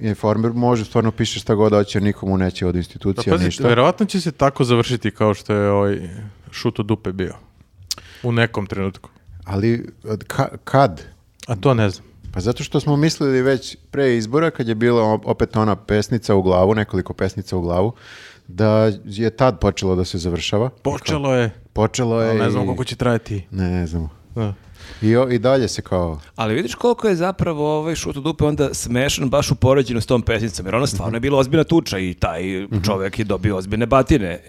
[SPEAKER 2] informer može stvarno piše šta god hoće, nikomu neće od
[SPEAKER 1] Pa
[SPEAKER 2] institucija
[SPEAKER 1] pazi,
[SPEAKER 2] ništa.
[SPEAKER 1] verovatno će se tako završiti kao što je ovaj šut u dupe bio. U nekom trenutku.
[SPEAKER 2] Ali od ka- kad?
[SPEAKER 1] A to ne znam.
[SPEAKER 2] Pa zato što smo mislili već pre izbora, kad je bila o- opet ona pesnica u glavu, nekoliko pesnica u glavu, da je tad počelo da se završava.
[SPEAKER 1] Počelo je,
[SPEAKER 2] Počelo je
[SPEAKER 1] ne
[SPEAKER 2] i-
[SPEAKER 1] znam koliko će trajati.
[SPEAKER 2] Ne, ne znamo.
[SPEAKER 1] Da.
[SPEAKER 2] I, o- I dalje se kao...
[SPEAKER 4] Ali vidiš koliko je zapravo ovaj šut u dupe onda smešan baš u poređenju s tom pesnicom, jer ona stvarno je bila ozbiljna tuča i taj čovjek je dobio ozbiljne batine.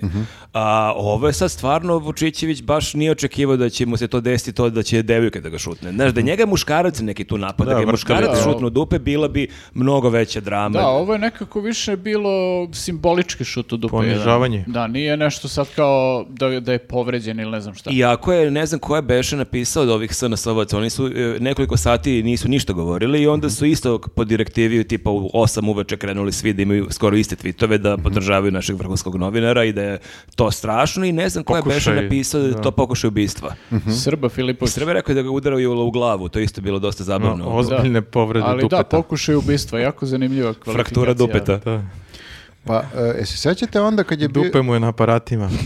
[SPEAKER 4] A ovo je sad stvarno Vučićević baš nije očekivao da će mu se to desiti to da će devojka da ga šutne. Znaš, da njega je muškarac neki tu napad, da,
[SPEAKER 1] Da,
[SPEAKER 4] ga je
[SPEAKER 1] vrtali
[SPEAKER 4] muškarac
[SPEAKER 1] su.
[SPEAKER 4] šutno u dupe, bila bi mnogo veća drama.
[SPEAKER 3] Da, ovo je nekako više bilo simbolički šut u dupe.
[SPEAKER 1] Ponižavanje.
[SPEAKER 3] jedan. Da, nije nešto sad kao da, da je povređen ili ne znam šta.
[SPEAKER 4] Iako je, ne znam ko je Beše napisao od ovih SNS SNS-ovac, oni su e, nekoliko sati nisu ništa govorili i onda su isto po direktivi tipa u 8 uveče krenuli svi da imaju skoro iste tweetove da podržavaju našeg vrhunskog novinara i da je to strašno i ne znam ko je Beša
[SPEAKER 1] Pokušaj,
[SPEAKER 4] napisao da je to pokušaj [laughs] ubistva.
[SPEAKER 3] Srba Filipović.
[SPEAKER 4] Mhm. Srbe rekao je da ga udaraju u glavu, to je isto bilo dosta zabavno.
[SPEAKER 1] Ozbiljne povrede
[SPEAKER 3] Ali
[SPEAKER 1] dupeta.
[SPEAKER 3] da, pokušaj ubistva, jako zanimljiva kvalifikacija.
[SPEAKER 4] Fraktura dupeta.
[SPEAKER 1] Da.
[SPEAKER 2] Pa, e, se sećate onda kad je bio...
[SPEAKER 1] Dupe mu je na aparatima.
[SPEAKER 2] [laughs]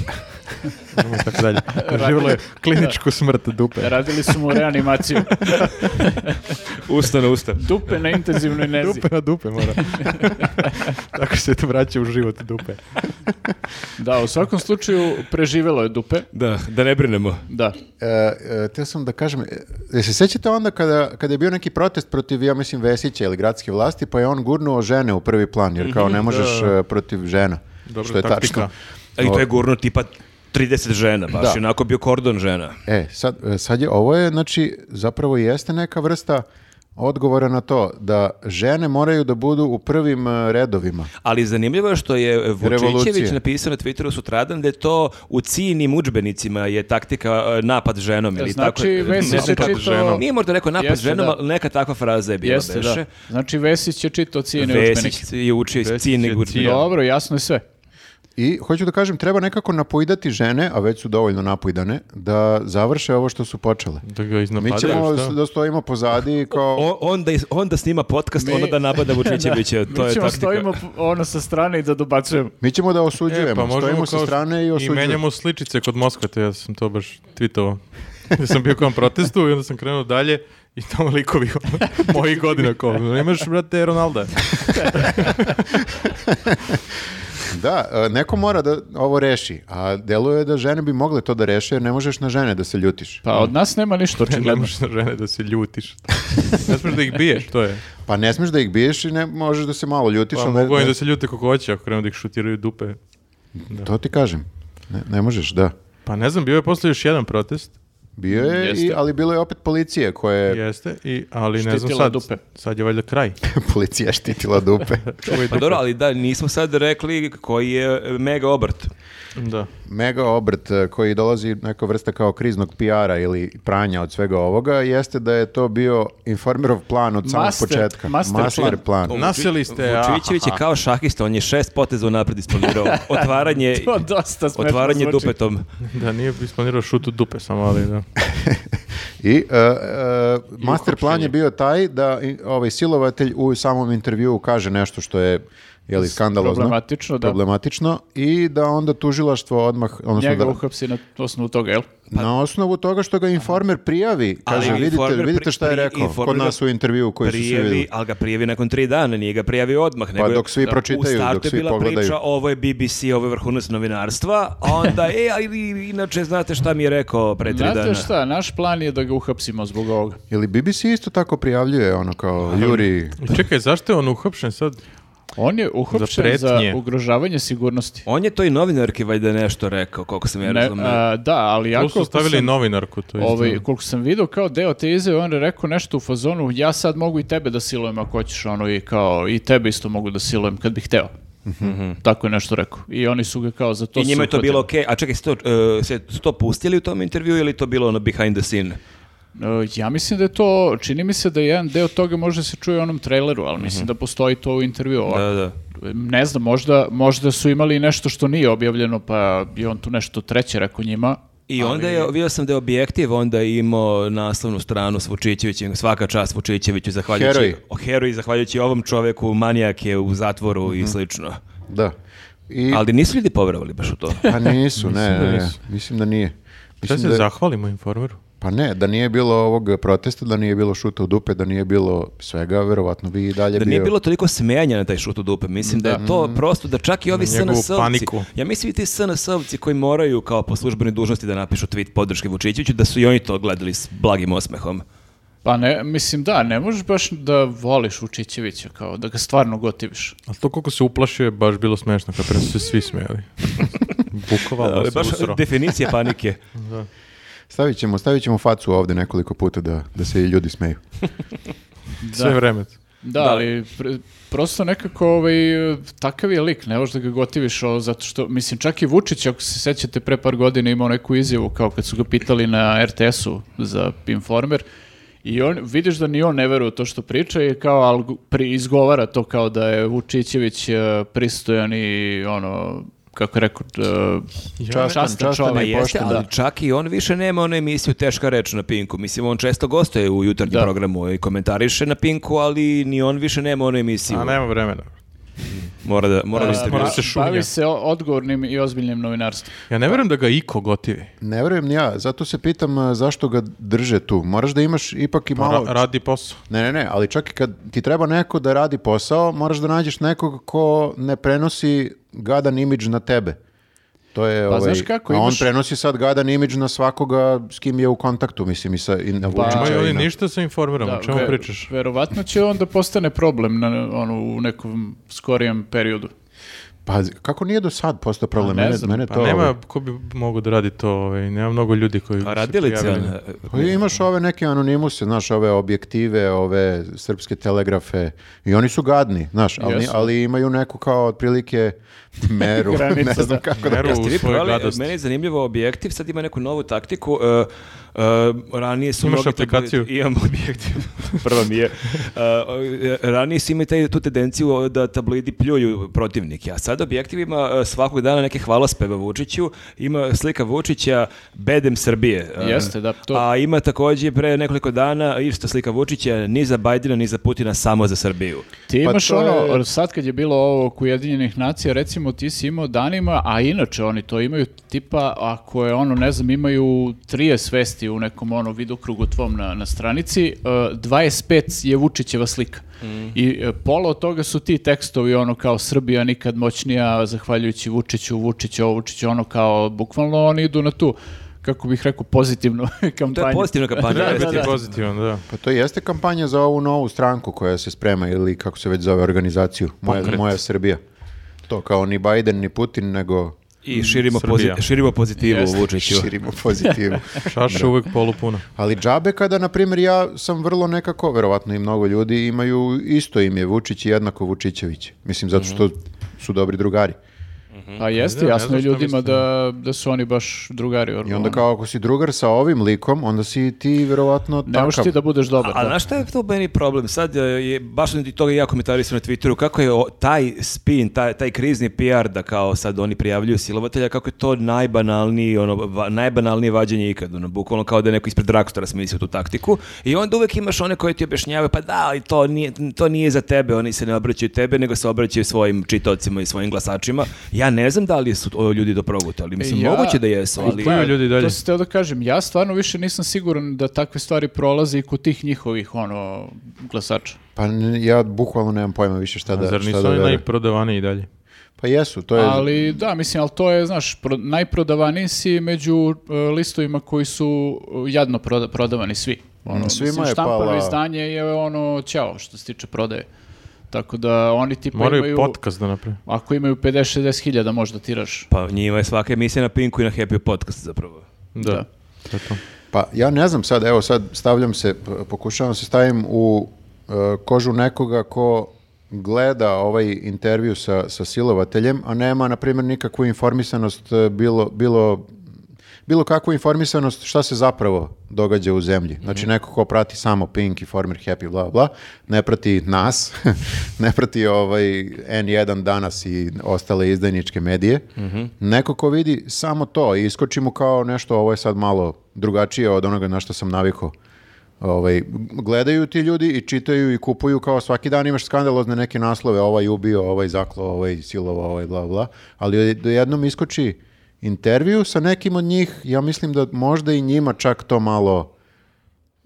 [SPEAKER 1] Idemo tako dalje. Živjelo je kliničku smrt dupe.
[SPEAKER 3] Radili su mu reanimaciju.
[SPEAKER 4] Usta na usta.
[SPEAKER 3] Dupe na intenzivnoj nezi.
[SPEAKER 1] Dupe na dupe
[SPEAKER 2] [laughs]
[SPEAKER 1] mora. Tako se to vraća u život dupe.
[SPEAKER 3] Da, u svakom slučaju preživelo je dupe.
[SPEAKER 4] Da, da ne brinemo.
[SPEAKER 3] Da.
[SPEAKER 2] E, e, teo sam da kažem, e, jel se sećate onda kada, kada je bio neki protest protiv, ja mislim, Vesića ili gradske vlasti, pa je on gurnuo žene u prvi plan, jer
[SPEAKER 1] Mhm.
[SPEAKER 2] kao ne možeš e, protiv žena.
[SPEAKER 1] Dobra
[SPEAKER 2] što je
[SPEAKER 1] taktika.
[SPEAKER 2] tačno.
[SPEAKER 4] A I to je gurno tipa 30 žena, baš
[SPEAKER 2] Da.
[SPEAKER 4] je onako bio kordon žena.
[SPEAKER 2] E, sad, e, sad je, ovo je, znači, zapravo jeste neka vrsta odgovora na to da žene moraju da budu u prvim e, redovima.
[SPEAKER 4] Ali zanimljivo je što je Vučićević
[SPEAKER 2] Revolucija.
[SPEAKER 4] napisao na Twitteru sutradan da je to u cijenim udžbenicima je taktika e, napad ženom ili tako.
[SPEAKER 3] Znači, Vesić je
[SPEAKER 1] napad
[SPEAKER 3] čitao...
[SPEAKER 1] ženom.
[SPEAKER 4] Nije možda rekao napad
[SPEAKER 3] Jeste,
[SPEAKER 4] ženom,
[SPEAKER 3] da.
[SPEAKER 4] ali neka takva fraza je bila
[SPEAKER 3] Jeste, da.
[SPEAKER 4] beše.
[SPEAKER 3] Znači, Vesić je čitao cijene
[SPEAKER 4] Vesić
[SPEAKER 3] učbenike.
[SPEAKER 4] je učio iz
[SPEAKER 1] Vesić
[SPEAKER 4] cijenih
[SPEAKER 1] je
[SPEAKER 4] udžbenika.
[SPEAKER 1] cijen.
[SPEAKER 3] Dobro, jasno je sve.
[SPEAKER 2] I hoću da kažem, treba nekako napojdati žene, a već su dovoljno napojdane, da završe ovo što su počele.
[SPEAKER 1] Pa Da ga
[SPEAKER 2] Mi ćemo
[SPEAKER 1] iznapadaju,
[SPEAKER 2] s-
[SPEAKER 1] šta?
[SPEAKER 2] da stojimo pozadi
[SPEAKER 1] [laughs]
[SPEAKER 2] kao...
[SPEAKER 4] O- onda, iz- onda snima podcast,
[SPEAKER 3] Mi-
[SPEAKER 4] onda da
[SPEAKER 3] [laughs]
[SPEAKER 4] napada Vučićevića. to
[SPEAKER 3] Mi
[SPEAKER 4] je
[SPEAKER 3] ćemo
[SPEAKER 4] taktika.
[SPEAKER 3] stojimo ono sa strane i da dobacujemo.
[SPEAKER 2] Mi ćemo da osuđujemo,
[SPEAKER 1] E, pa možemo
[SPEAKER 2] stojimo sa
[SPEAKER 1] kao-
[SPEAKER 2] strane i
[SPEAKER 1] I
[SPEAKER 2] osuđujemo.
[SPEAKER 1] menjamo sličice kod Moskvate, ja sam to baš tweetovao. Ja sam bio kao protestu i onda sam krenuo dalje i tamo likovi [laughs] ono, mojih godina kao, "No, imaš brate Ronalda. Znači,
[SPEAKER 2] Da, e, neko mora da ovo reši, a deluje da žene bi mogle to da reše, jer ne možeš na žene da se ljutiš.
[SPEAKER 3] Pa od nas nema ništa
[SPEAKER 1] Ne
[SPEAKER 3] očigledno.
[SPEAKER 1] možeš na žene da se ljutiš. Ne smiješ da ih biješ, to je.
[SPEAKER 2] Pa ne smiješ da ih biješ i ne možeš da se malo ljutiš,
[SPEAKER 1] Pa
[SPEAKER 2] ali ne-
[SPEAKER 1] mogu
[SPEAKER 2] ne-
[SPEAKER 1] im da se ljute kako hoće ako krenu da ih šutiraju dupe.
[SPEAKER 2] to ti kažem. Ne, ne možeš, da.
[SPEAKER 1] Pa ne znam, bio je posle još jedan protest.
[SPEAKER 2] Bio je, i,
[SPEAKER 3] Jeste.
[SPEAKER 2] ali bilo je opet policije koje...
[SPEAKER 1] Jeste, i, ali ne znam
[SPEAKER 3] Štitila
[SPEAKER 1] sad.
[SPEAKER 3] dupe.
[SPEAKER 1] Sad je valjda kraj.
[SPEAKER 2] [laughs] Policija štitila
[SPEAKER 1] [laughs]
[SPEAKER 2] dupe.
[SPEAKER 1] Čuvaj
[SPEAKER 4] Pa
[SPEAKER 1] dupe.
[SPEAKER 4] dobro, ali da, nismo sad rekli koji je e, mega obrt.
[SPEAKER 1] Da.
[SPEAKER 2] Mega obrt e, koji dolazi neka vrsta kao kriznog PR-a ili pranja od svega ovoga jeste da je to bio informerov plan od samog
[SPEAKER 3] Master-
[SPEAKER 2] početka.
[SPEAKER 3] master
[SPEAKER 2] plan.
[SPEAKER 1] Naseli ste, aha.
[SPEAKER 4] Vučićević je kao šahista, on je šest poteza unapred
[SPEAKER 3] [laughs]
[SPEAKER 4] isplanirao. Otvaranje,
[SPEAKER 3] [laughs] To dosta smešno
[SPEAKER 4] otvaranje
[SPEAKER 3] zvuči.
[SPEAKER 4] dupetom.
[SPEAKER 1] [laughs] Da, nije isplanirao šut u dupe samo, ali da.
[SPEAKER 2] I e, e, master plan je bio taj da i- ovaj silovatelj u samom intervjuu kaže nešto što je je li skandalozno,
[SPEAKER 3] Problematično, da.
[SPEAKER 2] problematično i da onda tužilaštvo odmah odnosno
[SPEAKER 3] Njega
[SPEAKER 2] da-
[SPEAKER 3] uhapsi na osnovu toga, jel?
[SPEAKER 2] na osnovu toga što ga informer prijavi,
[SPEAKER 4] Ali
[SPEAKER 2] kaže vidite,
[SPEAKER 4] informer pri-
[SPEAKER 2] vidite šta je
[SPEAKER 4] pri-
[SPEAKER 2] rekao kod
[SPEAKER 4] informer ga
[SPEAKER 2] nas u intervjuu koji su svi
[SPEAKER 4] Prijavi,
[SPEAKER 2] vidjeli.
[SPEAKER 4] ali ga prijavi nakon tri dana, nije ga prijavio odmah. Nego je-
[SPEAKER 2] dok svi
[SPEAKER 4] da,
[SPEAKER 2] pročitaju,
[SPEAKER 4] U startu
[SPEAKER 2] dok
[SPEAKER 4] je
[SPEAKER 2] svi
[SPEAKER 4] bila
[SPEAKER 2] pogledaju.
[SPEAKER 4] priča, ovo je BBC, ovo je vrhunac novinarstva, a onda, e, ali inače, znate šta mi je rekao pre tri dana?
[SPEAKER 3] Znate šta, naš plan je da ga uhapsimo zbog ovoga.
[SPEAKER 2] Ili BBC isto tako prijavljuje ono kao Juri
[SPEAKER 1] I Čekaj, zašto je on uhapšen sad?
[SPEAKER 3] On je uhapšen za,
[SPEAKER 1] pretnje.
[SPEAKER 3] ugrožavanje sigurnosti.
[SPEAKER 4] On je to i novinarki valjda nešto rekao, koliko sam ja
[SPEAKER 3] Ne,
[SPEAKER 4] razumio.
[SPEAKER 3] a, da, ali jako...
[SPEAKER 1] Tu su stavili novinarku, to je
[SPEAKER 3] Ovaj,
[SPEAKER 1] isto.
[SPEAKER 3] koliko sam vidio kao deo te izjave, on je rekao nešto u fazonu, ja sad mogu i tebe da silujem ako hoćeš, ono i kao, i tebe isto mogu da silujem kad bih hteo. Tako je nešto rekao. I oni su ga kao za to
[SPEAKER 4] I njima je to
[SPEAKER 3] uhvatili.
[SPEAKER 4] bilo okej. A čekaj, su to, e, se- su to pustili u tom intervju ili je to bilo ono behind the scene?
[SPEAKER 3] E, Ja mislim da je to, čini mi se da jedan deo toga može se čuje u onom traileru, ali mislim da postoji to u intervju. ovako.
[SPEAKER 4] Da, da.
[SPEAKER 3] Ne znam, možda, možda su imali i nešto što nije objavljeno, pa je on tu nešto treće rekao njima.
[SPEAKER 4] I onda je, vidio sam da je objektiv onda imao naslovnu stranu s Vučićevićem, svaka čast Vučićeviću, zahvaljujući...
[SPEAKER 2] Heroj.
[SPEAKER 4] O, heroj, zahvaljujući ovom čoveku, manijak je u zatvoru
[SPEAKER 1] Mhm.
[SPEAKER 4] i slično.
[SPEAKER 2] da. I
[SPEAKER 4] Ali nisu ljudi poverovali baš u
[SPEAKER 1] [laughs]
[SPEAKER 4] to.
[SPEAKER 2] pa nisu, ne,
[SPEAKER 1] da
[SPEAKER 2] ne, ne,
[SPEAKER 1] nisu.
[SPEAKER 2] mislim da nije.
[SPEAKER 1] Šta
[SPEAKER 2] Mislim
[SPEAKER 1] se
[SPEAKER 2] da-
[SPEAKER 1] zahvalimo informeru?
[SPEAKER 2] Pa ne, da nije bilo ovog protesta, da nije bilo šuta u dupe, da nije bilo svega, verovatno bi i dalje
[SPEAKER 4] Da
[SPEAKER 2] bio...
[SPEAKER 4] nije bilo toliko smejanja na taj šut u dupe. Mislim da je to prosto da čak i ovi
[SPEAKER 1] Mhm. Na njegovu
[SPEAKER 4] SNS-ovci,
[SPEAKER 1] paniku.
[SPEAKER 4] ja mislim i ti SNS-ovci koji moraju kao po službenoj dužnosti da napišu tweet podrške Vučićeviću, da su i oni to gledali s blagim osmehom.
[SPEAKER 3] Pa ne, mislim da, ne možeš baš da voliš Vučićevića, kao da ga stvarno gotiviš.
[SPEAKER 1] A to koliko se uplašio je baš bilo smešno, kad prema su se svi smijeli. Bukvalno
[SPEAKER 4] Ali
[SPEAKER 1] se
[SPEAKER 4] baš
[SPEAKER 1] usro.
[SPEAKER 4] definicija
[SPEAKER 1] [laughs]
[SPEAKER 4] panike.
[SPEAKER 2] Stavit ćemo, stavit ćemo facu ovde nekoliko puta da, da se i ljudi smeju.
[SPEAKER 1] Sve vreme.
[SPEAKER 3] Da, ali pr- prosto nekako ovaj, takav je lik, ne možeš da ga gotiviš o, zato što, mislim, čak i Vučić, ako se sećate, pre par godina imao neku izjavu kao kad su ga pitali na RTS-u za Informer i on, vidiš da ni on ne veruje u to što priča i kao al, pri, izgovara to kao da je Vučićević e, pristojan i ono, kako je rekao, e,
[SPEAKER 2] Častan,
[SPEAKER 3] častan
[SPEAKER 2] častan
[SPEAKER 4] Pa
[SPEAKER 2] je
[SPEAKER 3] čovek.
[SPEAKER 2] i
[SPEAKER 4] jeste,
[SPEAKER 2] pošten,
[SPEAKER 4] ali
[SPEAKER 2] da.
[SPEAKER 4] čak i on više nema onu emisiju Teška reč na Pinku. Mislim, on često gostuje u jutarnjem
[SPEAKER 3] Da.
[SPEAKER 4] programu i komentariše na Pinku, ali ni on više nema onu emisiju.
[SPEAKER 1] A nema vremena.
[SPEAKER 4] Mora da, mora da
[SPEAKER 1] A,
[SPEAKER 4] ste
[SPEAKER 1] mora-
[SPEAKER 4] bili-
[SPEAKER 1] se šunja.
[SPEAKER 3] Bavi se o- odgovornim i ozbiljnim novinarstvom.
[SPEAKER 1] Ja ne vjerujem da ga iko gotivi.
[SPEAKER 2] Ne verujem ni ja, zato se pitam a, zašto ga drže tu. Moraš da imaš ipak i malo...
[SPEAKER 1] Ra- radi posao.
[SPEAKER 2] Ne, ne, ne, ali čak i kad ti treba neko da radi posao, moraš da nađeš nekog ko ne prenosi gadan imidž na tebe. To je
[SPEAKER 3] Pa,
[SPEAKER 2] ovaj,
[SPEAKER 3] znaš kako,
[SPEAKER 2] a on
[SPEAKER 3] imaš-
[SPEAKER 2] prenosi sad gadan imidž na svakoga s kim je u kontaktu, mislim, i, sa, i na
[SPEAKER 3] Pa-
[SPEAKER 2] Vučića.
[SPEAKER 1] Imaju
[SPEAKER 2] i
[SPEAKER 1] oni
[SPEAKER 2] na-
[SPEAKER 1] ništa sa informerom, o čemu
[SPEAKER 3] ve-
[SPEAKER 1] pričaš?
[SPEAKER 3] Verovatno će onda postane problem na, ono, u nekom skorijem periodu.
[SPEAKER 2] Pa kako nije do sad postao problem?
[SPEAKER 3] Pa ne
[SPEAKER 2] mene,
[SPEAKER 3] znam,
[SPEAKER 2] mene
[SPEAKER 1] Pa
[SPEAKER 2] to,
[SPEAKER 1] nema
[SPEAKER 2] ovaj,
[SPEAKER 1] ko bi mogao da radi to, ovaj, nema mnogo ljudi koji
[SPEAKER 4] A
[SPEAKER 1] su
[SPEAKER 4] radilice,
[SPEAKER 1] prijavili.
[SPEAKER 4] ona-
[SPEAKER 2] Pa imaš ove neke anonimuse, znaš, ove objektive, ove srpske telegrafe i oni su gadni, znaš, ali,
[SPEAKER 3] Jesu.
[SPEAKER 2] ali imaju neku kao otprilike
[SPEAKER 3] [laughs]
[SPEAKER 2] meru,
[SPEAKER 3] Granicu,
[SPEAKER 2] ne znam
[SPEAKER 3] da.
[SPEAKER 2] kako da
[SPEAKER 1] Meru
[SPEAKER 4] Jeste
[SPEAKER 1] u
[SPEAKER 4] vi
[SPEAKER 1] svojoj
[SPEAKER 4] probali,
[SPEAKER 1] gadosti.
[SPEAKER 4] meni je zanimljivo objektiv, sad ima neku novu taktiku. e, e, ranije su
[SPEAKER 1] Imaš
[SPEAKER 4] mnogi to bili-
[SPEAKER 1] aplikaciju?
[SPEAKER 4] [laughs] imam objektiv. Prva mi je. E, e, ranije su imali taj, tu tendenciju da tablidi pljuju protivnike, a sad objektiv ima e, svakog dana neke hvalospeve Vučiću, ima slika Vučića bedem Srbije. E,
[SPEAKER 3] Jeste, da, to-
[SPEAKER 4] A ima takođe pre nekoliko dana isto slika Vučića, ni za Bajdina, ni za Putina, samo za Srbiju.
[SPEAKER 3] Ti
[SPEAKER 2] Pa
[SPEAKER 3] imaš
[SPEAKER 2] to
[SPEAKER 3] ono,
[SPEAKER 2] je-
[SPEAKER 3] sad kad je bilo ovo oko Ujedinjenih nacija, recimo ti si imao danima, a inače oni to imaju tipa, ako je ono, ne znam, imaju 30 svesti u nekom ono vidokrugu tvom na, na stranici, e, 25 je Vučićeva slika. I e, pola od toga su ti tekstovi ono kao Srbija nikad moćnija, zahvaljujući Vučiću, Vučić ovo, Vučić ono kao, bukvalno oni idu na tu, kako bih rekao, pozitivnu [laughs] kampanju.
[SPEAKER 4] To je pozitivna
[SPEAKER 1] [laughs]
[SPEAKER 4] kampanja.
[SPEAKER 1] Treba
[SPEAKER 4] jeste.
[SPEAKER 1] biti pozitivan,
[SPEAKER 4] [laughs]
[SPEAKER 1] da.
[SPEAKER 2] Pa to jeste kampanja za ovu novu stranku koja se sprema ili kako se već zove organizaciju, moja, moja Srbija. To kao ni Biden ni Putin, nego
[SPEAKER 4] I širimo,
[SPEAKER 1] Srbija.
[SPEAKER 4] pozi- širimo pozitivu
[SPEAKER 3] Jeste.
[SPEAKER 4] Vučiću.
[SPEAKER 2] širimo pozitivu.
[SPEAKER 3] [laughs]
[SPEAKER 1] Čaša uvek polupuna.
[SPEAKER 2] Ali džabe kada, na primjer, ja sam vrlo nekako, verovatno i mnogo ljudi imaju isto ime Vučić i jednako Vučićević. Mislim, zato što su dobri drugari.
[SPEAKER 3] Pa jeste,
[SPEAKER 1] Ne znam,
[SPEAKER 3] jasno
[SPEAKER 1] ne znam
[SPEAKER 3] je
[SPEAKER 1] šta
[SPEAKER 3] ljudima
[SPEAKER 1] mislim.
[SPEAKER 3] da, da su oni baš drugari.
[SPEAKER 2] I
[SPEAKER 3] ono.
[SPEAKER 2] onda kao ako si drugar sa ovim likom, onda si ti verovatno
[SPEAKER 3] Ne možeš
[SPEAKER 2] takav.
[SPEAKER 3] ti da budeš dobar.
[SPEAKER 4] A, a
[SPEAKER 3] da.
[SPEAKER 4] znaš šta je to meni problem? Sad e, je, baš sam ti toga ja komentarisao na Twitteru, kako je o- taj spin, taj, taj krizni PR da kao sad oni prijavljuju silovatelja, kako je to najbanalniji, ono, va- najbanalnije vađenje ikad, ono, bukvalno kao da je neko ispred Drakstora smislio tu taktiku i onda uvek imaš one koje ti objašnjavaju, pa da, ali to nije, to nije za tebe, oni se ne obraćaju tebe, nego se obraćaju svojim čitocima i svojim glasačima. Ja ne znam da li su o, ljudi to progutali, mislim,
[SPEAKER 3] Ja-
[SPEAKER 4] moguće da jesu, ali...
[SPEAKER 1] Kupuju ljudi dalje.
[SPEAKER 3] To se teo da kažem, ja stvarno više nisam siguran da takve stvari prolaze i kod tih njihovih ono glasača.
[SPEAKER 2] Pa n- ja bukvalno nemam pojma više šta da,
[SPEAKER 1] A Zar
[SPEAKER 2] šta
[SPEAKER 1] nisu
[SPEAKER 2] da
[SPEAKER 1] oni
[SPEAKER 2] verujem.
[SPEAKER 1] najprodavaniji i dalje?
[SPEAKER 2] Pa jesu, to je...
[SPEAKER 3] Ali da, mislim, ali to je, znaš, pro, najprodavaniji si među e, listovima koji su e, jadno proda- prodavani svi. Ono,
[SPEAKER 2] Mm, svima
[SPEAKER 3] mislim,
[SPEAKER 2] je
[SPEAKER 3] štampano
[SPEAKER 2] pala-
[SPEAKER 3] izdanje je ono ćao što se tiče prodaje. Tako da oni
[SPEAKER 2] Pa
[SPEAKER 3] tipa
[SPEAKER 1] Moraju
[SPEAKER 3] imaju...
[SPEAKER 1] podcast da naprave.
[SPEAKER 3] Ako imaju 50-60 hiljada možda tiraš.
[SPEAKER 4] Pa njima je svaka emisija na Pinku i na Happy Podcast zapravo.
[SPEAKER 1] Da.
[SPEAKER 3] Da.
[SPEAKER 1] To je to.
[SPEAKER 2] Pa ja ne znam sad, evo sad stavljam se, p- pokušavam se stavim u e, kožu nekoga ko gleda ovaj intervju sa, sa silovateljem, a nema, na primjer, nikakvu informisanost, e, bilo, bilo, bilo kakvu informisanost šta se zapravo događa u zemlji. Znači, neko ko prati samo Pink, Informer, Happy, bla, bla, ne prati nas, [laughs] ne prati ovaj N1 danas i ostale izdajničke medije. Neko ko vidi samo to i iskoči mu kao nešto, ovo je sad malo drugačije od onoga na što sam navikao. Ovaj, gledaju ti ljudi i čitaju i kupuju kao svaki dan imaš skandalozne neke naslove, ovaj ubio, ovaj zaklo, ovaj silovo, ovaj bla bla, ali jednom iskoči intervju sa nekim od njih, ja mislim da možda i njima čak to malo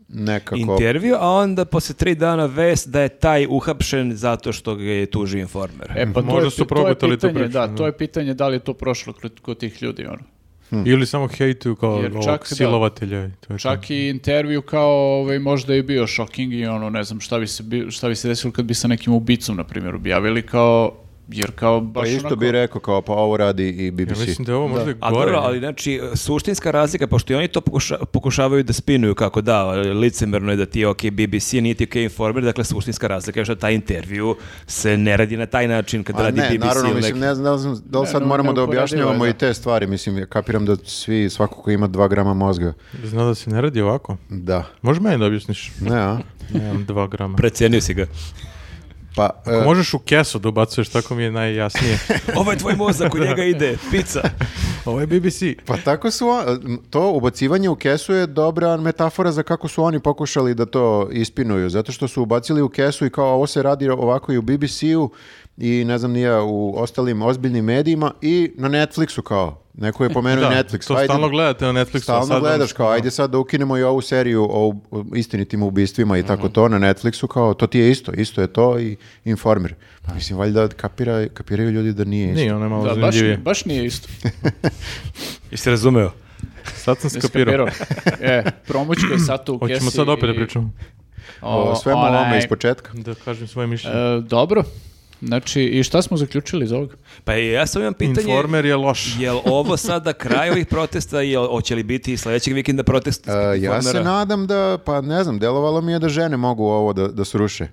[SPEAKER 2] nekako...
[SPEAKER 4] intervju, a onda posle tri dana vest da je taj uhapšen zato što ga je tuži informer.
[SPEAKER 3] E, pa to
[SPEAKER 1] Možda
[SPEAKER 3] je,
[SPEAKER 1] su
[SPEAKER 3] to je
[SPEAKER 1] progutali tu
[SPEAKER 3] pitanje,
[SPEAKER 1] priču,
[SPEAKER 3] da,
[SPEAKER 1] da.
[SPEAKER 3] to je pitanje da li je to prošlo kod, kod tih ljudi, ono.
[SPEAKER 2] Hm.
[SPEAKER 1] Ili samo hejtuju kao
[SPEAKER 3] Jer
[SPEAKER 1] ovog
[SPEAKER 3] čak da.
[SPEAKER 1] silovatelja. i to je to.
[SPEAKER 3] Čak i intervju kao ovaj, možda je bio shocking i ono, ne znam, šta bi se, bi- šta bi se desilo kad bi sa nekim ubicom, na primjer, objavili kao Jer kao baš
[SPEAKER 2] Pa isto
[SPEAKER 3] onako-
[SPEAKER 2] bi rekao kao pa ovo radi i
[SPEAKER 1] Ja
[SPEAKER 2] BBC.
[SPEAKER 1] mislim da je ovo možda
[SPEAKER 4] A
[SPEAKER 1] gore.
[SPEAKER 4] dobro, ali znači, suštinska razlika, pošto i oni to pokuša- pokušavaju da spinuju kako da, licemerno je da ti je ok BBC, nije ti ok Informer, dakle suštinska razlika je što taj intervju se ne radi na taj način kad
[SPEAKER 2] A
[SPEAKER 4] radi
[SPEAKER 2] Pa ne,
[SPEAKER 4] BBC.
[SPEAKER 2] naravno,
[SPEAKER 4] ili
[SPEAKER 2] mislim,
[SPEAKER 4] neki-
[SPEAKER 2] ne znam da li sam- da li
[SPEAKER 3] Ne,
[SPEAKER 2] sad
[SPEAKER 3] no,
[SPEAKER 2] moramo da
[SPEAKER 3] neuporedivo je,
[SPEAKER 2] objašnjavamo
[SPEAKER 3] da.
[SPEAKER 2] i te stvari, mislim, ja kapiram da svi, svako ko ima dva grama mozga,
[SPEAKER 1] Zna da se ne radi ovako.
[SPEAKER 2] da,
[SPEAKER 1] Možeš meni da objasniš?
[SPEAKER 2] ne, a?
[SPEAKER 1] Nemam dva grama.
[SPEAKER 4] Precijenio si ga.
[SPEAKER 2] Pa, e,
[SPEAKER 1] Ako možeš u kesu da ubacuješ, tako mi je
[SPEAKER 2] [laughs]
[SPEAKER 1] najjasnije.
[SPEAKER 4] Ovo je tvoj mozak, u njega ide pizza.
[SPEAKER 1] Ovo je BBC.
[SPEAKER 2] pa tako su, o- to ubacivanje u kesu je dobra metafora za kako su oni pokušali da to ispinuju, zato što su ubacili u kesu i kao ovo se radi ovako i u BBC-u i ne znam nije u ostalim ozbiljnim medijima i na Netflixu kao, neko je pomenuo
[SPEAKER 1] Da,
[SPEAKER 2] Netflix, pa
[SPEAKER 1] to
[SPEAKER 2] ajde,
[SPEAKER 1] stalno gledate na Netflixu. a
[SPEAKER 2] Stalno
[SPEAKER 1] sad ono vam-
[SPEAKER 2] gledaš kao, ajde sad da ukinemo i ovu seriju o u- istinitim ubistvima i tako to na Netflixu, kao to ti je isto, isto je to i informir. Pa mislim, valjda kapira, kapiraju ljudi da nije isto.
[SPEAKER 1] Nije, ono je malo
[SPEAKER 3] Da, baš,
[SPEAKER 1] zanimljivije.
[SPEAKER 3] baš
[SPEAKER 1] [laughs]
[SPEAKER 3] nije isto.
[SPEAKER 4] Jesi razumeo?
[SPEAKER 1] Sad sam
[SPEAKER 3] Nisi
[SPEAKER 1] skapirao.
[SPEAKER 3] kapirao. [laughs] e, promućka je sato u kesi.
[SPEAKER 1] Hoćemo sad opet da
[SPEAKER 3] i-
[SPEAKER 1] pričamo.
[SPEAKER 2] O, svemu
[SPEAKER 3] onaj-
[SPEAKER 2] ovome iz početka.
[SPEAKER 1] Da kažem svoje mišljenje.
[SPEAKER 3] E, dobro. Znači, i šta smo zaključili iz ovoga?
[SPEAKER 4] Pa ja sam imam pitanje...
[SPEAKER 1] Informer je loš.
[SPEAKER 4] Jel ovo sada kraj ovih protesta, jel hoće li biti i sledećeg vikenda protest?
[SPEAKER 2] E, ja se
[SPEAKER 4] Informera?
[SPEAKER 2] nadam da, pa ne znam, delovalo mi je da žene mogu ovo da, da sruše,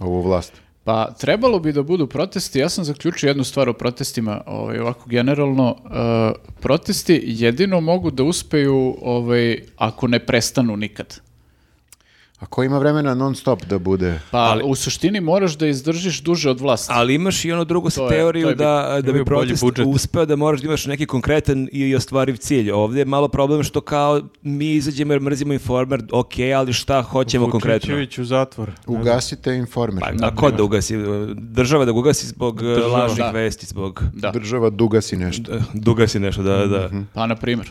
[SPEAKER 2] ovu vlast.
[SPEAKER 3] Pa trebalo bi da budu protesti. Ja sam zaključio jednu stvar o protestima, ovaj, ovako generalno. e, protesti jedino mogu da uspeju ovaj, ako ne prestanu nikad.
[SPEAKER 2] A ko ima vremena non stop da bude...
[SPEAKER 3] Pa u suštini moraš da izdržiš duže od vlasti.
[SPEAKER 4] Ali imaš i ono drugu
[SPEAKER 3] je-
[SPEAKER 4] teoriju
[SPEAKER 3] to je
[SPEAKER 4] da, da bi
[SPEAKER 1] Imaju bolji
[SPEAKER 4] protest
[SPEAKER 1] budžet.
[SPEAKER 4] uspeo da moraš da imaš neki konkretan i ostvariv cilj. Ovdje je malo problem što kao mi izađemo jer mrzimo informer, ok, ali šta hoćemo konkretno?
[SPEAKER 1] Vučićević u zatvor.
[SPEAKER 2] Ugasite informir.
[SPEAKER 4] Pa, a ko da ugasi? Država da ga ugasi zbog eh,
[SPEAKER 1] Država.
[SPEAKER 4] lažnih
[SPEAKER 3] Da.
[SPEAKER 4] vesti, zbog...
[SPEAKER 3] Da,
[SPEAKER 2] Država dugasi nešto.
[SPEAKER 4] eh, Dugasi nešto, da, da.
[SPEAKER 3] pa na primjer,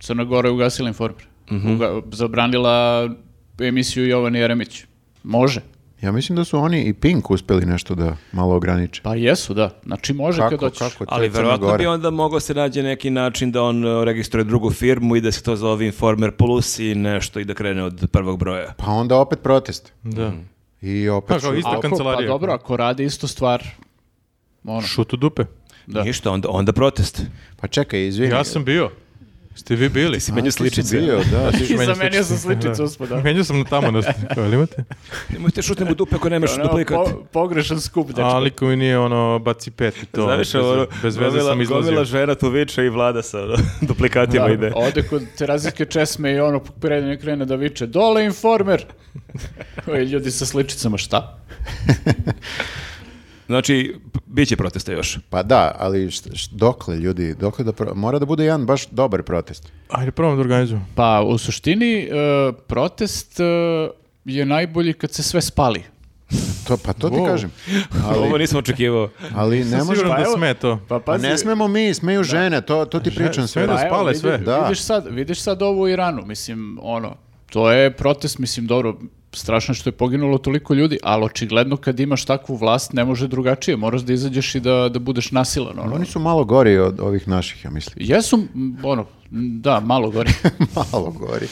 [SPEAKER 3] Crna Gora je ugasila informer.
[SPEAKER 1] Mhm.
[SPEAKER 3] Uga- zabranila emisiju Jovan Jeremić. Može.
[SPEAKER 2] Ja mislim da su oni i Pink uspeli nešto da malo ograniče.
[SPEAKER 3] Pa jesu, da. Znači može
[SPEAKER 2] kako,
[SPEAKER 3] kad
[SPEAKER 2] kako,
[SPEAKER 3] hoćeš.
[SPEAKER 2] to je
[SPEAKER 4] Ali
[SPEAKER 2] Crna
[SPEAKER 4] verovatno
[SPEAKER 2] Gora.
[SPEAKER 4] bi onda mogao se nađe neki način da on eh, registruje drugu firmu i da se to zove Informer Plus i nešto i da krene od prvog broja.
[SPEAKER 2] Pa onda opet protest.
[SPEAKER 1] Da.
[SPEAKER 4] Mm.
[SPEAKER 2] I
[SPEAKER 1] Pa
[SPEAKER 2] opet
[SPEAKER 1] kao
[SPEAKER 2] ću-
[SPEAKER 1] ista
[SPEAKER 3] Ako-
[SPEAKER 1] kancelarija.
[SPEAKER 3] Pa dobro, ako radi istu stvar, ono,
[SPEAKER 1] Šut u dupe.
[SPEAKER 3] Da.
[SPEAKER 4] Ništa, onda, onda protest.
[SPEAKER 2] Pa čekaj, izvini.
[SPEAKER 1] Ja sam bio. Ste vi bili?
[SPEAKER 4] Si
[SPEAKER 2] A,
[SPEAKER 4] menio
[SPEAKER 1] [laughs]
[SPEAKER 2] ti si
[SPEAKER 4] sličice.
[SPEAKER 2] bio, da.
[SPEAKER 1] Ti
[SPEAKER 3] [laughs]
[SPEAKER 1] si meni
[SPEAKER 3] Zamenio sam
[SPEAKER 1] [laughs]
[SPEAKER 3] sličicu
[SPEAKER 1] Da.
[SPEAKER 3] usput, da.
[SPEAKER 1] Menio sam na tamo. Na...
[SPEAKER 4] [laughs]
[SPEAKER 1] Kao, jel imate?
[SPEAKER 4] Nemojte šutnem u dupe ako nemaš
[SPEAKER 3] Ono,
[SPEAKER 4] duplikat.
[SPEAKER 3] po- pogrešan skup, znači, dečko.
[SPEAKER 1] Ali koji nije ono baci pet i to.
[SPEAKER 4] Znaš,
[SPEAKER 1] bez,
[SPEAKER 4] ono,
[SPEAKER 1] bez veze
[SPEAKER 4] gomila-
[SPEAKER 1] sam
[SPEAKER 4] Gomila
[SPEAKER 1] izlazio.
[SPEAKER 4] žena tu viče i vlada sa ono, [laughs] duplikatima ide.
[SPEAKER 3] Ode kod terazijske česme i ono predanje krene da viče dole informer. [laughs] Ovi ljudi sa sličicama šta?
[SPEAKER 4] Znači, p- bit će protesta još.
[SPEAKER 2] Pa da, ali št- št- dokle ljudi, dokle da pro- mora da bude jedan baš dobar protest.
[SPEAKER 1] Ajde, probam da organizujem.
[SPEAKER 3] Pa u suštini e, protest e, je najbolji kad se sve spali.
[SPEAKER 2] To, pa to ti
[SPEAKER 1] Wow.
[SPEAKER 2] kažem.
[SPEAKER 4] Ovo
[SPEAKER 2] Ali,
[SPEAKER 4] nisam očekivao.
[SPEAKER 2] ali ne
[SPEAKER 1] Sam
[SPEAKER 2] može...
[SPEAKER 1] siguran
[SPEAKER 3] pa
[SPEAKER 1] da
[SPEAKER 3] evo-
[SPEAKER 1] sme to.
[SPEAKER 3] Pa
[SPEAKER 2] Pa
[SPEAKER 3] pazi,
[SPEAKER 2] ne smemo mi, smeju žene, to, to ti pričam sve.
[SPEAKER 1] sve da
[SPEAKER 3] pa evo,
[SPEAKER 1] spale
[SPEAKER 3] vidi-
[SPEAKER 1] sve.
[SPEAKER 2] Da.
[SPEAKER 3] Vidiš sad, vidiš sad ovo u Iranu, mislim, ono, to je protest, mislim, dobro, strašno je što je poginulo toliko ljudi, ali očigledno kad imaš takvu vlast ne može drugačije, moraš da izađeš i da, da budeš nasilan,
[SPEAKER 1] Mm.
[SPEAKER 3] ono.
[SPEAKER 2] Oni su malo gori od ovih naših, ja mislim. [laughs]
[SPEAKER 3] Jesu, m, ono, m, da, malo gori.
[SPEAKER 2] malo gori.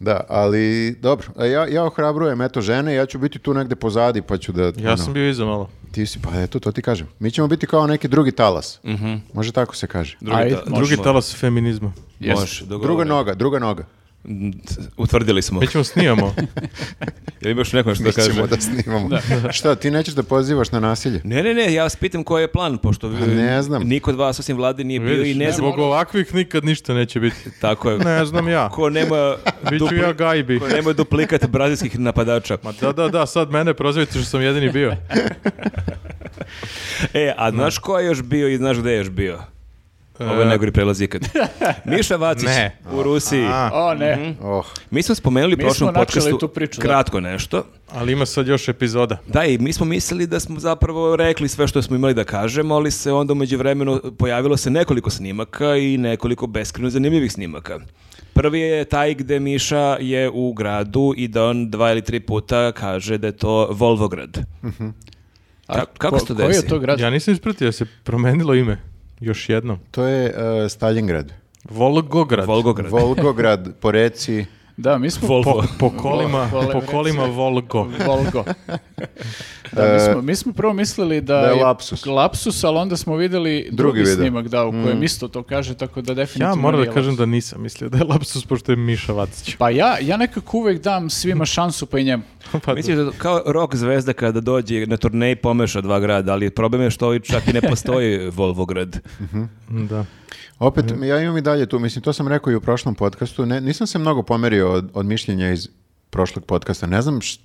[SPEAKER 2] Da, ali dobro, a ja, ja ohrabrujem, eto žene, ja ću biti tu negde pozadi, pa ću da...
[SPEAKER 4] Ono.
[SPEAKER 1] Ja sam bio iza malo.
[SPEAKER 2] Ti si, pa eto, to ti kažem. Mi ćemo biti kao neki drugi talas.
[SPEAKER 1] Mhm.
[SPEAKER 2] Može tako se kaže.
[SPEAKER 4] Drugi,
[SPEAKER 3] Ajde,
[SPEAKER 4] ta-
[SPEAKER 3] može.
[SPEAKER 1] Drugi
[SPEAKER 4] može.
[SPEAKER 1] talas feminizma.
[SPEAKER 3] Jeste.
[SPEAKER 4] Može, dogovore.
[SPEAKER 2] Druga noga, druga noga.
[SPEAKER 4] Utvrdili smo.
[SPEAKER 1] Mi ćemo
[SPEAKER 4] [laughs]
[SPEAKER 1] snimamo.
[SPEAKER 4] Jel imaš neko što da
[SPEAKER 2] Mislim
[SPEAKER 4] kaže?
[SPEAKER 2] da snimamo. Šta, ti nećeš da pozivaš na nasilje?
[SPEAKER 4] Ne, ne, ne, ja vas pitam koji je plan, pošto vi-
[SPEAKER 2] Pa ne znam.
[SPEAKER 4] niko od vas osim vlade nije bio i
[SPEAKER 1] Vidiš,
[SPEAKER 4] ne znam.
[SPEAKER 1] zbog ovakvih nikad ništa neće biti.
[SPEAKER 4] Tako je.
[SPEAKER 1] Ne znam ja.
[SPEAKER 4] Ko [laughs] nema,
[SPEAKER 1] Biću ja gajbi.
[SPEAKER 4] ko nema duplikat brazilskih napadača.
[SPEAKER 1] Ma Pa da, da, da, sad mene prozivite što sam jedini bio.
[SPEAKER 4] E, a znaš ko je još bio i znaš gde je još bio? Ovo je najgori prelaz [laughs] ikad. Miša Vacić
[SPEAKER 1] Ne.
[SPEAKER 4] u Rusiji.
[SPEAKER 1] A,
[SPEAKER 3] O, ne.
[SPEAKER 4] Mhm.
[SPEAKER 2] Oh,
[SPEAKER 4] Mi smo spomenuli u
[SPEAKER 3] Mi
[SPEAKER 4] prošlom
[SPEAKER 3] smo načeli
[SPEAKER 4] podcastu
[SPEAKER 3] tu priču, da.
[SPEAKER 4] kratko nešto.
[SPEAKER 1] ali ima sad još epizoda.
[SPEAKER 4] Da, i mi smo mislili da smo zapravo rekli sve što smo imali da kažemo, ali se onda umeđu vremenu pojavilo se nekoliko snimaka i nekoliko beskreno zanimljivih snimaka. Prvi je taj gde Miša je u gradu i da on dva ili tri puta kaže da je to Volvograd. Ka- kako
[SPEAKER 3] Ko-
[SPEAKER 4] se to
[SPEAKER 3] koji
[SPEAKER 4] desi?
[SPEAKER 3] je to grad?
[SPEAKER 1] Ja nisam ispratio, da se promenilo ime. Još jednom.
[SPEAKER 2] to je e, Stalingrad.
[SPEAKER 1] Volgograd.
[SPEAKER 4] Volgograd.
[SPEAKER 2] Volgograd po reci.
[SPEAKER 3] Da, mi smo...
[SPEAKER 1] Po,
[SPEAKER 4] Volvo.
[SPEAKER 1] po kolima,
[SPEAKER 3] Volvo,
[SPEAKER 1] po kolima Volgo. [laughs]
[SPEAKER 3] Volgo. Da, mi,
[SPEAKER 1] E,
[SPEAKER 3] smo, mi smo prvo mislili da,
[SPEAKER 2] da je lapsus.
[SPEAKER 3] lapsus, ali onda smo videli drugi,
[SPEAKER 2] Drugi video.
[SPEAKER 3] snimak da, u kojem isto to kaže, tako da definitivno
[SPEAKER 1] Mm. Ja moram da
[SPEAKER 3] nije
[SPEAKER 1] kažem
[SPEAKER 3] lapsus.
[SPEAKER 1] da nisam mislio da je lapsus, pošto je Miša Vacić.
[SPEAKER 3] Pa ja, ja nekako uvek
[SPEAKER 1] [laughs]
[SPEAKER 3] dam svima šansu, pa i njemu.
[SPEAKER 1] Pa,
[SPEAKER 4] Misliš da kao rock zvezda kada dođe na turnej pomeša dva grada, ali problem je što ovaj čak i ne postoji Volvograd.
[SPEAKER 1] da.
[SPEAKER 2] Opet, ja imam i dalje tu, mislim, to sam rekao i u prošlom podcastu, ne, nisam se mnogo pomerio od, od mišljenja iz prošlog podcasta. Ne znam št-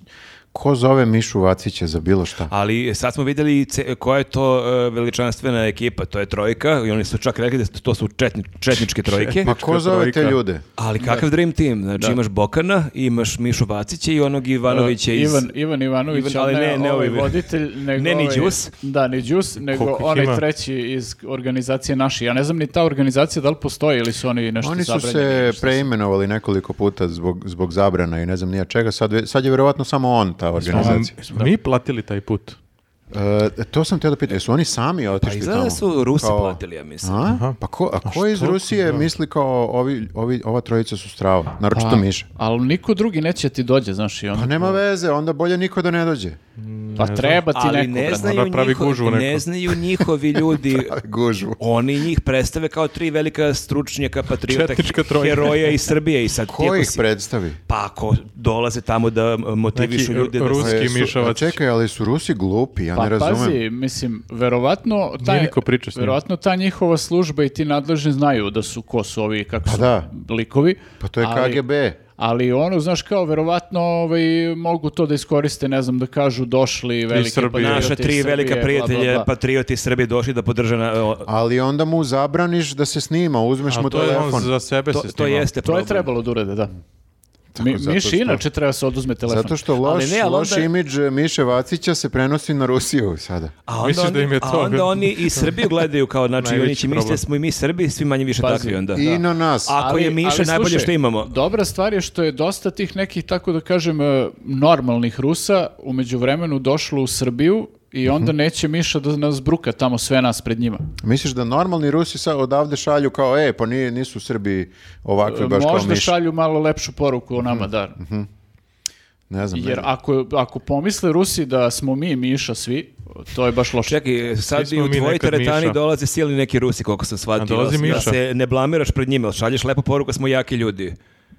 [SPEAKER 2] ko zove Mišu Vacića za bilo šta.
[SPEAKER 4] Ali sad smo vidjeli ce- koja je to e, veličanstvena ekipa, to je trojka i oni su čak rekli da su- to su četni, četničke trojke.
[SPEAKER 2] Pa ko zove te
[SPEAKER 1] trojka.
[SPEAKER 2] ljude?
[SPEAKER 4] Ali kakav dream team, znači imaš Bokana, imaš Mišu Vacića i onog Ivanovića iz...
[SPEAKER 3] E, Ivan, Ivan Ivanović,
[SPEAKER 4] Ivan,
[SPEAKER 3] ali
[SPEAKER 4] ali
[SPEAKER 3] ne,
[SPEAKER 4] ne- ne
[SPEAKER 3] ovaj
[SPEAKER 4] ovaj. [laughs]
[SPEAKER 3] voditelj, nego
[SPEAKER 4] Ne, ni
[SPEAKER 3] ovaj-
[SPEAKER 4] Đus.
[SPEAKER 3] Da, ni Đus, nego
[SPEAKER 1] Koliko ih
[SPEAKER 3] onaj
[SPEAKER 1] ima?
[SPEAKER 3] treći iz organizacije naši. Ja ne znam ni ta organizacija da li postoji ili su oni nešto
[SPEAKER 2] Oni su
[SPEAKER 3] zabranjeni
[SPEAKER 2] se
[SPEAKER 3] ili šta
[SPEAKER 2] preimenovali nekoliko puta zbog, zbog zabrana i ne znam nija čega. Sad, ve- sad je vjerovatno samo on ta organizacija.
[SPEAKER 1] Smo mi platili taj put.
[SPEAKER 2] E, to sam te da pitam. Jesu oni sami
[SPEAKER 4] Pa
[SPEAKER 2] otišli
[SPEAKER 4] izgleda
[SPEAKER 2] tamo?
[SPEAKER 4] da su Rusi
[SPEAKER 2] Kao-
[SPEAKER 4] platili, ja mislim.
[SPEAKER 2] A? Pa ko, a ko iz
[SPEAKER 1] što-
[SPEAKER 2] Rusije
[SPEAKER 1] da.
[SPEAKER 2] misli kao ovi, ovi, ova trojica su strava? Naročito
[SPEAKER 3] Pa,
[SPEAKER 2] Miša.
[SPEAKER 3] Ali niko drugi neće ti dođe, znaš, i onda...
[SPEAKER 2] Pa nema veze, onda bolje niko da ne dođe.
[SPEAKER 3] Pa treba ti
[SPEAKER 4] Ali
[SPEAKER 3] neko,
[SPEAKER 4] ne
[SPEAKER 3] brate.
[SPEAKER 4] znaju,
[SPEAKER 1] Mora pravi
[SPEAKER 4] njiho-
[SPEAKER 1] gužvu neko.
[SPEAKER 4] ne znaju njihovi ljudi
[SPEAKER 2] Gužu.
[SPEAKER 4] Oni njih predstave kao tri velika stručnjaka, patriota,
[SPEAKER 1] Četnička
[SPEAKER 4] he-
[SPEAKER 1] trojka.
[SPEAKER 4] heroja iz Srbije i sad ti
[SPEAKER 2] Ko
[SPEAKER 4] ako
[SPEAKER 2] ih
[SPEAKER 4] si-
[SPEAKER 2] predstavi?
[SPEAKER 4] Pa ako dolaze tamo da e,
[SPEAKER 1] Neki
[SPEAKER 4] motivišu ljude da...
[SPEAKER 1] Rus-
[SPEAKER 4] se-
[SPEAKER 1] Ruski
[SPEAKER 2] E, su-
[SPEAKER 1] Miša
[SPEAKER 2] a
[SPEAKER 1] Vacić.
[SPEAKER 2] Čekaj, ali su Rusi glupi, ja ne
[SPEAKER 3] Pa
[SPEAKER 2] razumem.
[SPEAKER 3] pazi, mislim, verovatno ta,
[SPEAKER 1] Nije niko pričao s njim.
[SPEAKER 3] verovatno ta njihova služba i ti nadležni znaju da su ko su ovi, kako su
[SPEAKER 2] da.
[SPEAKER 3] likovi.
[SPEAKER 2] Pa to je
[SPEAKER 3] ali-
[SPEAKER 2] KGB.
[SPEAKER 3] Ali ono, znaš, kao verovatno ovaj, mogu to da iskoriste, ne znam, da kažu došli veliki
[SPEAKER 1] Srbije.
[SPEAKER 3] Pa patrioti
[SPEAKER 4] Naša
[SPEAKER 3] iz
[SPEAKER 4] tri velika
[SPEAKER 3] Srbije, bla, bla,
[SPEAKER 4] prijatelja,
[SPEAKER 3] bla.
[SPEAKER 4] pa patrioti iz Srbije došli da podrže na... o-
[SPEAKER 2] Ali onda mu zabraniš da se snima, uzmeš mu
[SPEAKER 1] A to je on
[SPEAKER 2] telefon.
[SPEAKER 1] za sebe
[SPEAKER 4] To,
[SPEAKER 1] se
[SPEAKER 4] to
[SPEAKER 1] snimao.
[SPEAKER 4] jeste
[SPEAKER 3] To
[SPEAKER 4] problem.
[SPEAKER 3] je trebalo da urede, da. Mi,
[SPEAKER 2] zato
[SPEAKER 3] Miši
[SPEAKER 2] što-
[SPEAKER 3] inače treba se oduzme telefon.
[SPEAKER 2] Zato što loš,
[SPEAKER 4] Ali ne, ali onda-
[SPEAKER 2] loš imidž Miše Vacića se prenosi na Rusiju sada.
[SPEAKER 4] A onda,
[SPEAKER 1] Misliš
[SPEAKER 4] oni,
[SPEAKER 1] da im je to
[SPEAKER 4] a
[SPEAKER 1] [laughs]
[SPEAKER 4] onda
[SPEAKER 1] bilo-
[SPEAKER 4] oni i Srbiju gledaju kao, znači, oni
[SPEAKER 1] Najveći
[SPEAKER 4] će misliti da
[SPEAKER 1] problem.
[SPEAKER 4] smo i mi Srbi, svi manje više
[SPEAKER 3] Pazi,
[SPEAKER 4] takvi onda.
[SPEAKER 2] I na nas.
[SPEAKER 4] Ako je Miša
[SPEAKER 3] ali
[SPEAKER 4] najbolje
[SPEAKER 3] slušaj,
[SPEAKER 4] što imamo.
[SPEAKER 3] Dobra stvar je što je dosta tih nekih, tako da kažem, e, normalnih Rusa umeđu vremenu došlo u Srbiju
[SPEAKER 2] Mhm.
[SPEAKER 3] i onda neće Miša da nas bruka tamo sve nas pred njima.
[SPEAKER 2] Misliš da normalni Rusi sad odavde šalju kao, e, pa nije, nisu Srbi ovakvi baš kao
[SPEAKER 3] Možda
[SPEAKER 2] Miša. Mhm.
[SPEAKER 3] šalju malo lepšu poruku o nama, da.
[SPEAKER 2] Ne znam, ne
[SPEAKER 3] Jer
[SPEAKER 2] znam.
[SPEAKER 3] ako, ako pomisle Rusi da smo mi Miša svi, to je baš loše.
[SPEAKER 4] Čekaj, sad
[SPEAKER 1] Svi
[SPEAKER 4] i
[SPEAKER 1] smo
[SPEAKER 4] u
[SPEAKER 1] mi
[SPEAKER 4] tvojoj
[SPEAKER 1] nekad
[SPEAKER 4] teretani
[SPEAKER 1] Miša.
[SPEAKER 4] dolaze silni neki Rusi, koliko sam shvatio.
[SPEAKER 1] A dolazi
[SPEAKER 4] da
[SPEAKER 1] Miša.
[SPEAKER 4] se ne blamiraš pred njima, ali šalješ lepu poruku, smo jaki ljudi.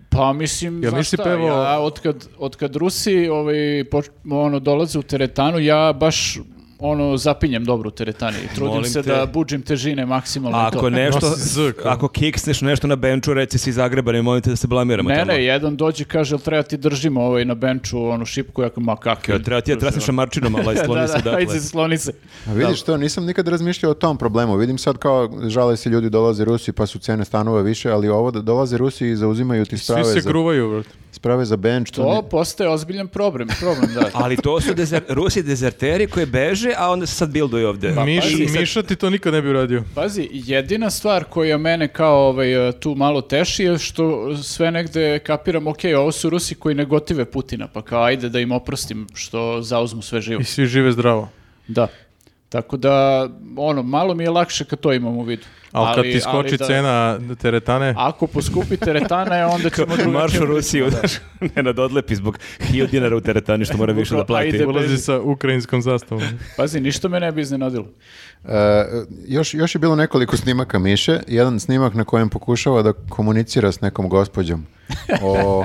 [SPEAKER 3] Pa mislim,
[SPEAKER 1] Jel
[SPEAKER 3] znaš
[SPEAKER 1] nisi
[SPEAKER 3] šta,
[SPEAKER 1] pevao-
[SPEAKER 3] ja otkad, otkad Rusi ovaj, poč- ono, dolaze u teretanu, ja baš ono zapinjem dobro u teretani i trudim
[SPEAKER 4] Molim
[SPEAKER 3] se
[SPEAKER 4] te.
[SPEAKER 3] da buđim težine maksimalno i to.
[SPEAKER 4] Ako nešto,
[SPEAKER 1] Nosi Z, kao.
[SPEAKER 4] ako kiksneš nešto na benču, reci si Zagrebani, molim te da se blamiramo
[SPEAKER 3] Ne,
[SPEAKER 4] tamo.
[SPEAKER 3] ne, jedan dođe kaže, jel treba ti držimo ovaj na benču onu šipku, ja kao, ma
[SPEAKER 4] Kao,
[SPEAKER 3] kakvi.
[SPEAKER 4] treba ti da trasneš marčinom,
[SPEAKER 3] [laughs]
[SPEAKER 4] ali
[SPEAKER 3] Da,
[SPEAKER 4] sloni
[SPEAKER 3] da,
[SPEAKER 4] se dakle. odatle.
[SPEAKER 3] ajde, sloni se.
[SPEAKER 2] A Pa vidiš to, nisam nikad razmišljao o tom problemu. Vidim sad kao, žale se ljudi dolaze Rusi pa su cene stanova više, ali ovo da dolaze Rusi i zauzimaju ti
[SPEAKER 1] Svi
[SPEAKER 2] sprave,
[SPEAKER 1] se
[SPEAKER 2] za,
[SPEAKER 1] gruvaju, brate.
[SPEAKER 2] sprave za bench. To
[SPEAKER 3] To
[SPEAKER 2] ni-
[SPEAKER 3] postaje ozbiljan problem, problem,
[SPEAKER 4] [laughs]
[SPEAKER 3] da.
[SPEAKER 4] Ali to su dezer, Rusi dezerteri koji beže, a onda se sad bilduju ovde.
[SPEAKER 1] Miš,
[SPEAKER 4] Pa, I sad-
[SPEAKER 1] Miša ti to nikad ne bi uradio.
[SPEAKER 3] Pazi, jedina stvar koja mene kao ovaj, tu malo teši je što sve negde kapiram, ok, ovo su Rusi koji ne gotive Putina, pa kao ajde da im oprostim što zauzmu sve živo.
[SPEAKER 1] I svi žive zdravo.
[SPEAKER 3] Da. Tako da, ono, malo mi je lakše kad to imam u vidu.
[SPEAKER 1] Ali, kad ti skoči
[SPEAKER 3] da-
[SPEAKER 1] cena teretane,
[SPEAKER 3] Ako poskupi teretane, onda ćemo drugačije...
[SPEAKER 4] Marš u
[SPEAKER 3] pričati,
[SPEAKER 4] Rusiju,
[SPEAKER 3] da.
[SPEAKER 4] znaš, [laughs] ne nad odlepi zbog 1000 dinara u teretani što mora više da plati.
[SPEAKER 3] Ajde,
[SPEAKER 1] ulazi
[SPEAKER 3] beži.
[SPEAKER 1] sa ukrajinskom zastavom.
[SPEAKER 3] Pazi, ništa me ne bi iznenadilo.
[SPEAKER 2] E, još, još je bilo nekoliko snimaka Miše. Jedan snimak na kojem pokušava da komunicira s nekom gospođom o...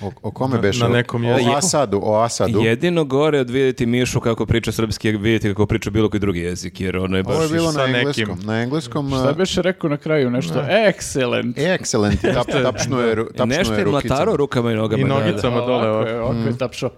[SPEAKER 2] O, o kome beše?
[SPEAKER 1] na nekom
[SPEAKER 2] o
[SPEAKER 1] jeziku.
[SPEAKER 2] Asadu, o Asadu.
[SPEAKER 4] Jedino gore od vidjeti Mišu kako priča srpski, je vidjeti kako priča bilo koji drugi jezik, jer ono je baš...
[SPEAKER 2] Ovo je bilo
[SPEAKER 1] sa
[SPEAKER 2] na
[SPEAKER 1] nekim.
[SPEAKER 2] engleskom. Na engleskom...
[SPEAKER 3] Šta
[SPEAKER 2] e,
[SPEAKER 3] biš rekao na kraju nešto? Excellent.
[SPEAKER 2] Excellent, tap, tapšno je, ru- tapšno
[SPEAKER 4] Nešto
[SPEAKER 2] je
[SPEAKER 4] je mlataro
[SPEAKER 2] rukicama.
[SPEAKER 4] rukama i nogama.
[SPEAKER 1] I
[SPEAKER 4] da, da.
[SPEAKER 1] nogicama. Samo dole,
[SPEAKER 3] Ovako
[SPEAKER 1] ovako.
[SPEAKER 3] je, ovako je tapšao.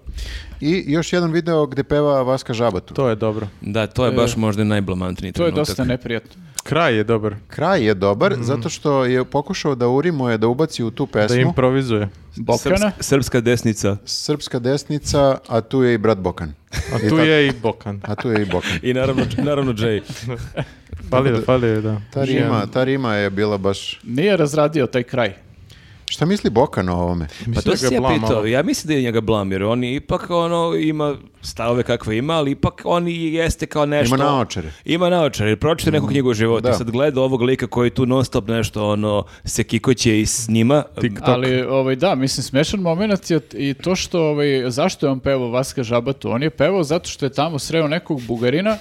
[SPEAKER 2] I još jedan video gde peva Vaska Žabatu.
[SPEAKER 1] To je dobro.
[SPEAKER 4] Da, to je baš možda i najblamantniji
[SPEAKER 3] To je
[SPEAKER 4] trenutak.
[SPEAKER 3] dosta neprijatno.
[SPEAKER 1] Kraj je dobar.
[SPEAKER 2] Kraj je dobar, zato što je pokušao da urimuje, da ubaci u tu
[SPEAKER 1] Da
[SPEAKER 2] pesmu
[SPEAKER 1] improvizuje.
[SPEAKER 3] Bokana?
[SPEAKER 4] Srpska, srpska desnica.
[SPEAKER 2] Srpska desnica, a tu je i brat Bokan.
[SPEAKER 1] A tu je i Bokan.
[SPEAKER 2] A tu je i Bokan.
[SPEAKER 4] I naravno, naravno Jay.
[SPEAKER 1] Fali da, fali da.
[SPEAKER 2] Ta rima, ta rima je bila baš...
[SPEAKER 3] Nije razradio taj kraj.
[SPEAKER 2] Šta misli Bokan o ovome?
[SPEAKER 4] Pa to
[SPEAKER 1] da ga
[SPEAKER 4] si ja
[SPEAKER 1] blam
[SPEAKER 4] pitao,
[SPEAKER 1] malo.
[SPEAKER 4] ja mislim da je njega blam, jer on ipak ono ima stavove kakve ima, ali ipak on i jeste kao nešto...
[SPEAKER 2] Ima naočare.
[SPEAKER 4] Ima naočare, jer pročite neku knjigu o životu.
[SPEAKER 2] Da.
[SPEAKER 4] Sad gleda ovog lika koji tu non stop nešto ono se kikoće i snima.
[SPEAKER 1] TikTok.
[SPEAKER 3] Ali, ovaj, da, mislim, smešan moment je i to što, ovaj, zašto je on pevao Vaska Žabatu? On je pevao zato što je tamo sreo nekog bugarina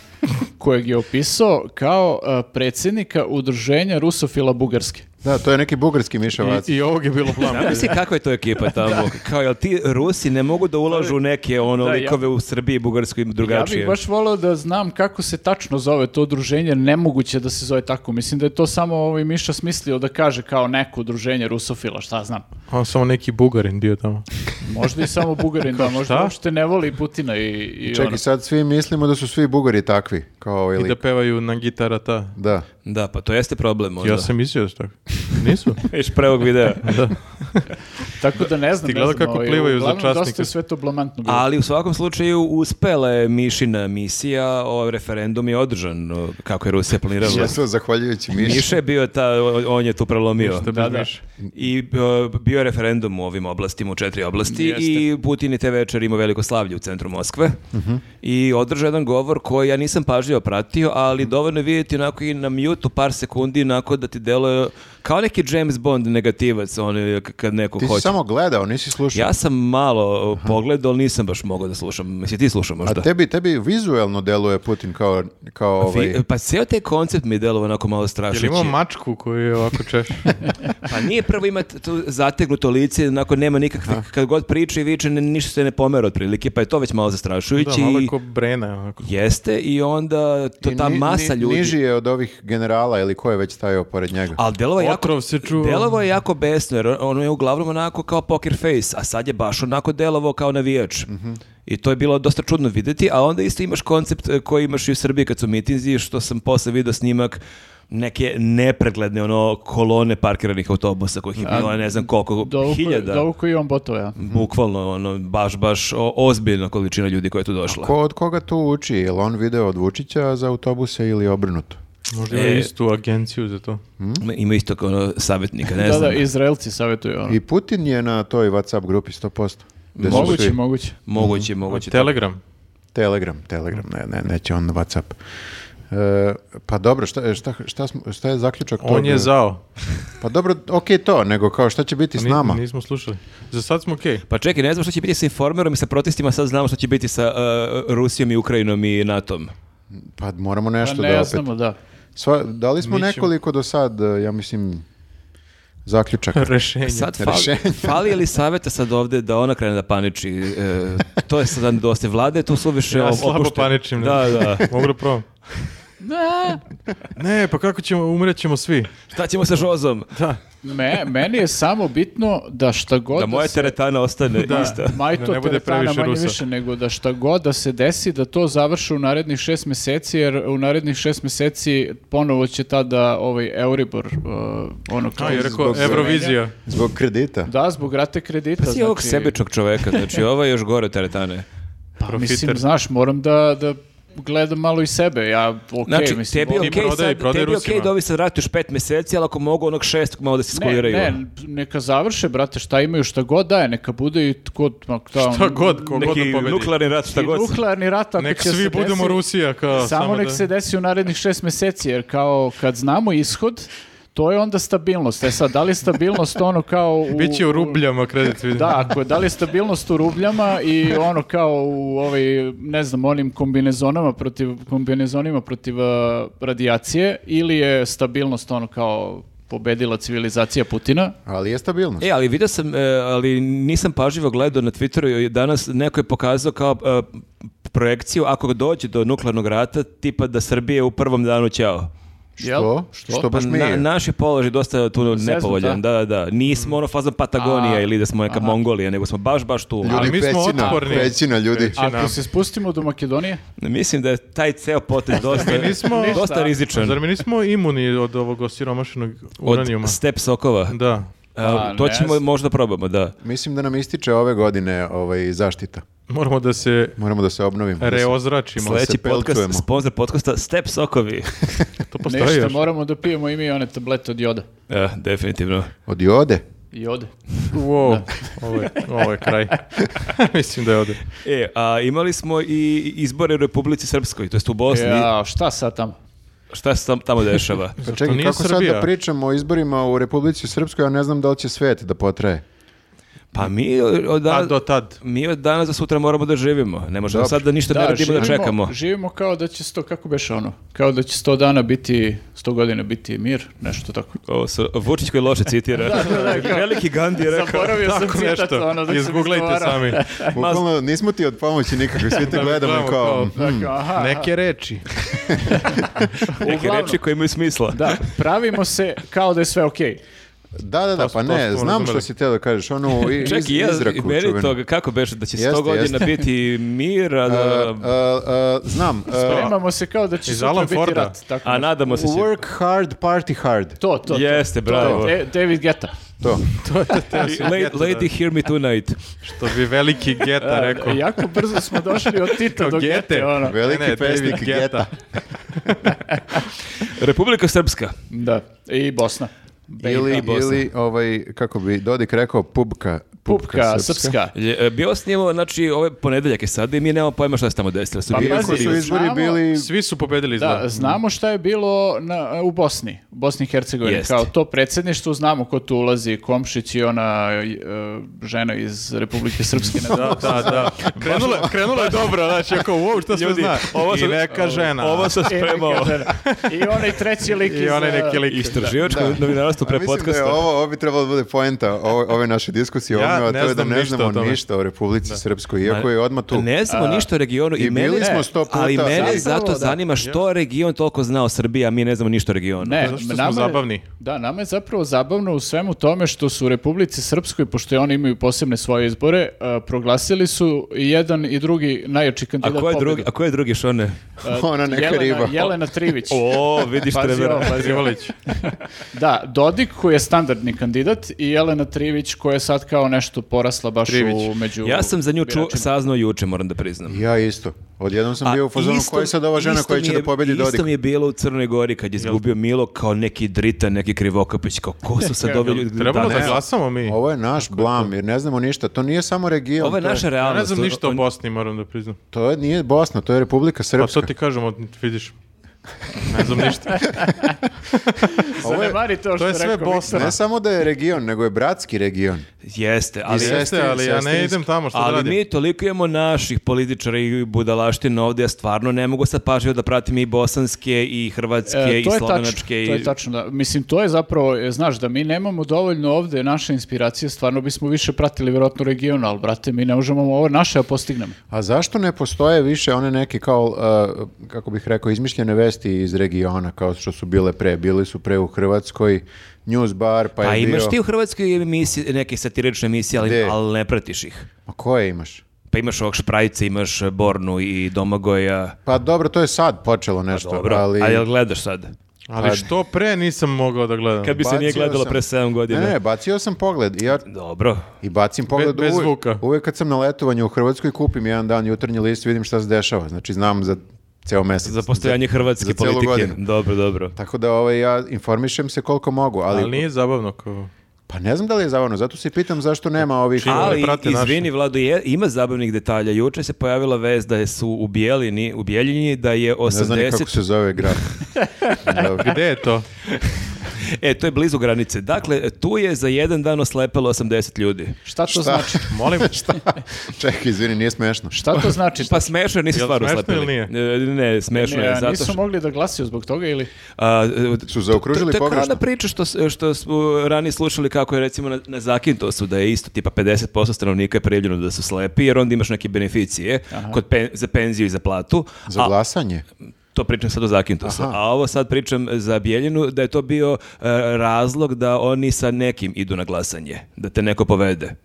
[SPEAKER 3] kojeg je opisao kao a, predsjednika udruženja rusofila bugarske.
[SPEAKER 2] Da, to je neki bugarski mišavac.
[SPEAKER 1] I, I ovog je bilo plan.
[SPEAKER 4] Znam si kakva je to ekipa tamo? Kao, jel ti Rusi ne mogu da ulažu u neke ono
[SPEAKER 3] Da, ja-
[SPEAKER 4] likove u Srbiji, Bugarskoj i drugačije?
[SPEAKER 3] Ja bih baš volio da znam kako se tačno zove to udruženje, nemoguće da se zove tako. Mislim da je to samo ovaj Miša smislio da kaže kao neko udruženje rusofila, šta znam.
[SPEAKER 1] On samo neki bugarin bio tamo.
[SPEAKER 3] Možda i samo
[SPEAKER 1] [laughs]
[SPEAKER 3] Bugarin, da, možda
[SPEAKER 1] šta?
[SPEAKER 3] uopšte ne voli Putina i, i ono.
[SPEAKER 2] Čekaj, sad svi mislimo da su svi bugari takvi, kao ovaj
[SPEAKER 1] I da
[SPEAKER 2] lik.
[SPEAKER 1] pevaju na gitara ta.
[SPEAKER 2] Da.
[SPEAKER 4] Da, pa to jeste problem možda.
[SPEAKER 1] Ja sam mislio da su tako.
[SPEAKER 4] [laughs]
[SPEAKER 1] Nisu.
[SPEAKER 4] Iš pre ovog videa.
[SPEAKER 3] Tako da ne znam.
[SPEAKER 1] Ti gledao
[SPEAKER 3] ne znam, ovaj,
[SPEAKER 1] kako plivaju za
[SPEAKER 3] uglavnom Dosta
[SPEAKER 1] časnike.
[SPEAKER 3] je sve to blamantno bilo.
[SPEAKER 4] Ali u svakom slučaju uspela je Mišina misija, ovaj referendum je održan o, kako je Rusija planirala.
[SPEAKER 2] Jesu, zahvaljujući Miši.
[SPEAKER 4] Miša je bio ta, o- on je tu prelomio.
[SPEAKER 1] Ništa bez
[SPEAKER 3] Da, da.
[SPEAKER 1] miša.
[SPEAKER 4] I o, bio je referendum u ovim oblastima, u četiri oblasti i Putin je te večer imao veliko slavlje u centru Moskve
[SPEAKER 2] Mhm.
[SPEAKER 4] i održao jedan govor koji ja nisam pažljivo pratio, ali
[SPEAKER 2] Mhm.
[SPEAKER 4] dovoljno je vidjeti onako i na mute par sekundi onako da ti deluje kao neki James Bond negativac on, kad neko
[SPEAKER 2] Ti si
[SPEAKER 4] hoće.
[SPEAKER 2] samo gledao, nisi slušao.
[SPEAKER 4] Ja sam malo o, pogledao, ali nisam baš mogao da slušam. Jesi ti slušao možda?
[SPEAKER 2] A tebi, tebi vizuelno deluje Putin kao, kao ovaj...
[SPEAKER 4] Vi- pa cijel taj koncept mi je delovao onako malo
[SPEAKER 1] Jel
[SPEAKER 4] strašući.
[SPEAKER 1] imao mačku koju je ovako
[SPEAKER 4] [laughs]
[SPEAKER 1] češ?
[SPEAKER 4] Pa nije prvo ima t- tu zategnuto lice, onako nema nikakve, kad god priča i viče, ne- ništa se ne pomera otprilike, pa je to već malo
[SPEAKER 1] Da,
[SPEAKER 4] zastrašujući.
[SPEAKER 1] malo
[SPEAKER 4] i-
[SPEAKER 1] ko brena. Ovako.
[SPEAKER 4] Jeste, i onda to,
[SPEAKER 2] I
[SPEAKER 4] ta
[SPEAKER 2] ni-
[SPEAKER 4] masa
[SPEAKER 2] ni-
[SPEAKER 4] ljudi...
[SPEAKER 2] Niži je od ovih generala ili ko je već stajao pored njega.
[SPEAKER 4] Ali delovo je jako,
[SPEAKER 1] Otrov se čuva.
[SPEAKER 4] delovao je jako besno, jer ono je uglavnom onako kao poker face, a sad je baš onako delovao kao navijač. I to je bilo dosta čudno vidjeti, a onda isto imaš koncept e, koji imaš i u Srbiji kad su mitinzi, što sam posle vidio snimak neke nepregledne ono kolone parkiranih autobusa kojih je bilo ne znam koliko
[SPEAKER 3] Do ovog-
[SPEAKER 4] hiljada.
[SPEAKER 3] Do ovog koji je on botova, ja.
[SPEAKER 4] Bukvalno, ono, baš, baš o- ozbiljna količina ljudi koja je tu došla.
[SPEAKER 2] Ko od koga tu uči? Je li on video od Vučića za autobuse ili obrnuto?
[SPEAKER 1] Možda
[SPEAKER 4] E.
[SPEAKER 1] ima istu agenciju za to.
[SPEAKER 4] Ima isto kao ono, savjetnika, ne
[SPEAKER 3] da, da,
[SPEAKER 4] znam.
[SPEAKER 3] Izraelci savjetuju ono.
[SPEAKER 2] I Putin je na toj WhatsApp grupi 100%. Gde su
[SPEAKER 3] Moguće,
[SPEAKER 2] svi-
[SPEAKER 3] moguće.
[SPEAKER 4] Moguće, moguće.
[SPEAKER 1] Telegram.
[SPEAKER 2] Telegram, Telegram, ne, ne, neće on na Whatsapp. E, pa dobro, šta, šta, šta, smo- šta je zaključak
[SPEAKER 1] On
[SPEAKER 2] tog-
[SPEAKER 1] je zao.
[SPEAKER 2] Pa dobro, okej to, nego kao šta će biti s
[SPEAKER 1] Pa Ni-
[SPEAKER 2] nama?
[SPEAKER 1] Nismo slušali. Za sad smo
[SPEAKER 4] [laughs]
[SPEAKER 1] okej.
[SPEAKER 4] Pa čekaj, ne znam što će biti sa informerom i sa protestima, sad znamo što će biti sa uh, Rusijom i Ukrajinom i NATO-om.
[SPEAKER 2] Pa moramo
[SPEAKER 3] Pa
[SPEAKER 2] nešto
[SPEAKER 3] ne
[SPEAKER 2] da
[SPEAKER 3] ja
[SPEAKER 2] opet...
[SPEAKER 3] znamo, da.
[SPEAKER 2] Sva, dali smo
[SPEAKER 1] Mi ćemo-
[SPEAKER 2] nekoliko do sad, e, ja mislim,
[SPEAKER 1] [laughs]
[SPEAKER 2] zaključaka.
[SPEAKER 1] Rešenje.
[SPEAKER 4] Sad fali,
[SPEAKER 2] Rešenje.
[SPEAKER 4] [laughs] fali je li savjeta sad ovde da ona krene da paniči? E, to je sad dosta vlade, je tu su više
[SPEAKER 1] ja slabo paničim. ne.
[SPEAKER 4] Da, da.
[SPEAKER 1] [laughs] Mogu da probam. Ne, pa kako ćemo, umret ćemo svi.
[SPEAKER 4] Šta ćemo sa Žozom?
[SPEAKER 1] Da.
[SPEAKER 3] Me, meni je samo bitno da šta god
[SPEAKER 4] Da moja
[SPEAKER 3] se...
[SPEAKER 4] teretana ostane
[SPEAKER 1] Da.
[SPEAKER 4] ista.
[SPEAKER 3] Majto
[SPEAKER 1] Da ne bude
[SPEAKER 3] teretana
[SPEAKER 1] previše
[SPEAKER 3] manje
[SPEAKER 1] Rusa.
[SPEAKER 3] više, nego da šta god da se desi, da to završi u narednih šest mjeseci, jer u narednih šest mjeseci ponovo će tada ovaj Euribor, uh, ono kao...
[SPEAKER 1] A, je rekao
[SPEAKER 2] Zbog-
[SPEAKER 1] Eurovizija.
[SPEAKER 2] Zbog kredita.
[SPEAKER 3] Da, zbog rate kredita.
[SPEAKER 4] Pa si ovog
[SPEAKER 3] znači-
[SPEAKER 4] sebičnog čoveka, znači ovo je još gore od teretane.
[SPEAKER 3] Pa, mislim,
[SPEAKER 1] profiter.
[SPEAKER 3] znaš, moram da, da gledam malo i sebe. Ja, okej,
[SPEAKER 4] Znači,
[SPEAKER 3] mislim...
[SPEAKER 4] tebi je
[SPEAKER 1] I
[SPEAKER 4] okej
[SPEAKER 1] prodaj,
[SPEAKER 4] sad,
[SPEAKER 1] prodaj
[SPEAKER 4] tebi je okej
[SPEAKER 1] Rusima.
[SPEAKER 4] da ovi sad ratuš pet mjeseci, ali ako mogu onog šestog malo da se
[SPEAKER 3] Ne,
[SPEAKER 4] skuliraju.
[SPEAKER 3] ne, neka završe, brate, šta imaju, šta god daje, neka bude i tko... ma, ta- ono-
[SPEAKER 1] Šta god, ko god da
[SPEAKER 4] Neki
[SPEAKER 1] pobedi.
[SPEAKER 4] nuklearni rat, šta
[SPEAKER 3] I
[SPEAKER 4] god.
[SPEAKER 3] nuklearni rat, ako
[SPEAKER 1] Nek
[SPEAKER 3] će se
[SPEAKER 1] svi budemo
[SPEAKER 3] desi-
[SPEAKER 1] Rusija. Kao,
[SPEAKER 3] Samo, nek
[SPEAKER 1] da-
[SPEAKER 3] se desi u narednih šest mjeseci, jer kao kad znamo ishod, to je onda stabilnost. E sad, da li je stabilnost ono kao... U,
[SPEAKER 1] Biće u rubljama kredit. vidim.
[SPEAKER 3] Da, ako je, da li je stabilnost u rubljama i ono kao u ovaj, ne znam, onim kombinezonama protiv, kombinezonima protiv eh, radijacije ili je stabilnost ono kao pobedila civilizacija Putina?
[SPEAKER 2] Ali je stabilnost.
[SPEAKER 4] E, ali vidio sam, e, ali nisam pažljivo gledao na Twitteru i danas neko je pokazao kao e, projekciju ako dođe do nuklearnog rata, tipa da Srbije u prvom danu ćao.
[SPEAKER 3] Jel?
[SPEAKER 2] Što? Što, Pa baš mi
[SPEAKER 4] Pa na,
[SPEAKER 2] je?
[SPEAKER 4] naš je položaj dosta tu nepovoljan, da, da, da. Nismo ono fazom Patagonija
[SPEAKER 3] A,
[SPEAKER 4] ili da smo neka Mongolija, nego smo baš, baš tu.
[SPEAKER 2] Ljudi,
[SPEAKER 1] Ali mi smo
[SPEAKER 2] pećina,
[SPEAKER 1] otporni.
[SPEAKER 2] pećina, ljudi.
[SPEAKER 1] Pećina.
[SPEAKER 3] Ako se spustimo do Makedonije,
[SPEAKER 4] Mislim da je taj ceo potez dosta,
[SPEAKER 1] nismo-
[SPEAKER 4] dosta rizičan.
[SPEAKER 1] Zar mi nismo imuni od ovog osiromašenog
[SPEAKER 4] Od
[SPEAKER 1] uranijuma?
[SPEAKER 4] step sokova.
[SPEAKER 1] Da.
[SPEAKER 4] A,
[SPEAKER 3] Pa,
[SPEAKER 4] to
[SPEAKER 3] ne
[SPEAKER 4] ćemo
[SPEAKER 3] znam.
[SPEAKER 4] možda probamo, da.
[SPEAKER 2] Mislim da nam ističe ove godine ovaj, zaštita.
[SPEAKER 1] Moramo da se
[SPEAKER 2] Moramo da se obnovimo. da se-
[SPEAKER 1] reozračimo.
[SPEAKER 4] Sljedeći
[SPEAKER 2] se pelcujemo.
[SPEAKER 4] podcast, sponsor podcasta Step
[SPEAKER 2] [laughs]
[SPEAKER 4] Sokovi.
[SPEAKER 1] To postoji
[SPEAKER 3] nešto
[SPEAKER 1] još.
[SPEAKER 3] moramo da pijemo i mi one tablete od joda.
[SPEAKER 4] Eh, E, definitivno.
[SPEAKER 2] Od jode?
[SPEAKER 3] I ode.
[SPEAKER 1] Wow, ovo je, ovo je
[SPEAKER 3] [laughs]
[SPEAKER 1] kraj. Mislim da je ovde.
[SPEAKER 4] E, a imali smo i izbore u Republici Srpskoj, to jest u Bosni.
[SPEAKER 3] Ja, E, šta sad tamo?
[SPEAKER 4] Šta se tam, tamo dešava?
[SPEAKER 2] Pa
[SPEAKER 1] Zar to
[SPEAKER 2] čekaj,
[SPEAKER 1] nije
[SPEAKER 2] kako sad da
[SPEAKER 1] Srbija?
[SPEAKER 2] pričamo o izborima u Republici Srpskoj, ja ne znam da li će svet da potraje.
[SPEAKER 4] Pa mi od,
[SPEAKER 1] A
[SPEAKER 4] danas,
[SPEAKER 1] do tad?
[SPEAKER 4] mi od danas do sutra moramo da živimo. Ne možemo
[SPEAKER 2] Dobro.
[SPEAKER 4] sad da ništa ne radimo da čekamo.
[SPEAKER 3] Živimo kao da će sto, kako beše ono, kao da će sto dana biti, sto godina biti mir, nešto tako.
[SPEAKER 4] Ovo su- Vučić koji loše citira. Veliki Gandhi je rekao.
[SPEAKER 3] Zaboravio sam
[SPEAKER 1] Tako
[SPEAKER 3] citat,
[SPEAKER 1] nešto.
[SPEAKER 3] ono, dok sam
[SPEAKER 1] Izguglajte
[SPEAKER 3] izgovarao.
[SPEAKER 1] sami.
[SPEAKER 2] Bukvalno nismo ti od pomoći nikakve, svi te
[SPEAKER 1] Da,
[SPEAKER 2] gledamo
[SPEAKER 1] gledamo
[SPEAKER 2] kao...
[SPEAKER 1] kao- hmm,
[SPEAKER 3] Dakle, aha,
[SPEAKER 1] Neke reči.
[SPEAKER 4] Neke
[SPEAKER 3] Uglavnom.
[SPEAKER 4] reči koje imaju smisla.
[SPEAKER 3] Da, pravimo se kao da je sve okej.
[SPEAKER 2] Da, da, da,
[SPEAKER 1] su-
[SPEAKER 2] pa
[SPEAKER 1] to
[SPEAKER 2] ne,
[SPEAKER 1] smo
[SPEAKER 2] znam
[SPEAKER 1] razumeli.
[SPEAKER 2] što si teo da kažeš, ono i- iz,
[SPEAKER 4] Čak i ja,
[SPEAKER 2] izraku
[SPEAKER 4] meni
[SPEAKER 2] čuvenu.
[SPEAKER 4] toga, kako beše da će
[SPEAKER 2] Jeste,
[SPEAKER 4] 100 godina
[SPEAKER 2] jeste.
[SPEAKER 4] biti mir, a,
[SPEAKER 2] E,
[SPEAKER 4] da-
[SPEAKER 2] e, e, znam, e,
[SPEAKER 3] Spremamo se kao da će
[SPEAKER 1] Iz
[SPEAKER 3] sutra
[SPEAKER 1] Alan
[SPEAKER 3] biti
[SPEAKER 1] Forda.
[SPEAKER 3] rat. Tako
[SPEAKER 4] a
[SPEAKER 3] nešto.
[SPEAKER 4] nadamo se će.
[SPEAKER 2] work hard, party hard.
[SPEAKER 3] To, to, to.
[SPEAKER 4] Jeste, bravo.
[SPEAKER 3] To je Da- David Geta.
[SPEAKER 2] To.
[SPEAKER 4] Lady, lady, hear me tonight.
[SPEAKER 1] Što bi veliki geta rekao.
[SPEAKER 3] Jako brzo smo došli od
[SPEAKER 1] [laughs]
[SPEAKER 3] Tita
[SPEAKER 1] Kao
[SPEAKER 3] do
[SPEAKER 1] Gete.
[SPEAKER 3] Gete. ono.
[SPEAKER 2] Veliki
[SPEAKER 1] Ne, ne,
[SPEAKER 2] pesnik
[SPEAKER 1] David
[SPEAKER 2] Geta.
[SPEAKER 1] Geta.
[SPEAKER 4] Republika Srpska.
[SPEAKER 3] Da, i Bosna.
[SPEAKER 2] Ili,
[SPEAKER 4] i Bosna.
[SPEAKER 2] ili ovaj, kako bi Dodik rekao, pubka.
[SPEAKER 3] Pupka, srpska.
[SPEAKER 4] Lje- e, Bio snimamo, znači, ove ponedeljak je sada i mi nemamo pojma šta se tamo desilo. Su
[SPEAKER 3] Pa
[SPEAKER 4] bili-
[SPEAKER 2] Iako
[SPEAKER 3] pazi,
[SPEAKER 2] su izbori
[SPEAKER 3] znamo-
[SPEAKER 2] bili...
[SPEAKER 1] Svi su pobedili izgleda.
[SPEAKER 3] Da, znamo šta je bilo na, u Bosni, u Bosni i Hercegovini.
[SPEAKER 4] Jeste.
[SPEAKER 3] Kao to predsjedništvo, znamo ko tu ulazi, Komšić i ona e, žena iz Republike Srpske.
[SPEAKER 1] [laughs]
[SPEAKER 3] na
[SPEAKER 1] Da, da, da. Krenulo, je- krenulo je dobro, znači, ako, wow, šta sve
[SPEAKER 4] Ljudi,
[SPEAKER 1] zna.
[SPEAKER 4] ovo
[SPEAKER 1] I
[SPEAKER 4] sam-
[SPEAKER 1] neka žena.
[SPEAKER 4] Ovo sam
[SPEAKER 3] I neka
[SPEAKER 4] spremao.
[SPEAKER 1] [laughs]
[SPEAKER 3] žena. I onaj treći lik iz...
[SPEAKER 1] I onaj
[SPEAKER 3] e,
[SPEAKER 1] neki lik.
[SPEAKER 4] Istraživačko
[SPEAKER 2] A
[SPEAKER 4] novinarstvo pre
[SPEAKER 2] mislim da je
[SPEAKER 4] podcasta.
[SPEAKER 2] ovo, ovo bi trebalo da bude poenta ovo- ove naše
[SPEAKER 1] Ja
[SPEAKER 2] diskusije, ovome,
[SPEAKER 1] ne
[SPEAKER 2] a to je da
[SPEAKER 1] znam
[SPEAKER 2] ne
[SPEAKER 1] ništa o
[SPEAKER 2] znamo
[SPEAKER 1] tome.
[SPEAKER 2] ništa o Republici Srpskoj, iako je odmah tu.
[SPEAKER 4] Ne znamo ništa o regionu.
[SPEAKER 2] I
[SPEAKER 4] mene-
[SPEAKER 2] bili smo
[SPEAKER 4] Ne,
[SPEAKER 2] sto puta.
[SPEAKER 4] Ali
[SPEAKER 2] Zapravo,
[SPEAKER 4] mene zato
[SPEAKER 3] da.
[SPEAKER 4] zanima što region toliko zna o Srbiji, a mi ne znamo ništa o regionu.
[SPEAKER 3] Ne,
[SPEAKER 1] Zato što smo
[SPEAKER 3] nama je-
[SPEAKER 1] zabavni.
[SPEAKER 3] Da, nama je zapravo zabavno u svemu tome što su u Republici Srpskoj, pošto oni imaju posebne svoje izbore, e, proglasili su i jedan i drugi najjači kandidat
[SPEAKER 4] A ko je
[SPEAKER 3] pobjedu.
[SPEAKER 4] drugi, a ko je drugi Šone? [laughs]
[SPEAKER 3] E,
[SPEAKER 2] [laughs] Ona neka
[SPEAKER 3] Jelena,
[SPEAKER 2] riba.
[SPEAKER 3] Jelena Trivić.
[SPEAKER 4] O, vidiš
[SPEAKER 3] Pazi
[SPEAKER 4] Trevera.
[SPEAKER 3] ovo, pazi ovo.
[SPEAKER 1] Trivolić.
[SPEAKER 3] Da, Dodik koji je standardni kandidat i Jelena Trivić koja je sad kao nešto porasla baš u
[SPEAKER 1] Trivić.
[SPEAKER 3] među...
[SPEAKER 4] Ja sam za nju ču,
[SPEAKER 3] biračima.
[SPEAKER 4] saznao juče, moram da priznam.
[SPEAKER 2] Ja isto. Odjednom sam
[SPEAKER 4] A
[SPEAKER 2] bio u fazonu
[SPEAKER 4] isto-
[SPEAKER 2] koja je sad ova žena
[SPEAKER 4] isto
[SPEAKER 2] koja
[SPEAKER 4] mi
[SPEAKER 2] će
[SPEAKER 4] je-
[SPEAKER 2] da pobedi Dodik.
[SPEAKER 4] Isto mi je bilo u Crnoj Gori kad je izgubio Milo kao neki drita, neki krivokapić, kao ko su sad ovi ljudi?
[SPEAKER 1] Trebalo
[SPEAKER 4] ne,
[SPEAKER 1] da glasamo mi.
[SPEAKER 2] Ovo je naš blam, jer ne znamo ništa. To nije samo region.
[SPEAKER 4] Ovo je
[SPEAKER 2] to je-
[SPEAKER 4] naša
[SPEAKER 1] Ja
[SPEAKER 4] realnost.
[SPEAKER 1] ne znam ništa o
[SPEAKER 4] On-
[SPEAKER 1] Bosni, moram da priznam.
[SPEAKER 2] To je, nije Bosna, to je Republika
[SPEAKER 1] Pa
[SPEAKER 2] Srpska.
[SPEAKER 1] to ti kažem, od- vidiš. Ne znam ništa.
[SPEAKER 2] Ovo je-
[SPEAKER 3] Zanemari to što
[SPEAKER 1] To je sve
[SPEAKER 3] rekao
[SPEAKER 1] Bosna.
[SPEAKER 2] Ne samo da je region, nego je bratski region.
[SPEAKER 4] Jeste, ali...
[SPEAKER 2] sve-
[SPEAKER 1] Jeste, ali ja ne
[SPEAKER 2] sestrinski.
[SPEAKER 1] idem tamo, šta da
[SPEAKER 4] Ali
[SPEAKER 1] radim?
[SPEAKER 4] mi toliko imamo naših političara i budalaština ovdje, ja stvarno ne mogu sad pažljivo da pratim i bosanske, i hrvatske,
[SPEAKER 3] E,
[SPEAKER 4] i
[SPEAKER 3] to je tačno, to
[SPEAKER 4] slovenačke. i-
[SPEAKER 3] je tačno, da. Mislim, to je zapravo, e, znaš, da mi nemamo dovoljno ovde naše inspiracije, stvarno bismo više pratili vjerojatno region, ali brate, mi ne možemo ovo naše da postignemo.
[SPEAKER 2] A zašto ne postoje više one neke kao, uh, kako bih rekao, izmišljene vesti iz regiona, kao što su bile pre? Bili su pre u Hrvatskoj, News Bar, pa,
[SPEAKER 4] Pa
[SPEAKER 2] je bio...
[SPEAKER 4] imaš ti u Hrvatskoj emisije, neke satirične emisije, ali,
[SPEAKER 2] Gde?
[SPEAKER 4] ali ne pratiš ih.
[SPEAKER 2] Ma koje imaš?
[SPEAKER 4] Pa imaš ovog Šprajca, imaš eh, Bornu i Domagoja.
[SPEAKER 2] Pa dobro, to je sad počelo nešto,
[SPEAKER 4] Pa Dobro,
[SPEAKER 2] Pa ali...
[SPEAKER 4] a jel gledaš sad?
[SPEAKER 1] Ali što pre nisam mogao da gledam.
[SPEAKER 4] Kad bi se nije
[SPEAKER 2] Bacio
[SPEAKER 4] gledalo
[SPEAKER 2] sam.
[SPEAKER 4] pre 7 godina.
[SPEAKER 2] Ne, ne, bacio sam pogled i ja
[SPEAKER 4] Dobro.
[SPEAKER 2] i bacim pogled
[SPEAKER 1] Be- bez
[SPEAKER 2] uvek-
[SPEAKER 1] zvuka.
[SPEAKER 2] Uvek kad sam na letovanju u Hrvatskoj kupim jedan dan jutarnji list, vidim šta se dešava. Znači znam za ceo mesec.
[SPEAKER 4] Za postojanje hrvatske
[SPEAKER 2] za celu
[SPEAKER 4] politike.
[SPEAKER 2] godinu.
[SPEAKER 4] Dobro, dobro.
[SPEAKER 2] Tako da ovaj, ja informišem se koliko mogu, ali,
[SPEAKER 1] Ali nije zabavno kao...
[SPEAKER 2] pa ne znam da li je zabavno, zato se pitam zašto nema ovih...
[SPEAKER 1] Čim-
[SPEAKER 4] Ali,
[SPEAKER 1] prate naše.
[SPEAKER 4] izvini, Vlado, je, ima zabavnih detalja. Juče se pojavila vez da je su u Bijeljini, u Bijeljini da je
[SPEAKER 2] Ne znam ni kako
[SPEAKER 4] 80...
[SPEAKER 2] se zove grad. Dobro.
[SPEAKER 1] Gde je to?
[SPEAKER 4] E, to je blizu granice. Dakle, tu je za jedan dan oslepelo 80 ljudi.
[SPEAKER 3] Šta to znači?
[SPEAKER 1] Molim, šta?
[SPEAKER 2] Čekaj, izvini, nije smešno.
[SPEAKER 3] Šta to znači?
[SPEAKER 4] [laughs] Pa smešno je, nisu
[SPEAKER 1] Jel
[SPEAKER 4] stvar
[SPEAKER 1] smešno
[SPEAKER 4] oslepili.
[SPEAKER 1] ili
[SPEAKER 4] E, Ne, smešno je.
[SPEAKER 3] Ne,
[SPEAKER 4] Zato
[SPEAKER 3] nisu
[SPEAKER 4] što,
[SPEAKER 3] mogli da glasio zbog toga ili...
[SPEAKER 4] a, e,
[SPEAKER 2] Su zaokružili
[SPEAKER 4] to, to je kao
[SPEAKER 2] pogrešno.
[SPEAKER 4] ona priča što, s- što smo ranije slušali kako je recimo na, na Zakintosu da je isto tipa 50% stanovnika je prijavljeno da su slepi jer onda imaš neke beneficije kod pen- za penziju i za platu.
[SPEAKER 2] Za
[SPEAKER 4] a-
[SPEAKER 2] glasanje?
[SPEAKER 4] To pričam sad o Zakintosu,
[SPEAKER 2] Aha.
[SPEAKER 4] a ovo sad pričam za Bijeljinu, da je to bio e, razlog da oni sa nekim idu na glasanje, da te neko povede.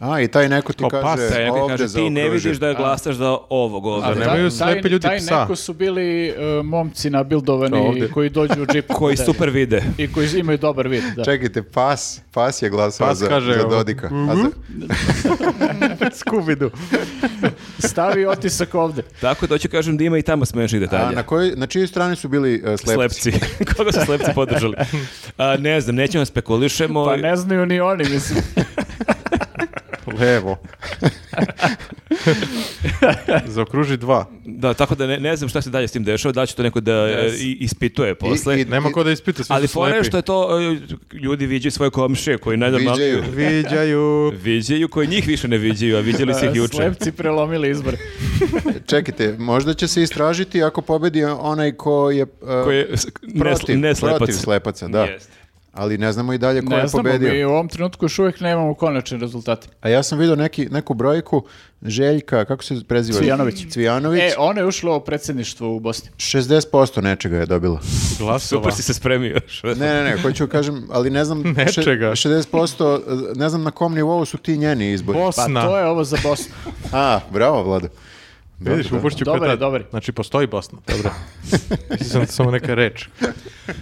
[SPEAKER 2] A, i taj neko pa ti
[SPEAKER 1] Kao
[SPEAKER 2] kaže,
[SPEAKER 1] pas,
[SPEAKER 4] Da je neko
[SPEAKER 2] ovde
[SPEAKER 4] kaže, ti ne
[SPEAKER 2] zaokruži."
[SPEAKER 4] vidiš da glasaš za ovog
[SPEAKER 1] Da
[SPEAKER 4] ovdje.
[SPEAKER 1] Ali- nemaju slepi ljudi
[SPEAKER 3] taj
[SPEAKER 1] psa.
[SPEAKER 3] neko su bili e, momci nabildovani
[SPEAKER 1] Ovde.
[SPEAKER 3] koji dođu u
[SPEAKER 4] [laughs]
[SPEAKER 3] džipu.
[SPEAKER 4] Koji
[SPEAKER 3] Da.
[SPEAKER 4] super vide.
[SPEAKER 3] I koji imaju dobar vid, da.
[SPEAKER 2] Čekajte, pas, pas je glasao
[SPEAKER 1] Pas
[SPEAKER 2] za,
[SPEAKER 1] kaže,
[SPEAKER 2] za
[SPEAKER 1] evo.
[SPEAKER 2] Dodika. A za-
[SPEAKER 1] Scooby-Doo.
[SPEAKER 3] Stavi otisak ovde.
[SPEAKER 4] Tako da hoću kažem da ima i tamo smešnih
[SPEAKER 2] A
[SPEAKER 4] detalja.
[SPEAKER 2] na, kojoj, na čijoj strani su bili e, slepci?
[SPEAKER 4] Slepci. [laughs] Koga su slepci podržali? A, ne znam, nećemo da spekulišemo.
[SPEAKER 3] Pa ne znaju ni oni, mislim.
[SPEAKER 2] Levo.
[SPEAKER 1] Zaokruži dva.
[SPEAKER 4] Da, tako da ne, ne znam šta se dalje s tim dešava, da li će to neko da e, i- ispituje posle.
[SPEAKER 2] I- i-
[SPEAKER 1] Nema ko da ispita, svi
[SPEAKER 4] Ali
[SPEAKER 1] su
[SPEAKER 4] fora je
[SPEAKER 1] slepi.
[SPEAKER 4] što je to, e, ljudi viđaju svoje komšije koji najnormalnije
[SPEAKER 2] Viđaju.
[SPEAKER 1] Viđaju.
[SPEAKER 4] viđaju, koji njih više ne viđaju, a viđali su ih juče.
[SPEAKER 3] E, Slepci prelomili izbor.
[SPEAKER 2] Čekajte, možda će se istražiti ako pobedi onaj ko je... e,
[SPEAKER 4] Koji je s- ne,
[SPEAKER 2] protiv,
[SPEAKER 4] ne slepac.
[SPEAKER 2] protiv slepaca, da.
[SPEAKER 4] Jeste.
[SPEAKER 2] Ali ne znamo i dalje ko
[SPEAKER 3] Ne
[SPEAKER 2] je
[SPEAKER 3] znamo,
[SPEAKER 2] pobedio.
[SPEAKER 3] mi u ovom trenutku još uvijek nemamo konačne rezultate.
[SPEAKER 2] A ja sam vidio neki, neku brojku Željka, kako se preziva?
[SPEAKER 3] Cvijanović.
[SPEAKER 2] Cvijanović.
[SPEAKER 3] E, ona je ušla u predsjedništvo u Bosni.
[SPEAKER 2] 60% nečega je dobila.
[SPEAKER 1] [laughs] Glasova.
[SPEAKER 4] Super si se spremio [laughs] još.
[SPEAKER 2] Ne, ne, ne, hoću kažem, ali
[SPEAKER 1] [laughs]
[SPEAKER 2] ne znam... še-
[SPEAKER 1] Nečega.
[SPEAKER 2] 60%, ne znam na kom nivou su ti njeni izbori.
[SPEAKER 3] Pa
[SPEAKER 1] Bosna.
[SPEAKER 3] to je ovo za Bosnu.
[SPEAKER 2] A, bravo, Vlado. Dobro,
[SPEAKER 1] Vidiš,
[SPEAKER 2] bravo.
[SPEAKER 1] upošću
[SPEAKER 3] Dobar je,
[SPEAKER 1] kretati.
[SPEAKER 3] dobar je.
[SPEAKER 1] Znači, postoji Bosna. Dobro. [laughs] Mislim, samo neka reč.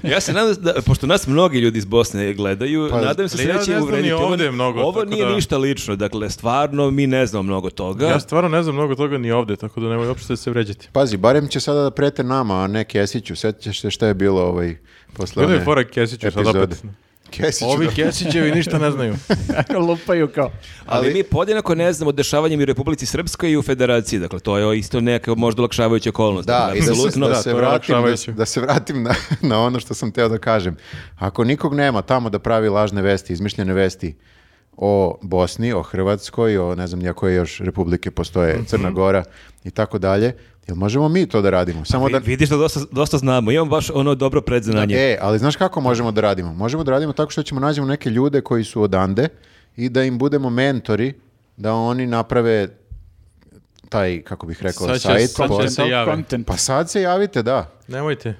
[SPEAKER 4] Ja se nadam, da, pošto nas mnogi ljudi iz Bosne gledaju,
[SPEAKER 2] Pa,
[SPEAKER 4] nadam se
[SPEAKER 1] ali ja
[SPEAKER 4] da
[SPEAKER 1] ne
[SPEAKER 4] će
[SPEAKER 1] znam
[SPEAKER 4] uvrediti.
[SPEAKER 1] ni
[SPEAKER 4] Ovo-
[SPEAKER 1] ovdje mnogo,
[SPEAKER 4] Ovo
[SPEAKER 1] tako
[SPEAKER 4] nije
[SPEAKER 1] da-
[SPEAKER 4] ništa lično, dakle, stvarno mi ne znamo mnogo toga.
[SPEAKER 1] Ja stvarno ne znam mnogo toga ni ovdje, tako da nemoj uopšte da se vređati.
[SPEAKER 2] Pazi, barem će sada da prete nama, a ne Kesiću. Sjećaš se šta je bilo ovaj posle
[SPEAKER 1] Gledaj
[SPEAKER 2] one
[SPEAKER 1] fora Kesiću sad
[SPEAKER 2] epizode.
[SPEAKER 1] opet.
[SPEAKER 2] Kesiću,
[SPEAKER 1] Ovi
[SPEAKER 2] da.
[SPEAKER 1] Kesićevi ništa ne znaju.
[SPEAKER 3] Lupaju kao.
[SPEAKER 4] ali, mi podjednako ne znamo dešavanjem i u Republici Srpskoj i u Federaciji, dakle, to je isto neka možda olakšavajuća okolnost.
[SPEAKER 2] Da,
[SPEAKER 4] dakle,
[SPEAKER 2] i da se,
[SPEAKER 4] apsolutno-
[SPEAKER 2] da
[SPEAKER 1] da,
[SPEAKER 2] se
[SPEAKER 1] to je
[SPEAKER 2] vratim, da,
[SPEAKER 1] olakšavajuće.
[SPEAKER 2] da se vratim na, [laughs] na ono što sam teo da kažem. Ako nikog nema tamo da pravi lažne vesti, izmišljene vesti o Bosni, o Hrvatskoj, o ne znam nija koje još republike
[SPEAKER 1] Mhm.
[SPEAKER 2] postoje, Crna Gora i tako dalje, jel možemo mi to da radimo? Samo da...
[SPEAKER 4] Vi- Vidiš da dosta, dosta znamo, imamo baš ono dobro predznanje.
[SPEAKER 2] E, ali znaš kako možemo da radimo? Možemo da radimo tako što ćemo nađemo neke ljude koji su odande i da im budemo mentori da oni naprave taj, kako bih rekao,
[SPEAKER 1] Sad će-
[SPEAKER 2] sajt.
[SPEAKER 1] sad će
[SPEAKER 2] po-
[SPEAKER 1] se jave.
[SPEAKER 3] Content.
[SPEAKER 2] Pa sad se javite, da.
[SPEAKER 1] Nemojte.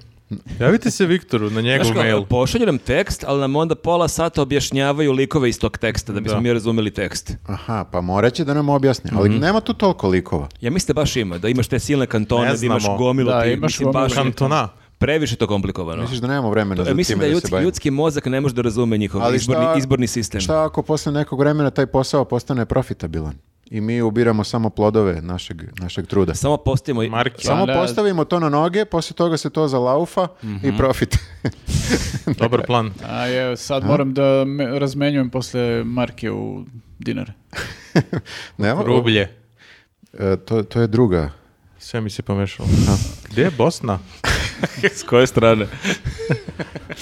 [SPEAKER 1] Javite se Viktoru na njegov
[SPEAKER 4] Znaš kao,
[SPEAKER 1] mail.
[SPEAKER 4] pošalju nam tekst, ali nam onda pola sata objašnjavaju likove iz tog teksta, da bismo
[SPEAKER 1] Da.
[SPEAKER 4] mi razumeli tekst.
[SPEAKER 2] Aha, pa morat će da nam objasni, ali
[SPEAKER 4] Mhm.
[SPEAKER 2] nema tu toliko likova.
[SPEAKER 4] Ja mislim da baš ima, da imaš te silne kantone,
[SPEAKER 1] Ne
[SPEAKER 4] da imaš
[SPEAKER 1] znamo.
[SPEAKER 4] gomilu
[SPEAKER 3] Da,
[SPEAKER 4] ti,
[SPEAKER 3] imaš
[SPEAKER 4] mislim, baš
[SPEAKER 3] gomilu.
[SPEAKER 4] je to-
[SPEAKER 1] Kantona.
[SPEAKER 4] previše to komplikovano.
[SPEAKER 2] Misliš da nemamo vremena
[SPEAKER 4] E,
[SPEAKER 2] za
[SPEAKER 4] mislim da
[SPEAKER 2] time da, se
[SPEAKER 4] ljudski,
[SPEAKER 2] bavimo?
[SPEAKER 4] ljudski mozak ne može da razume njihov
[SPEAKER 2] Ali
[SPEAKER 4] izborni,
[SPEAKER 2] šta-
[SPEAKER 4] izborni sistem.
[SPEAKER 2] Šta ako posle nekog vremena taj posao postane profitabilan i mi ubiramo samo plodove našeg, našeg truda?
[SPEAKER 4] Samo postavimo... i-
[SPEAKER 1] Marki.
[SPEAKER 2] Samo
[SPEAKER 3] da.
[SPEAKER 2] postavimo to na noge, poslije toga se to zalaufa i
[SPEAKER 4] Mhm.
[SPEAKER 2] profit.
[SPEAKER 4] [laughs]
[SPEAKER 1] Dobar plan.
[SPEAKER 3] A je, sad moram da me- razmenjujem posle marke u dinare.
[SPEAKER 2] Nema?
[SPEAKER 1] Rublje.
[SPEAKER 2] E, to, to je druga.
[SPEAKER 1] Sve mi se pomešalo. Gdje je Bosna?
[SPEAKER 4] S koje strane?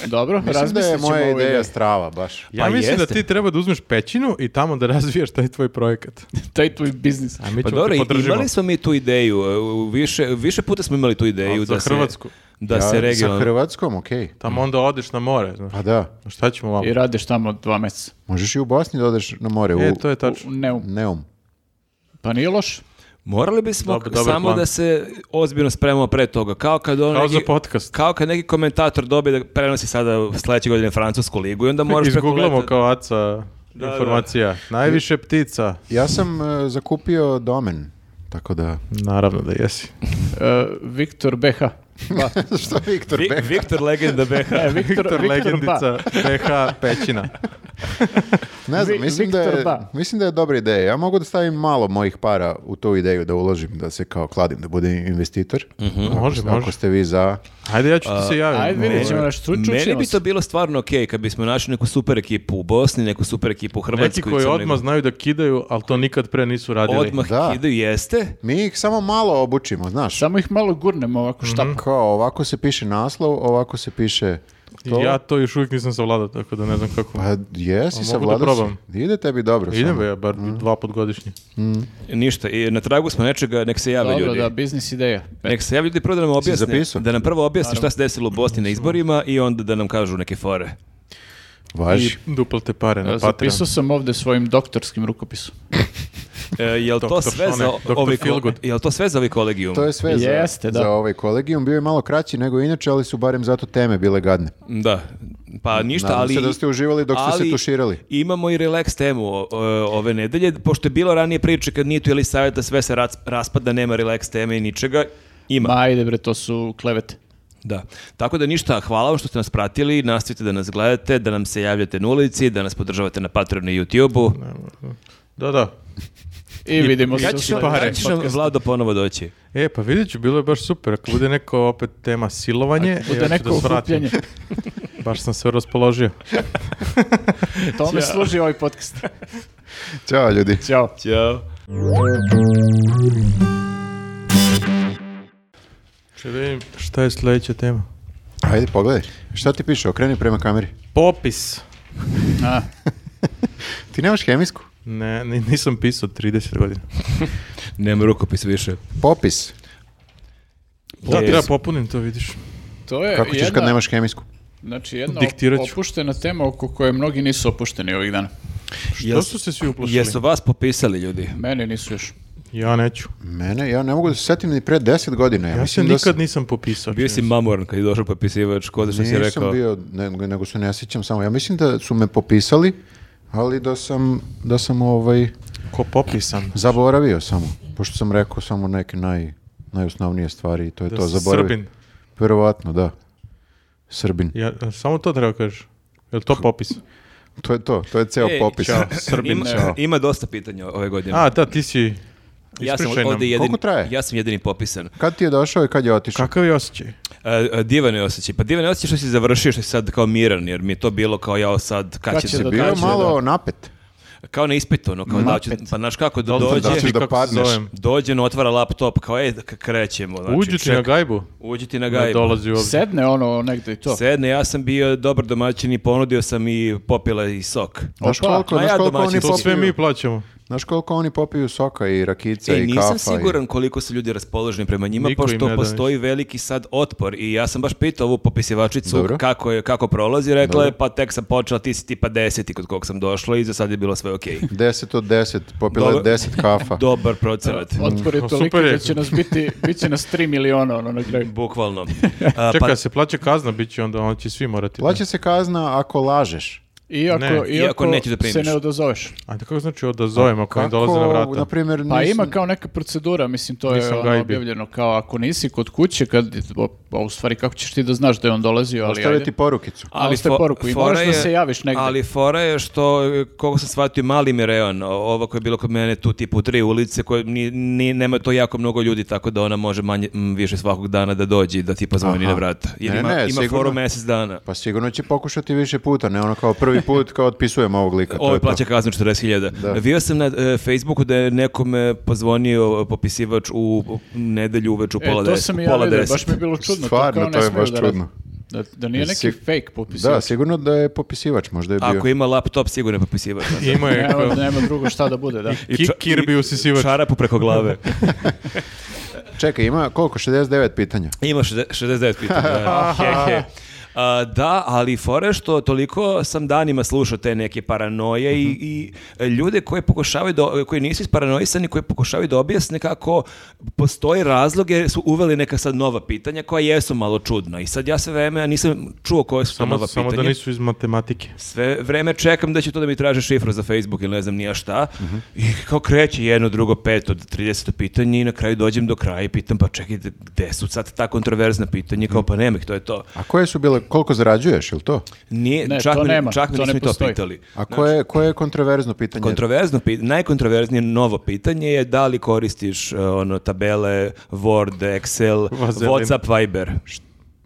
[SPEAKER 3] Dobro,
[SPEAKER 2] Mislim da
[SPEAKER 3] razmislit
[SPEAKER 2] je
[SPEAKER 3] ćemo
[SPEAKER 2] moja
[SPEAKER 3] ovo
[SPEAKER 2] ideja
[SPEAKER 3] ideju.
[SPEAKER 2] strava, baš.
[SPEAKER 1] Ja
[SPEAKER 4] Pa
[SPEAKER 1] mislim
[SPEAKER 4] jeste.
[SPEAKER 1] da ti treba da uzmeš pećinu i tamo da razvijaš taj tvoj projekat.
[SPEAKER 3] Taj tvoj biznis.
[SPEAKER 1] A mi
[SPEAKER 4] Pa
[SPEAKER 1] ćemo
[SPEAKER 4] dobro,
[SPEAKER 1] te
[SPEAKER 4] i-
[SPEAKER 1] podržimo.
[SPEAKER 4] imali smo mi tu ideju, e, u više, više puta smo imali tu ideju
[SPEAKER 1] Ali za
[SPEAKER 4] da se,
[SPEAKER 1] Hrvatsku.
[SPEAKER 4] da
[SPEAKER 2] Ja,
[SPEAKER 4] se
[SPEAKER 2] Sa
[SPEAKER 4] regionalno...
[SPEAKER 2] Hrvatskom, okej.
[SPEAKER 1] Tamo onda odeš na more, znaš.
[SPEAKER 2] Pa da,
[SPEAKER 1] Šta ćemo vam?
[SPEAKER 3] I radiš tamo dva meseca.
[SPEAKER 2] možeš i u Bosni da odeš na more,
[SPEAKER 1] E,
[SPEAKER 2] u
[SPEAKER 1] to je
[SPEAKER 3] U
[SPEAKER 1] tačno.
[SPEAKER 3] Neum.
[SPEAKER 2] Neum.
[SPEAKER 3] Pa nije loš.
[SPEAKER 4] Morali bismo
[SPEAKER 1] Dobar- dobar
[SPEAKER 4] samo
[SPEAKER 1] plan.
[SPEAKER 4] da se ozbiljno spremamo pre toga, kao kad on
[SPEAKER 1] Kao
[SPEAKER 4] neki-
[SPEAKER 1] za podcast.
[SPEAKER 4] Kao kad neki komentator dobije da prenosi sada sledeće godine francusku ligu i onda moraš
[SPEAKER 1] Izgooglamo
[SPEAKER 4] preko leta-
[SPEAKER 1] kao aca
[SPEAKER 4] Da,
[SPEAKER 1] informacija. Najviše ptica.
[SPEAKER 2] Ja sam e, zakupio domen, tako da...
[SPEAKER 1] Naravno da jesi.
[SPEAKER 3] E, Viktor BH. Ba.
[SPEAKER 2] [laughs] Što Viktor
[SPEAKER 4] Vi-
[SPEAKER 2] Bek?
[SPEAKER 4] Viktor Legenda BH.
[SPEAKER 1] [laughs]
[SPEAKER 3] E, [laughs] Viktor,
[SPEAKER 1] Viktor,
[SPEAKER 3] Viktor
[SPEAKER 1] Legendica, [laughs]
[SPEAKER 3] Ba.
[SPEAKER 1] PH Pećina.
[SPEAKER 2] Ne znam,
[SPEAKER 3] Vi-
[SPEAKER 2] mislim da,
[SPEAKER 3] Viktor
[SPEAKER 2] je,
[SPEAKER 3] Ba.
[SPEAKER 2] mislim da je dobra ideja. Ja mogu da stavim malo mojih para u tu ideju da uložim, da se kao kladim, da budem investitor. Ako-
[SPEAKER 1] Mhm. Može,
[SPEAKER 2] ako,
[SPEAKER 1] može.
[SPEAKER 2] ste vi za...
[SPEAKER 1] Ajde, ja ću ti se javiti.
[SPEAKER 3] Ajde, vidjet ćemo
[SPEAKER 1] Ovaj,
[SPEAKER 3] nešto. Ču- čućemo
[SPEAKER 4] Meni bi
[SPEAKER 3] se.
[SPEAKER 4] to bilo stvarno okej kad bismo našli neku super ekipu u Bosni, neku super ekipu u Hrvatskoj.
[SPEAKER 1] Neki
[SPEAKER 4] i
[SPEAKER 1] koji
[SPEAKER 4] Crnoj
[SPEAKER 1] odmah znaju da kidaju, ali to nikad pre nisu
[SPEAKER 4] Gori.
[SPEAKER 1] radili.
[SPEAKER 4] odmah
[SPEAKER 2] Da.
[SPEAKER 4] kidaju, jeste?
[SPEAKER 2] Mi ih samo malo obučimo, znaš.
[SPEAKER 3] Samo ih malo gurnemo ovako šta. pa-
[SPEAKER 2] Kao, ovako se piše naslov, ovako se piše to.
[SPEAKER 1] Ja to još uvijek nisam savladao, tako da ne znam kako.
[SPEAKER 2] Pa jesi,
[SPEAKER 1] A
[SPEAKER 2] sa
[SPEAKER 1] mogu da probam?
[SPEAKER 2] Ide tebi dobro.
[SPEAKER 1] Idem
[SPEAKER 2] Pa, samo.
[SPEAKER 1] be, ja bar dva pot godišnje.
[SPEAKER 4] Ništa, i na tragu smo nečega, nek se jave
[SPEAKER 3] Dobro,
[SPEAKER 4] ljudi.
[SPEAKER 3] da, biznis ideja.
[SPEAKER 4] Nek se jave ljudi prvo da nam objasne,
[SPEAKER 2] zapisao?
[SPEAKER 4] da nam prvo objasne šta se desilo u Bosni na izborima i onda da nam kažu neke fore.
[SPEAKER 1] I
[SPEAKER 2] Važi.
[SPEAKER 1] duplate pare na Patreon.
[SPEAKER 3] Zapisao sam ovde svojim doktorskim rukopisom.
[SPEAKER 4] E, jel to
[SPEAKER 1] Doktor
[SPEAKER 4] sve za
[SPEAKER 1] Šone, doktor
[SPEAKER 4] ovi ko-
[SPEAKER 1] Feelgood.
[SPEAKER 4] jel to sve za ovi kolegijum?
[SPEAKER 2] To je sve
[SPEAKER 3] Jeste,
[SPEAKER 2] za,
[SPEAKER 3] da.
[SPEAKER 2] za ovaj kolegijum. Bio je malo kraći nego inače, ali su barem zato teme bile gadne.
[SPEAKER 4] Da. Pa ništa,
[SPEAKER 2] Nadam
[SPEAKER 4] ali...
[SPEAKER 2] se da ste uživali dok ste se
[SPEAKER 4] ali
[SPEAKER 2] tuširali.
[SPEAKER 4] Imamo i relax temu o- o- ove nedelje, pošto je bilo ranije priče kad nije tu ili savjeta, sve se rac- raspada, nema relax teme i ničega. Ima.
[SPEAKER 3] Ma ajde bre, to su klevete.
[SPEAKER 4] Da. Tako da ništa, hvala vam što ste nas pratili, nastavite da nas gledate, da nam se javljate na ulici, da nas podržavate na Patreonu i YouTube-u.
[SPEAKER 1] Da, da.
[SPEAKER 3] I vidimo se
[SPEAKER 1] Kad
[SPEAKER 3] u
[SPEAKER 1] ćeš-
[SPEAKER 3] sledećem
[SPEAKER 1] pare?
[SPEAKER 4] Kad ćeš nam
[SPEAKER 3] podcastu.
[SPEAKER 4] Vlado ponovo doći?
[SPEAKER 1] E, pa vidjet ću, bilo je baš super. Ako bude neko opet tema silovanje, e, ja
[SPEAKER 3] Bude
[SPEAKER 1] ću
[SPEAKER 3] neko
[SPEAKER 1] da svratim.
[SPEAKER 3] okupljanje.
[SPEAKER 1] Baš sam sve raspoložio.
[SPEAKER 3] Tome služi ovaj podcast.
[SPEAKER 2] Ćao ljudi.
[SPEAKER 3] Ćao.
[SPEAKER 4] Ćao.
[SPEAKER 1] Če da vidim šta je sljedeća tema.
[SPEAKER 2] Ajde, pogledaj. Šta ti piše? Okreni prema kameri.
[SPEAKER 1] Popis.
[SPEAKER 3] A,
[SPEAKER 2] Ti nemaš hemijsku?
[SPEAKER 1] Ne, ni- nisam pisao 30 godina.
[SPEAKER 4] Nema rukopis više.
[SPEAKER 2] Popis.
[SPEAKER 1] Da,
[SPEAKER 4] Popis.
[SPEAKER 1] treba popunim to, vidiš.
[SPEAKER 3] to je
[SPEAKER 2] Kako ćeš
[SPEAKER 3] jedna,
[SPEAKER 2] kad nemaš hemijsku?
[SPEAKER 3] znači jedna
[SPEAKER 1] Diktirat ću.
[SPEAKER 3] opuštena tema oko koje mnogi nisu opušteni ovih dana.
[SPEAKER 1] Što su se svi uplošili?
[SPEAKER 4] Jesu vas popisali ljudi?
[SPEAKER 3] Meni nisu još.
[SPEAKER 1] Ja neću.
[SPEAKER 2] Mene, ja ne mogu da se setim ni pre 10 godina. Ja,
[SPEAKER 1] Ja se
[SPEAKER 2] mislim da sam-
[SPEAKER 1] nikad nisam popisao.
[SPEAKER 4] Bio
[SPEAKER 1] čini
[SPEAKER 4] si
[SPEAKER 1] mi se.
[SPEAKER 4] mamoran kad je došao popisivač, ko da što si
[SPEAKER 2] Nisam
[SPEAKER 4] rekao.
[SPEAKER 2] bio, ne- nego se ne sjećam samo. Ja mislim da su me popisali, ali da sam, da sam ovaj,
[SPEAKER 1] Ko popisan?
[SPEAKER 2] zaboravio samo. Pošto sam rekao samo neke naj, najosnovnije stvari i to je
[SPEAKER 1] Da
[SPEAKER 2] to.
[SPEAKER 1] si
[SPEAKER 2] Zaboravio.
[SPEAKER 1] Srbin.
[SPEAKER 2] Verovatno, da. Srbin.
[SPEAKER 1] Ja, samo to treba kažeš. Je li to popis?
[SPEAKER 2] To je to, to je ceo
[SPEAKER 4] Ej,
[SPEAKER 2] popis. [laughs]
[SPEAKER 1] Ćao, Srbin.
[SPEAKER 4] E, Ima,
[SPEAKER 2] Ćao.
[SPEAKER 4] ima dosta pitanja ove godine.
[SPEAKER 1] A, da, ti si...
[SPEAKER 4] ja sam
[SPEAKER 1] ispričaj nam.
[SPEAKER 4] ovdje jedini,
[SPEAKER 2] Koliko traje?
[SPEAKER 4] ja sam jedini popisan.
[SPEAKER 2] Kad ti je došao i kad je otišao?
[SPEAKER 1] Kakav je osjećaj?
[SPEAKER 4] A, a, divan je osjećaj. Pa divan je osjećaj što si završio, što si sad kao miran, jer mi je to bilo kao ja sad, kad,
[SPEAKER 3] Kad
[SPEAKER 4] će
[SPEAKER 3] će
[SPEAKER 4] se
[SPEAKER 3] da
[SPEAKER 2] Bio je
[SPEAKER 3] Znači,
[SPEAKER 2] malo napet.
[SPEAKER 4] Kao na ispitu, ono, kao da li ću- pa znaš kako, da
[SPEAKER 1] li sam
[SPEAKER 4] dođe,
[SPEAKER 2] da ćeš
[SPEAKER 1] Kako se
[SPEAKER 2] da padneš.
[SPEAKER 1] zovem?
[SPEAKER 4] dođe, no, otvara laptop, kao ej, da k- krećemo. Znači,
[SPEAKER 1] Uđu ti na
[SPEAKER 4] ček-
[SPEAKER 1] gajbu?
[SPEAKER 4] Uđi ti na
[SPEAKER 1] Ne
[SPEAKER 4] gajbu.
[SPEAKER 1] dolazi ovdje.
[SPEAKER 3] Sedne ono negde i to.
[SPEAKER 4] Sedne, ja sam bio dobar domaćin i ponudio sam i popila i sok.
[SPEAKER 2] Znaš
[SPEAKER 3] Opa,
[SPEAKER 2] koliko,
[SPEAKER 4] a
[SPEAKER 2] znaš
[SPEAKER 4] ja
[SPEAKER 2] koliko
[SPEAKER 4] domaćin
[SPEAKER 2] oni
[SPEAKER 4] sam.
[SPEAKER 1] To
[SPEAKER 2] popiju,
[SPEAKER 1] sve mi plaćamo.
[SPEAKER 2] znaš koliko oni popiju soka i rakica
[SPEAKER 4] E,
[SPEAKER 2] i
[SPEAKER 4] nisam
[SPEAKER 2] kafa. i-
[SPEAKER 4] siguran koliko su ljudi raspoloženi prema njima,
[SPEAKER 1] Niko im
[SPEAKER 4] pošto
[SPEAKER 1] ne da
[SPEAKER 4] postoji veliki sad otpor i ja sam baš pitao ovu popisivačicu
[SPEAKER 2] Dobro.
[SPEAKER 4] kako, je, kako prolazi, rekla je
[SPEAKER 2] Dobro.
[SPEAKER 4] pa tek sam počela, ti si tipa deseti kod kog sam došla i za sad je bilo sve okej.
[SPEAKER 2] 10 od 10, popila je
[SPEAKER 4] Dobro.
[SPEAKER 2] 10
[SPEAKER 4] [laughs]
[SPEAKER 2] kafa.
[SPEAKER 4] Dobar procenat.
[SPEAKER 3] Otpor je
[SPEAKER 1] Mm,
[SPEAKER 3] toliko
[SPEAKER 1] super je.
[SPEAKER 3] da će nas biti, bit će nas 3 miliona ono na kraju.
[SPEAKER 2] [laughs]
[SPEAKER 4] Bukvalno. A,
[SPEAKER 1] Čekaj,
[SPEAKER 4] pa,
[SPEAKER 1] se plaća kazna, bit će onda, onda će svi morati. da-
[SPEAKER 2] Plaća se kazna ako lažeš.
[SPEAKER 3] Iako,
[SPEAKER 1] Ne,
[SPEAKER 3] iako,
[SPEAKER 1] iako
[SPEAKER 4] nećeš da primiš.
[SPEAKER 3] se ne odazoveš.
[SPEAKER 1] A kako znači odazovem ako mi dolaze na vrata?
[SPEAKER 2] naprimjer,
[SPEAKER 3] Pa
[SPEAKER 2] nisam-
[SPEAKER 3] ima kao neka procedura, mislim, to je
[SPEAKER 1] Nisam
[SPEAKER 3] ono
[SPEAKER 1] gajbi.
[SPEAKER 3] objavljeno kao ako nisi kod kuće, kad, o, a u stvari kako ćeš ti da znaš da je on dolazio, ali
[SPEAKER 2] Ostavio
[SPEAKER 3] ajde.
[SPEAKER 2] ti porukicu.
[SPEAKER 3] Ali ste poruku i
[SPEAKER 4] fora
[SPEAKER 3] moraš da
[SPEAKER 4] je-
[SPEAKER 3] se javiš negde.
[SPEAKER 4] Ali fora je što, e, koliko sam shvatio, mali mi reon, o- ovo koje je bilo kod mene tu tipu tri ulice, koje ni, ni- nema to jako mnogo ljudi, tako da ona može manje, m, više svakog dana da dođe i da ti pozvoni
[SPEAKER 2] Aha.
[SPEAKER 4] na vrata. Jer
[SPEAKER 2] Ne,
[SPEAKER 4] ima,
[SPEAKER 2] ne,
[SPEAKER 4] ima
[SPEAKER 2] sigurno.
[SPEAKER 4] foru mjesec dana.
[SPEAKER 2] Pa sigurno će pokušati više puta, ne ono kao prvi put, kao otpisujem ovog lika. to
[SPEAKER 4] Ovo
[SPEAKER 2] je to.
[SPEAKER 4] plaća kaznu 40.000.
[SPEAKER 2] Da.
[SPEAKER 4] Vio sam na e, Facebooku da je nekome pozvonio popisivač u u nedelju uveč u
[SPEAKER 3] E,
[SPEAKER 4] pola
[SPEAKER 3] to
[SPEAKER 4] deset.
[SPEAKER 3] sam i
[SPEAKER 4] pola
[SPEAKER 3] ja vidio,
[SPEAKER 4] deset.
[SPEAKER 3] baš mi je bilo čudno.
[SPEAKER 2] Stvarno,
[SPEAKER 3] kao ne
[SPEAKER 2] to je
[SPEAKER 3] smeju
[SPEAKER 2] baš
[SPEAKER 3] da
[SPEAKER 2] čudno.
[SPEAKER 3] radi. Da, da nije neki
[SPEAKER 2] Sig-
[SPEAKER 3] fake popis.
[SPEAKER 2] Da, sigurno da je popisivač, možda je bio.
[SPEAKER 4] Ako ima laptop, sigurno je popisivač.
[SPEAKER 1] Ima je
[SPEAKER 3] Nema,
[SPEAKER 1] kao...
[SPEAKER 3] nema drugo šta da
[SPEAKER 4] [laughs]
[SPEAKER 3] bude, da.
[SPEAKER 4] I
[SPEAKER 1] Ki-
[SPEAKER 4] ča-
[SPEAKER 1] Kirby
[SPEAKER 4] i-
[SPEAKER 1] usisivač.
[SPEAKER 4] Čarapu preko
[SPEAKER 3] [laughs]
[SPEAKER 4] glave.
[SPEAKER 2] Čekaj, ima koliko? 69 pitanja.
[SPEAKER 4] Ima šezde- 69 pitanja.
[SPEAKER 1] [laughs]
[SPEAKER 4] da. He, he. A, da, ali fore što toliko sam danima slušao te neke paranoje
[SPEAKER 1] Mhm.
[SPEAKER 4] i, i e, ljude koje pokušavaju da, koji nisu isparanoisani, koji pokušavaju da objasne kako postoji razlog jer su uveli neka sad nova pitanja koja jesu malo čudna. I sad ja sve vreme ja nisam čuo koje su to nova
[SPEAKER 1] Samo, samo da
[SPEAKER 4] pitanja.
[SPEAKER 1] nisu iz matematike.
[SPEAKER 4] Sve vreme čekam da će to da mi traže šifru za Facebook ili ne znam nija šta. I kao kreće jedno, drugo, peto, trideseto pitanje i na kraju dođem do kraja i pitam pa čekajte gde su sad ta kontroverzna pitanja kao pa nema ih, to je to.
[SPEAKER 2] A koje su bile, koliko zarađuješ, ili to?
[SPEAKER 4] Nije,
[SPEAKER 3] Ne,
[SPEAKER 4] čak
[SPEAKER 3] to
[SPEAKER 4] mi,
[SPEAKER 3] nema,
[SPEAKER 4] čak mi
[SPEAKER 3] to ne
[SPEAKER 4] nisu ni to
[SPEAKER 3] postoji.
[SPEAKER 4] pitali.
[SPEAKER 2] A koje, koje je kontroverzno pitanje?
[SPEAKER 4] Kontroverzno, pi- najkontroverznije novo pitanje je da li koristiš e, ono, tabele, Word,
[SPEAKER 1] [laughs]
[SPEAKER 4] Excel,
[SPEAKER 1] Vazelin.
[SPEAKER 4] Whatsapp, Viber.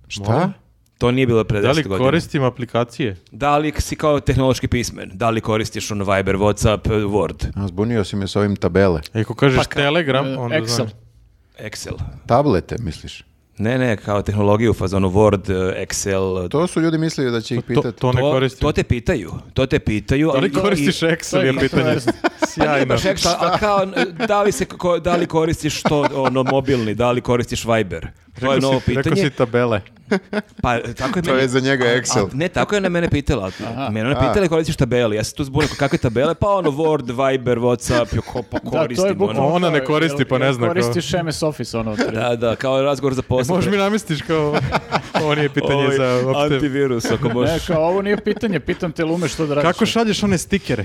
[SPEAKER 2] Šta?
[SPEAKER 4] To nije bilo pre
[SPEAKER 1] Da li
[SPEAKER 4] 10 godina.
[SPEAKER 1] koristim aplikacije?
[SPEAKER 4] Da li si kao tehnološki pismen? Da li koristiš ono Viber, Whatsapp, e, Word,
[SPEAKER 2] A, zbunio si me s ovim tabele.
[SPEAKER 1] E, Ako kažeš Telegram,
[SPEAKER 3] E,
[SPEAKER 1] onda
[SPEAKER 3] Excel.
[SPEAKER 1] znam.
[SPEAKER 4] Excel?
[SPEAKER 2] Tablete, misliš?
[SPEAKER 4] Ne, ne, kao tehnologiju u fazonu Word, e, Excel.
[SPEAKER 2] To su ljudi mislili da će ih
[SPEAKER 1] To,
[SPEAKER 2] pitati.
[SPEAKER 1] to ne koristim.
[SPEAKER 4] to te pitaju, to te pitaju.
[SPEAKER 1] Da
[SPEAKER 4] ali
[SPEAKER 1] li
[SPEAKER 4] to i- Pa
[SPEAKER 1] koristiš Excel je
[SPEAKER 3] i-
[SPEAKER 1] pitanje? Sjajno.
[SPEAKER 4] Baš Excel, a kao, da li, se, ko- da li koristiš to, ono, mobilni, da li koristiš Viber? To je
[SPEAKER 1] Rekao
[SPEAKER 4] novo
[SPEAKER 1] si- Rekao
[SPEAKER 4] pitanje.
[SPEAKER 1] si tabele.
[SPEAKER 4] Pa, tako je
[SPEAKER 2] To je za njega Excel.
[SPEAKER 4] ne, tako je ona mene pitala. Mene ona pitala koristiš tabele. Ja se tu zbunio kakve tabele, pa ono Word, Viber, Whatsapp, jo, ko pa koristim.
[SPEAKER 3] bukvalno
[SPEAKER 1] ono. Ona
[SPEAKER 3] kao,
[SPEAKER 1] ne koristi,
[SPEAKER 3] jel-
[SPEAKER 1] pa ne
[SPEAKER 3] jel
[SPEAKER 1] zna kao.
[SPEAKER 3] Koristiš MS Office, ono.
[SPEAKER 4] ono. [laughs] Da, da, kao razgovor za posao.
[SPEAKER 1] E, Možeš mi namestiš kao... [laughs] Ovo nije pitanje
[SPEAKER 4] Ovaj,
[SPEAKER 1] za... uopšte-
[SPEAKER 4] Antivirus, ako
[SPEAKER 3] Ne,
[SPEAKER 4] možeš.
[SPEAKER 3] kao ovo nije pitanje, pitam te lume što da radiš. ono.
[SPEAKER 1] Kako šalješ one stikere?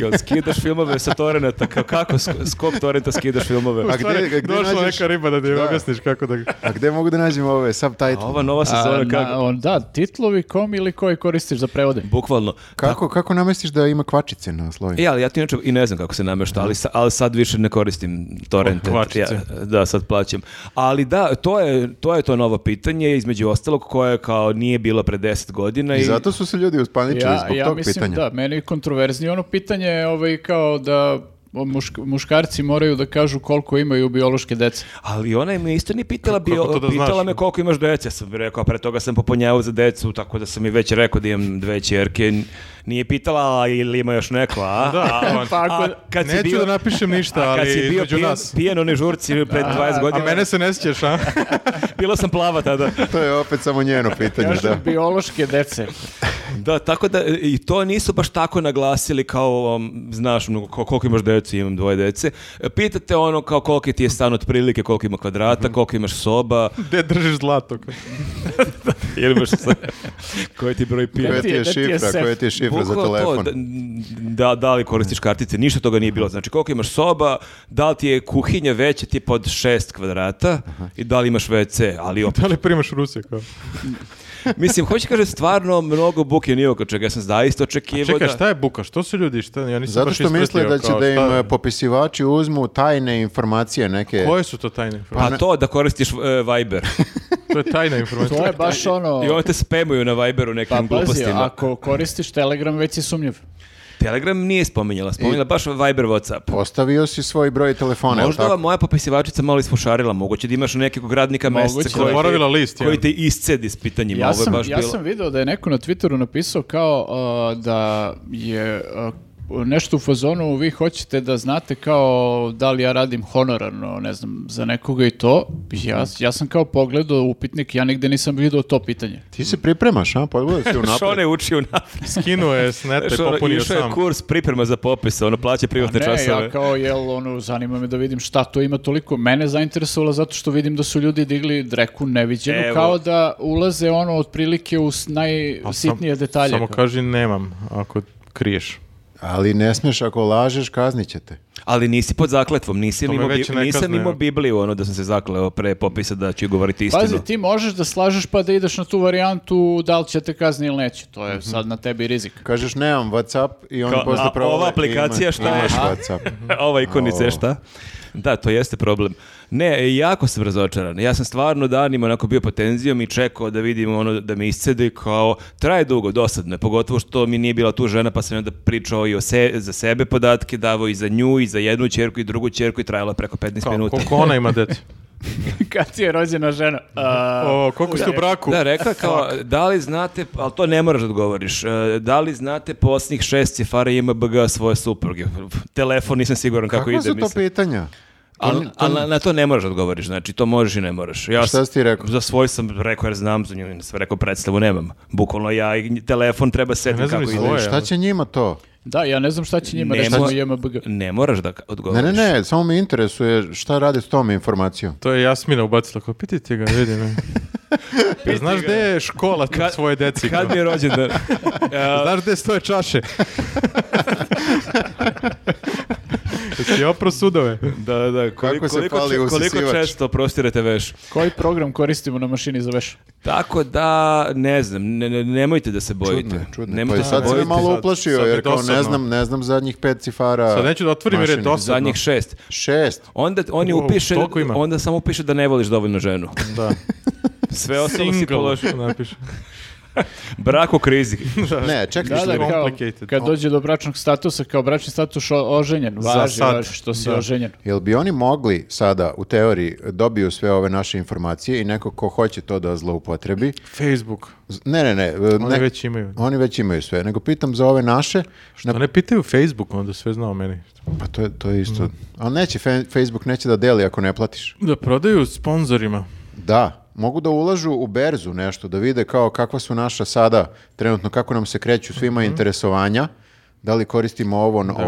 [SPEAKER 4] Kao, skidaš filmove sa torrenta, kao kako sk- s kog torrenta skidaš filmove?
[SPEAKER 2] A
[SPEAKER 1] A
[SPEAKER 2] gde-
[SPEAKER 1] gde,
[SPEAKER 2] gde
[SPEAKER 1] Došla
[SPEAKER 2] nađeš-
[SPEAKER 1] neka riba da ti
[SPEAKER 2] Da.
[SPEAKER 1] objasniš kako da...
[SPEAKER 2] A gde mogu da nađem ove subtitle?
[SPEAKER 4] A ova nova
[SPEAKER 3] A,
[SPEAKER 4] sezona
[SPEAKER 3] na-
[SPEAKER 4] kako?
[SPEAKER 3] on, da, titlovi kom ili koji koristiš za prevode.
[SPEAKER 4] Bukvalno.
[SPEAKER 2] Kako, kako namestiš da ima kvačice na slovima?
[SPEAKER 4] E, ali ja ti inače i ne znam kako se namešta, ali, sa- ali sad više ne koristim torrente.
[SPEAKER 1] Kvačice.
[SPEAKER 4] Ja, da, sad plaćam. Ali da, to je, to je to novo pitanje, između ostalog, koje kao nije bilo pre 10 godina.
[SPEAKER 2] I zato su se ljudi uspaničili
[SPEAKER 3] Ja,
[SPEAKER 2] zbog
[SPEAKER 3] ja
[SPEAKER 2] tog
[SPEAKER 3] mislim
[SPEAKER 2] pitanja.
[SPEAKER 3] da, meni je kontroverznije ono pitanje ovaj, kao da mušk- muškarci moraju da kažu koliko imaju biološke dece.
[SPEAKER 4] Ali ona me isto ni pitala,
[SPEAKER 1] Kako- kako
[SPEAKER 4] bio,
[SPEAKER 1] to da
[SPEAKER 4] pitala
[SPEAKER 1] znaš?
[SPEAKER 4] me koliko imaš dece. Ja sam rekao, a pre toga sam popunjavao za decu, tako da sam mi već rekao da imam dve čerke. Nije pitala "A ili ima još neko, [laughs] a?
[SPEAKER 1] Da,
[SPEAKER 3] Pa ako-
[SPEAKER 4] kad si
[SPEAKER 1] Neću
[SPEAKER 4] bio-
[SPEAKER 1] da napišem ništa,
[SPEAKER 4] a Pa kad
[SPEAKER 1] ali
[SPEAKER 4] si bio
[SPEAKER 1] između
[SPEAKER 4] pijen,
[SPEAKER 1] nas.
[SPEAKER 4] pijen onoj žurci pred 20
[SPEAKER 1] A
[SPEAKER 4] godina,
[SPEAKER 1] mene se ne sjećaš, a? [laughs]
[SPEAKER 4] bila sam plava tada.
[SPEAKER 2] To je opet samo njeno pitanje,
[SPEAKER 3] Kažu
[SPEAKER 2] da.
[SPEAKER 3] biološke dece.
[SPEAKER 4] Da, tako da e, i to nisu baš tako naglasili kao, um, znaš, mnogo, ko- koliko imaš dece, imam dvoje dece. E, Pitate ono kao koliko ti je stan otprilike, koliko ima kvadrata, koliko imaš soba,
[SPEAKER 1] Gde držiš zlato?
[SPEAKER 4] [laughs] ili imaš sve. [laughs] koji ti broj pije.
[SPEAKER 2] Koja ti je
[SPEAKER 3] Gde ti je
[SPEAKER 2] šifra,
[SPEAKER 3] sef?
[SPEAKER 2] koja ti je šifra za
[SPEAKER 4] Bukvalno to,
[SPEAKER 2] telefon?
[SPEAKER 4] da, da, da li koristiš kartice, ništa toga nije bilo. Znači koliko imaš soba, da li ti je kuhinja veća tipa od 6 kvadrata i da li imaš WC, ali opet.
[SPEAKER 1] Da li primaš Rusije? Kao?
[SPEAKER 4] Mislim, hoće kaže stvarno mnogo buke nije oko čega. Ja sam zaista očekivao da...
[SPEAKER 1] Čekaj, šta je buka? Što su ljudi? Šta? Ja nisam
[SPEAKER 2] Zato
[SPEAKER 1] baš
[SPEAKER 2] što misle
[SPEAKER 1] ispratio,
[SPEAKER 2] da će
[SPEAKER 1] kao,
[SPEAKER 2] da im
[SPEAKER 1] šta-
[SPEAKER 2] e, popisivači uzmu tajne informacije neke.
[SPEAKER 1] Koje su to tajne informacije?
[SPEAKER 4] Pa to da koristiš e, Viber.
[SPEAKER 2] Pa-
[SPEAKER 1] To je tajna informacija.
[SPEAKER 3] To je baš ono...
[SPEAKER 4] I oni te spemuju na Viberu
[SPEAKER 3] Pa
[SPEAKER 4] nekim
[SPEAKER 3] pazi,
[SPEAKER 4] glupostima.
[SPEAKER 3] ako koristiš Telegram, već si sumnjiv.
[SPEAKER 4] Telegram nije spominjala, spominjala baš Viber Whatsapp.
[SPEAKER 2] Ostavio si svoj broj telefona,
[SPEAKER 4] Možda
[SPEAKER 2] jel
[SPEAKER 4] ova
[SPEAKER 2] Pa tako?
[SPEAKER 4] moja popisivačica malo isfušarila, moguće da imaš nekog radnika
[SPEAKER 3] Moguće.
[SPEAKER 4] meseca
[SPEAKER 1] Da je
[SPEAKER 4] koji,
[SPEAKER 1] zaboravila list, ja.
[SPEAKER 4] koji te iscedi s pitanjima.
[SPEAKER 3] Ja
[SPEAKER 4] Ovo je
[SPEAKER 3] sam,
[SPEAKER 4] baš
[SPEAKER 3] ja
[SPEAKER 4] bilo... [laughs]
[SPEAKER 3] sam video da je neko na Twitteru napisao kao uh, da je uh, nešto u fazonu vi hoćete da znate kao da li ja radim honorarno, ne znam, za nekoga i to. Ja, ja sam kao pogledao upitnik, ja nigde nisam video to pitanje.
[SPEAKER 2] Ti se pripremaš, a? Podbudio
[SPEAKER 4] [laughs]
[SPEAKER 2] si unapred.
[SPEAKER 4] Šone uči u
[SPEAKER 1] Skinuo je s nete,
[SPEAKER 4] Šone,
[SPEAKER 1] popunio
[SPEAKER 4] ono, išao je
[SPEAKER 1] sam.
[SPEAKER 4] kurs priprema za popis, ono plaća
[SPEAKER 3] A
[SPEAKER 4] privatne
[SPEAKER 3] ne,
[SPEAKER 4] časove.
[SPEAKER 3] ja kao, jel, ono, zanima me da vidim šta to ima toliko. Mene zainteresovalo zato što vidim da su ljudi digli dreku neviđenu,
[SPEAKER 4] Evo. Pa
[SPEAKER 3] kao da ulaze ono otprilike u s- najsitnije detalje.
[SPEAKER 1] Pa Samo
[SPEAKER 3] kao.
[SPEAKER 1] kaži nemam, ako kriješ.
[SPEAKER 2] Ali ne smiješ ako lažeš, kaznit će te.
[SPEAKER 4] Ali nisi pod zakletvom, nisi
[SPEAKER 1] To me
[SPEAKER 4] imao, bi-
[SPEAKER 1] već ne
[SPEAKER 4] nisam
[SPEAKER 1] kazne,
[SPEAKER 4] imao
[SPEAKER 1] ja.
[SPEAKER 4] Bibliju, ono da sam se zakleo pre popisa da ću govoriti istinu.
[SPEAKER 3] Pazi, ti možeš da slažeš pa da ideš na tu varijantu da li će te kazni ili neće. To je sad na tebi rizik.
[SPEAKER 1] [laughs]
[SPEAKER 2] Kažeš nemam Whatsapp i oni
[SPEAKER 4] Kao,
[SPEAKER 2] posle
[SPEAKER 4] a
[SPEAKER 2] provale
[SPEAKER 4] ova
[SPEAKER 2] i
[SPEAKER 4] aplikacija
[SPEAKER 2] ima-
[SPEAKER 4] šta je?
[SPEAKER 2] Imaš
[SPEAKER 4] Aha.
[SPEAKER 1] [laughs]
[SPEAKER 2] Whatsapp.
[SPEAKER 4] [laughs] Ova ikonica je
[SPEAKER 2] O.
[SPEAKER 4] šta? Da, to jeste problem. Ne, e, jako sam razočaran. Ja sam stvarno danima onako bio pod tenzijom i čekao da vidim ono da me iscedi kao traje dugo, dosadno je, pogotovo što mi nije bila tu žena pa sam onda pričao i o se, za sebe podatke, davao i za nju i za jednu čerku i drugu čerku i trajala preko 15
[SPEAKER 1] Kao,
[SPEAKER 4] minuta.
[SPEAKER 1] koliko ona ima
[SPEAKER 2] [laughs]
[SPEAKER 1] dete?
[SPEAKER 3] Kad ti je rođena žena? A,
[SPEAKER 1] O, koliko ste u braku?
[SPEAKER 4] Da, rekla kao, da li znate, ali to ne moraš da odgovoriš, e, da li znate posljednjih šest cifara IMBG svoje supruge? Telefon nisam siguran kako,
[SPEAKER 2] Kakva
[SPEAKER 4] ide,
[SPEAKER 2] su to
[SPEAKER 4] mislim.
[SPEAKER 2] pitanja?
[SPEAKER 4] Ali ali na, na to ne moraš da odgovoriš, znači to možeš i ne moraš. Ja
[SPEAKER 2] Šta
[SPEAKER 4] sam-
[SPEAKER 2] si ti rekao?
[SPEAKER 4] Za svoj sam rekao jer znam za nju, ja sam rekao predstavu nemam. Bukvalno ja i nj- telefon treba setim
[SPEAKER 1] Ja ne znam
[SPEAKER 4] kako
[SPEAKER 1] ni
[SPEAKER 4] ide.
[SPEAKER 1] svoje.
[SPEAKER 2] Ali šta će njima to?
[SPEAKER 3] Da, ja ne znam šta će njima
[SPEAKER 4] Ne
[SPEAKER 3] reći na
[SPEAKER 4] mo-
[SPEAKER 3] JMBG.
[SPEAKER 4] Ne moraš da ka-
[SPEAKER 2] Ne,
[SPEAKER 4] odgovoriš.
[SPEAKER 2] ne, ne, samo me interesuje šta rade s tom informacijom.
[SPEAKER 1] To je Jasmina ubacila, kao pitajte ga, vidi
[SPEAKER 2] [laughs]
[SPEAKER 1] me. Ja, Znaš gde je škola
[SPEAKER 4] Kad-
[SPEAKER 1] kad, svoje deci?
[SPEAKER 4] Kad
[SPEAKER 1] kao?
[SPEAKER 4] mi je
[SPEAKER 2] [laughs]
[SPEAKER 4] rođendan? A,
[SPEAKER 1] Znaš gde stoje
[SPEAKER 4] [laughs]
[SPEAKER 1] čaše? Jesi opro sudove?
[SPEAKER 4] da, da, koliko,
[SPEAKER 2] se
[SPEAKER 4] koliko,
[SPEAKER 2] pali
[SPEAKER 4] če-
[SPEAKER 2] usisivač?
[SPEAKER 4] koliko često prostirate veš?
[SPEAKER 3] Koji program koristimo na mašini za veš?
[SPEAKER 4] Tako da, ne znam, ne, ne- nemojte da se bojite.
[SPEAKER 2] Čudno je, čudno. je. Pa
[SPEAKER 4] Nemojte
[SPEAKER 2] i
[SPEAKER 4] da se
[SPEAKER 2] sad se me
[SPEAKER 4] bojite.
[SPEAKER 2] malo
[SPEAKER 1] sad-
[SPEAKER 2] uplašio,
[SPEAKER 1] sad je
[SPEAKER 2] jer kao ne
[SPEAKER 1] dosadno.
[SPEAKER 2] znam, ne znam zadnjih pet cifara.
[SPEAKER 1] Sad neću da otvorim jer je
[SPEAKER 2] mašine.
[SPEAKER 1] dosadno.
[SPEAKER 4] Zadnjih šest.
[SPEAKER 2] Šest.
[SPEAKER 4] Onda on je
[SPEAKER 1] Wow,
[SPEAKER 4] upiše,
[SPEAKER 1] toliko ima.
[SPEAKER 4] onda samo upiše da ne voliš dovoljno
[SPEAKER 2] [laughs]
[SPEAKER 4] ženu.
[SPEAKER 1] Da.
[SPEAKER 4] Sve ostalo si položio.
[SPEAKER 1] napiše.
[SPEAKER 4] Brak u krizi.
[SPEAKER 2] Ne, čekaj,
[SPEAKER 3] Da,
[SPEAKER 2] šta-
[SPEAKER 3] da, kao,
[SPEAKER 1] complicated.
[SPEAKER 3] kad dođe do bračnog statusa, kao bračni status o- oženjen, važi,
[SPEAKER 1] sad.
[SPEAKER 3] važi što si
[SPEAKER 1] Da.
[SPEAKER 3] oženjen.
[SPEAKER 2] Jel bi oni mogli sada, u teoriji, dobiju sve ove naše informacije i neko ko hoće to da zloupotrebi?
[SPEAKER 1] Facebook.
[SPEAKER 2] Z- Ne, ne, ne.
[SPEAKER 1] Oni
[SPEAKER 2] ne-
[SPEAKER 1] već imaju.
[SPEAKER 2] Oni već imaju sve, nego pitam za ove naše,
[SPEAKER 1] Što ne pitaju Facebook, onda sve znao meni.
[SPEAKER 2] pa to je, to je isto.
[SPEAKER 1] Mhm.
[SPEAKER 2] Ali neće, fe- Facebook neće da deli ako ne platiš.
[SPEAKER 1] Da prodaju sponzorima.
[SPEAKER 2] Da, mogu da ulažu u berzu nešto, da vide kao kakva su naša sada, trenutno kako nam se kreću svima
[SPEAKER 1] Mhm.
[SPEAKER 2] interesovanja, da li koristimo ovo, ono,
[SPEAKER 1] kao,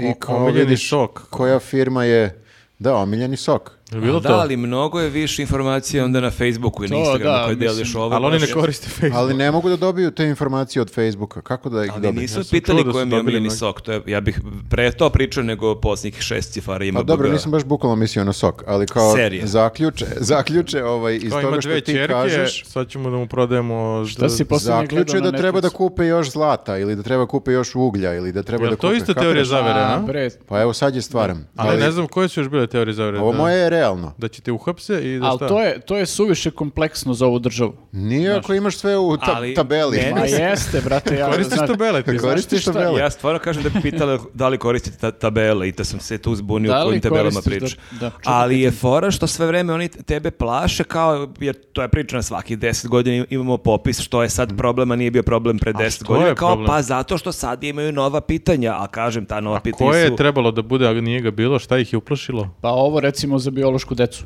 [SPEAKER 2] i
[SPEAKER 1] o-
[SPEAKER 2] kao
[SPEAKER 1] omiljeni
[SPEAKER 2] vidiš
[SPEAKER 1] sok.
[SPEAKER 2] koja firma je, da, omiljeni sok.
[SPEAKER 1] Je bilo
[SPEAKER 4] da,
[SPEAKER 1] to?
[SPEAKER 4] ali mnogo je više informacija onda na Facebooku i na
[SPEAKER 3] To,
[SPEAKER 4] Instagramu
[SPEAKER 3] da,
[SPEAKER 4] koje
[SPEAKER 3] mislim,
[SPEAKER 4] deliš ovo.
[SPEAKER 1] Ali oni
[SPEAKER 4] baš-
[SPEAKER 1] ne koriste Facebook.
[SPEAKER 2] Ali ne mogu da dobiju te informacije od Facebooka. Kako da ih
[SPEAKER 4] Ali
[SPEAKER 2] dobiju?
[SPEAKER 4] nisu
[SPEAKER 1] Ja sam
[SPEAKER 4] pitali
[SPEAKER 1] čuo da
[SPEAKER 4] koji
[SPEAKER 1] su
[SPEAKER 4] mi je
[SPEAKER 1] dobili
[SPEAKER 4] omiljeni
[SPEAKER 1] mnogi.
[SPEAKER 4] sok, to je, ja bih pre to pričao nego posljednjih šest cifara ima
[SPEAKER 2] Pa dobro,
[SPEAKER 4] BG.
[SPEAKER 2] nisam baš bukvalno mislio na sok, ali kao
[SPEAKER 4] Serije.
[SPEAKER 2] zaključe, zaključe ovaj, iz
[SPEAKER 1] Kao ima
[SPEAKER 2] toga što
[SPEAKER 1] dve
[SPEAKER 2] ti
[SPEAKER 1] ćerke,
[SPEAKER 2] kažeš,
[SPEAKER 1] sad ćemo da mu prodajemo...
[SPEAKER 3] Šta si poslednje
[SPEAKER 2] zaključe
[SPEAKER 3] gledao na
[SPEAKER 2] da treba da
[SPEAKER 3] Netflixu?
[SPEAKER 2] kupe još zlata ili da treba kupe još uglja ili da treba
[SPEAKER 1] Jel
[SPEAKER 2] da
[SPEAKER 1] to
[SPEAKER 2] kupe...
[SPEAKER 1] isto
[SPEAKER 2] kapiraš?
[SPEAKER 1] teorija zavere,
[SPEAKER 3] A,
[SPEAKER 1] a?
[SPEAKER 3] bre,
[SPEAKER 2] Pa evo sad je stvaram.
[SPEAKER 1] Ali ne znam koje su još bile teorije zavere.
[SPEAKER 2] Ovo
[SPEAKER 1] da-
[SPEAKER 2] moje je realno.
[SPEAKER 1] Da će te uhapse i da
[SPEAKER 3] ali
[SPEAKER 1] šta?
[SPEAKER 3] to je, to je suviše kompleksno za ovu državu.
[SPEAKER 2] Nije ako imaš sve u ta-
[SPEAKER 4] Ali
[SPEAKER 2] tabeli.
[SPEAKER 4] mene-
[SPEAKER 2] [laughs]
[SPEAKER 3] Ma jeste, brate, ja...
[SPEAKER 1] Koristiš
[SPEAKER 3] znaš-
[SPEAKER 1] tabele ti.
[SPEAKER 3] Znaš
[SPEAKER 2] Koristiš
[SPEAKER 3] ti šta-
[SPEAKER 2] tabele.
[SPEAKER 4] Ja stvarno kažem da bi pitala da li koristite ta tabele i da sam se tu zbunio
[SPEAKER 3] Da li
[SPEAKER 4] o kojim tabelama
[SPEAKER 3] koristiš
[SPEAKER 4] priča.
[SPEAKER 3] da- da, čudno
[SPEAKER 4] Ali je fora što sve vreme oni tebe plaše kao, jer to je priča na svaki 10 godina imamo popis što je sad problem, a nije bio problem pre 10
[SPEAKER 1] što
[SPEAKER 4] godina.
[SPEAKER 1] je
[SPEAKER 4] Kao
[SPEAKER 1] problem?
[SPEAKER 4] pa zato što sad imaju nova pitanja, a kažem ta nova pitanja
[SPEAKER 1] Koje
[SPEAKER 4] su...
[SPEAKER 1] je trebalo da bude, a nije ga bilo, šta ih je uplašilo?
[SPEAKER 3] Pa ovo recimo za biološku decu.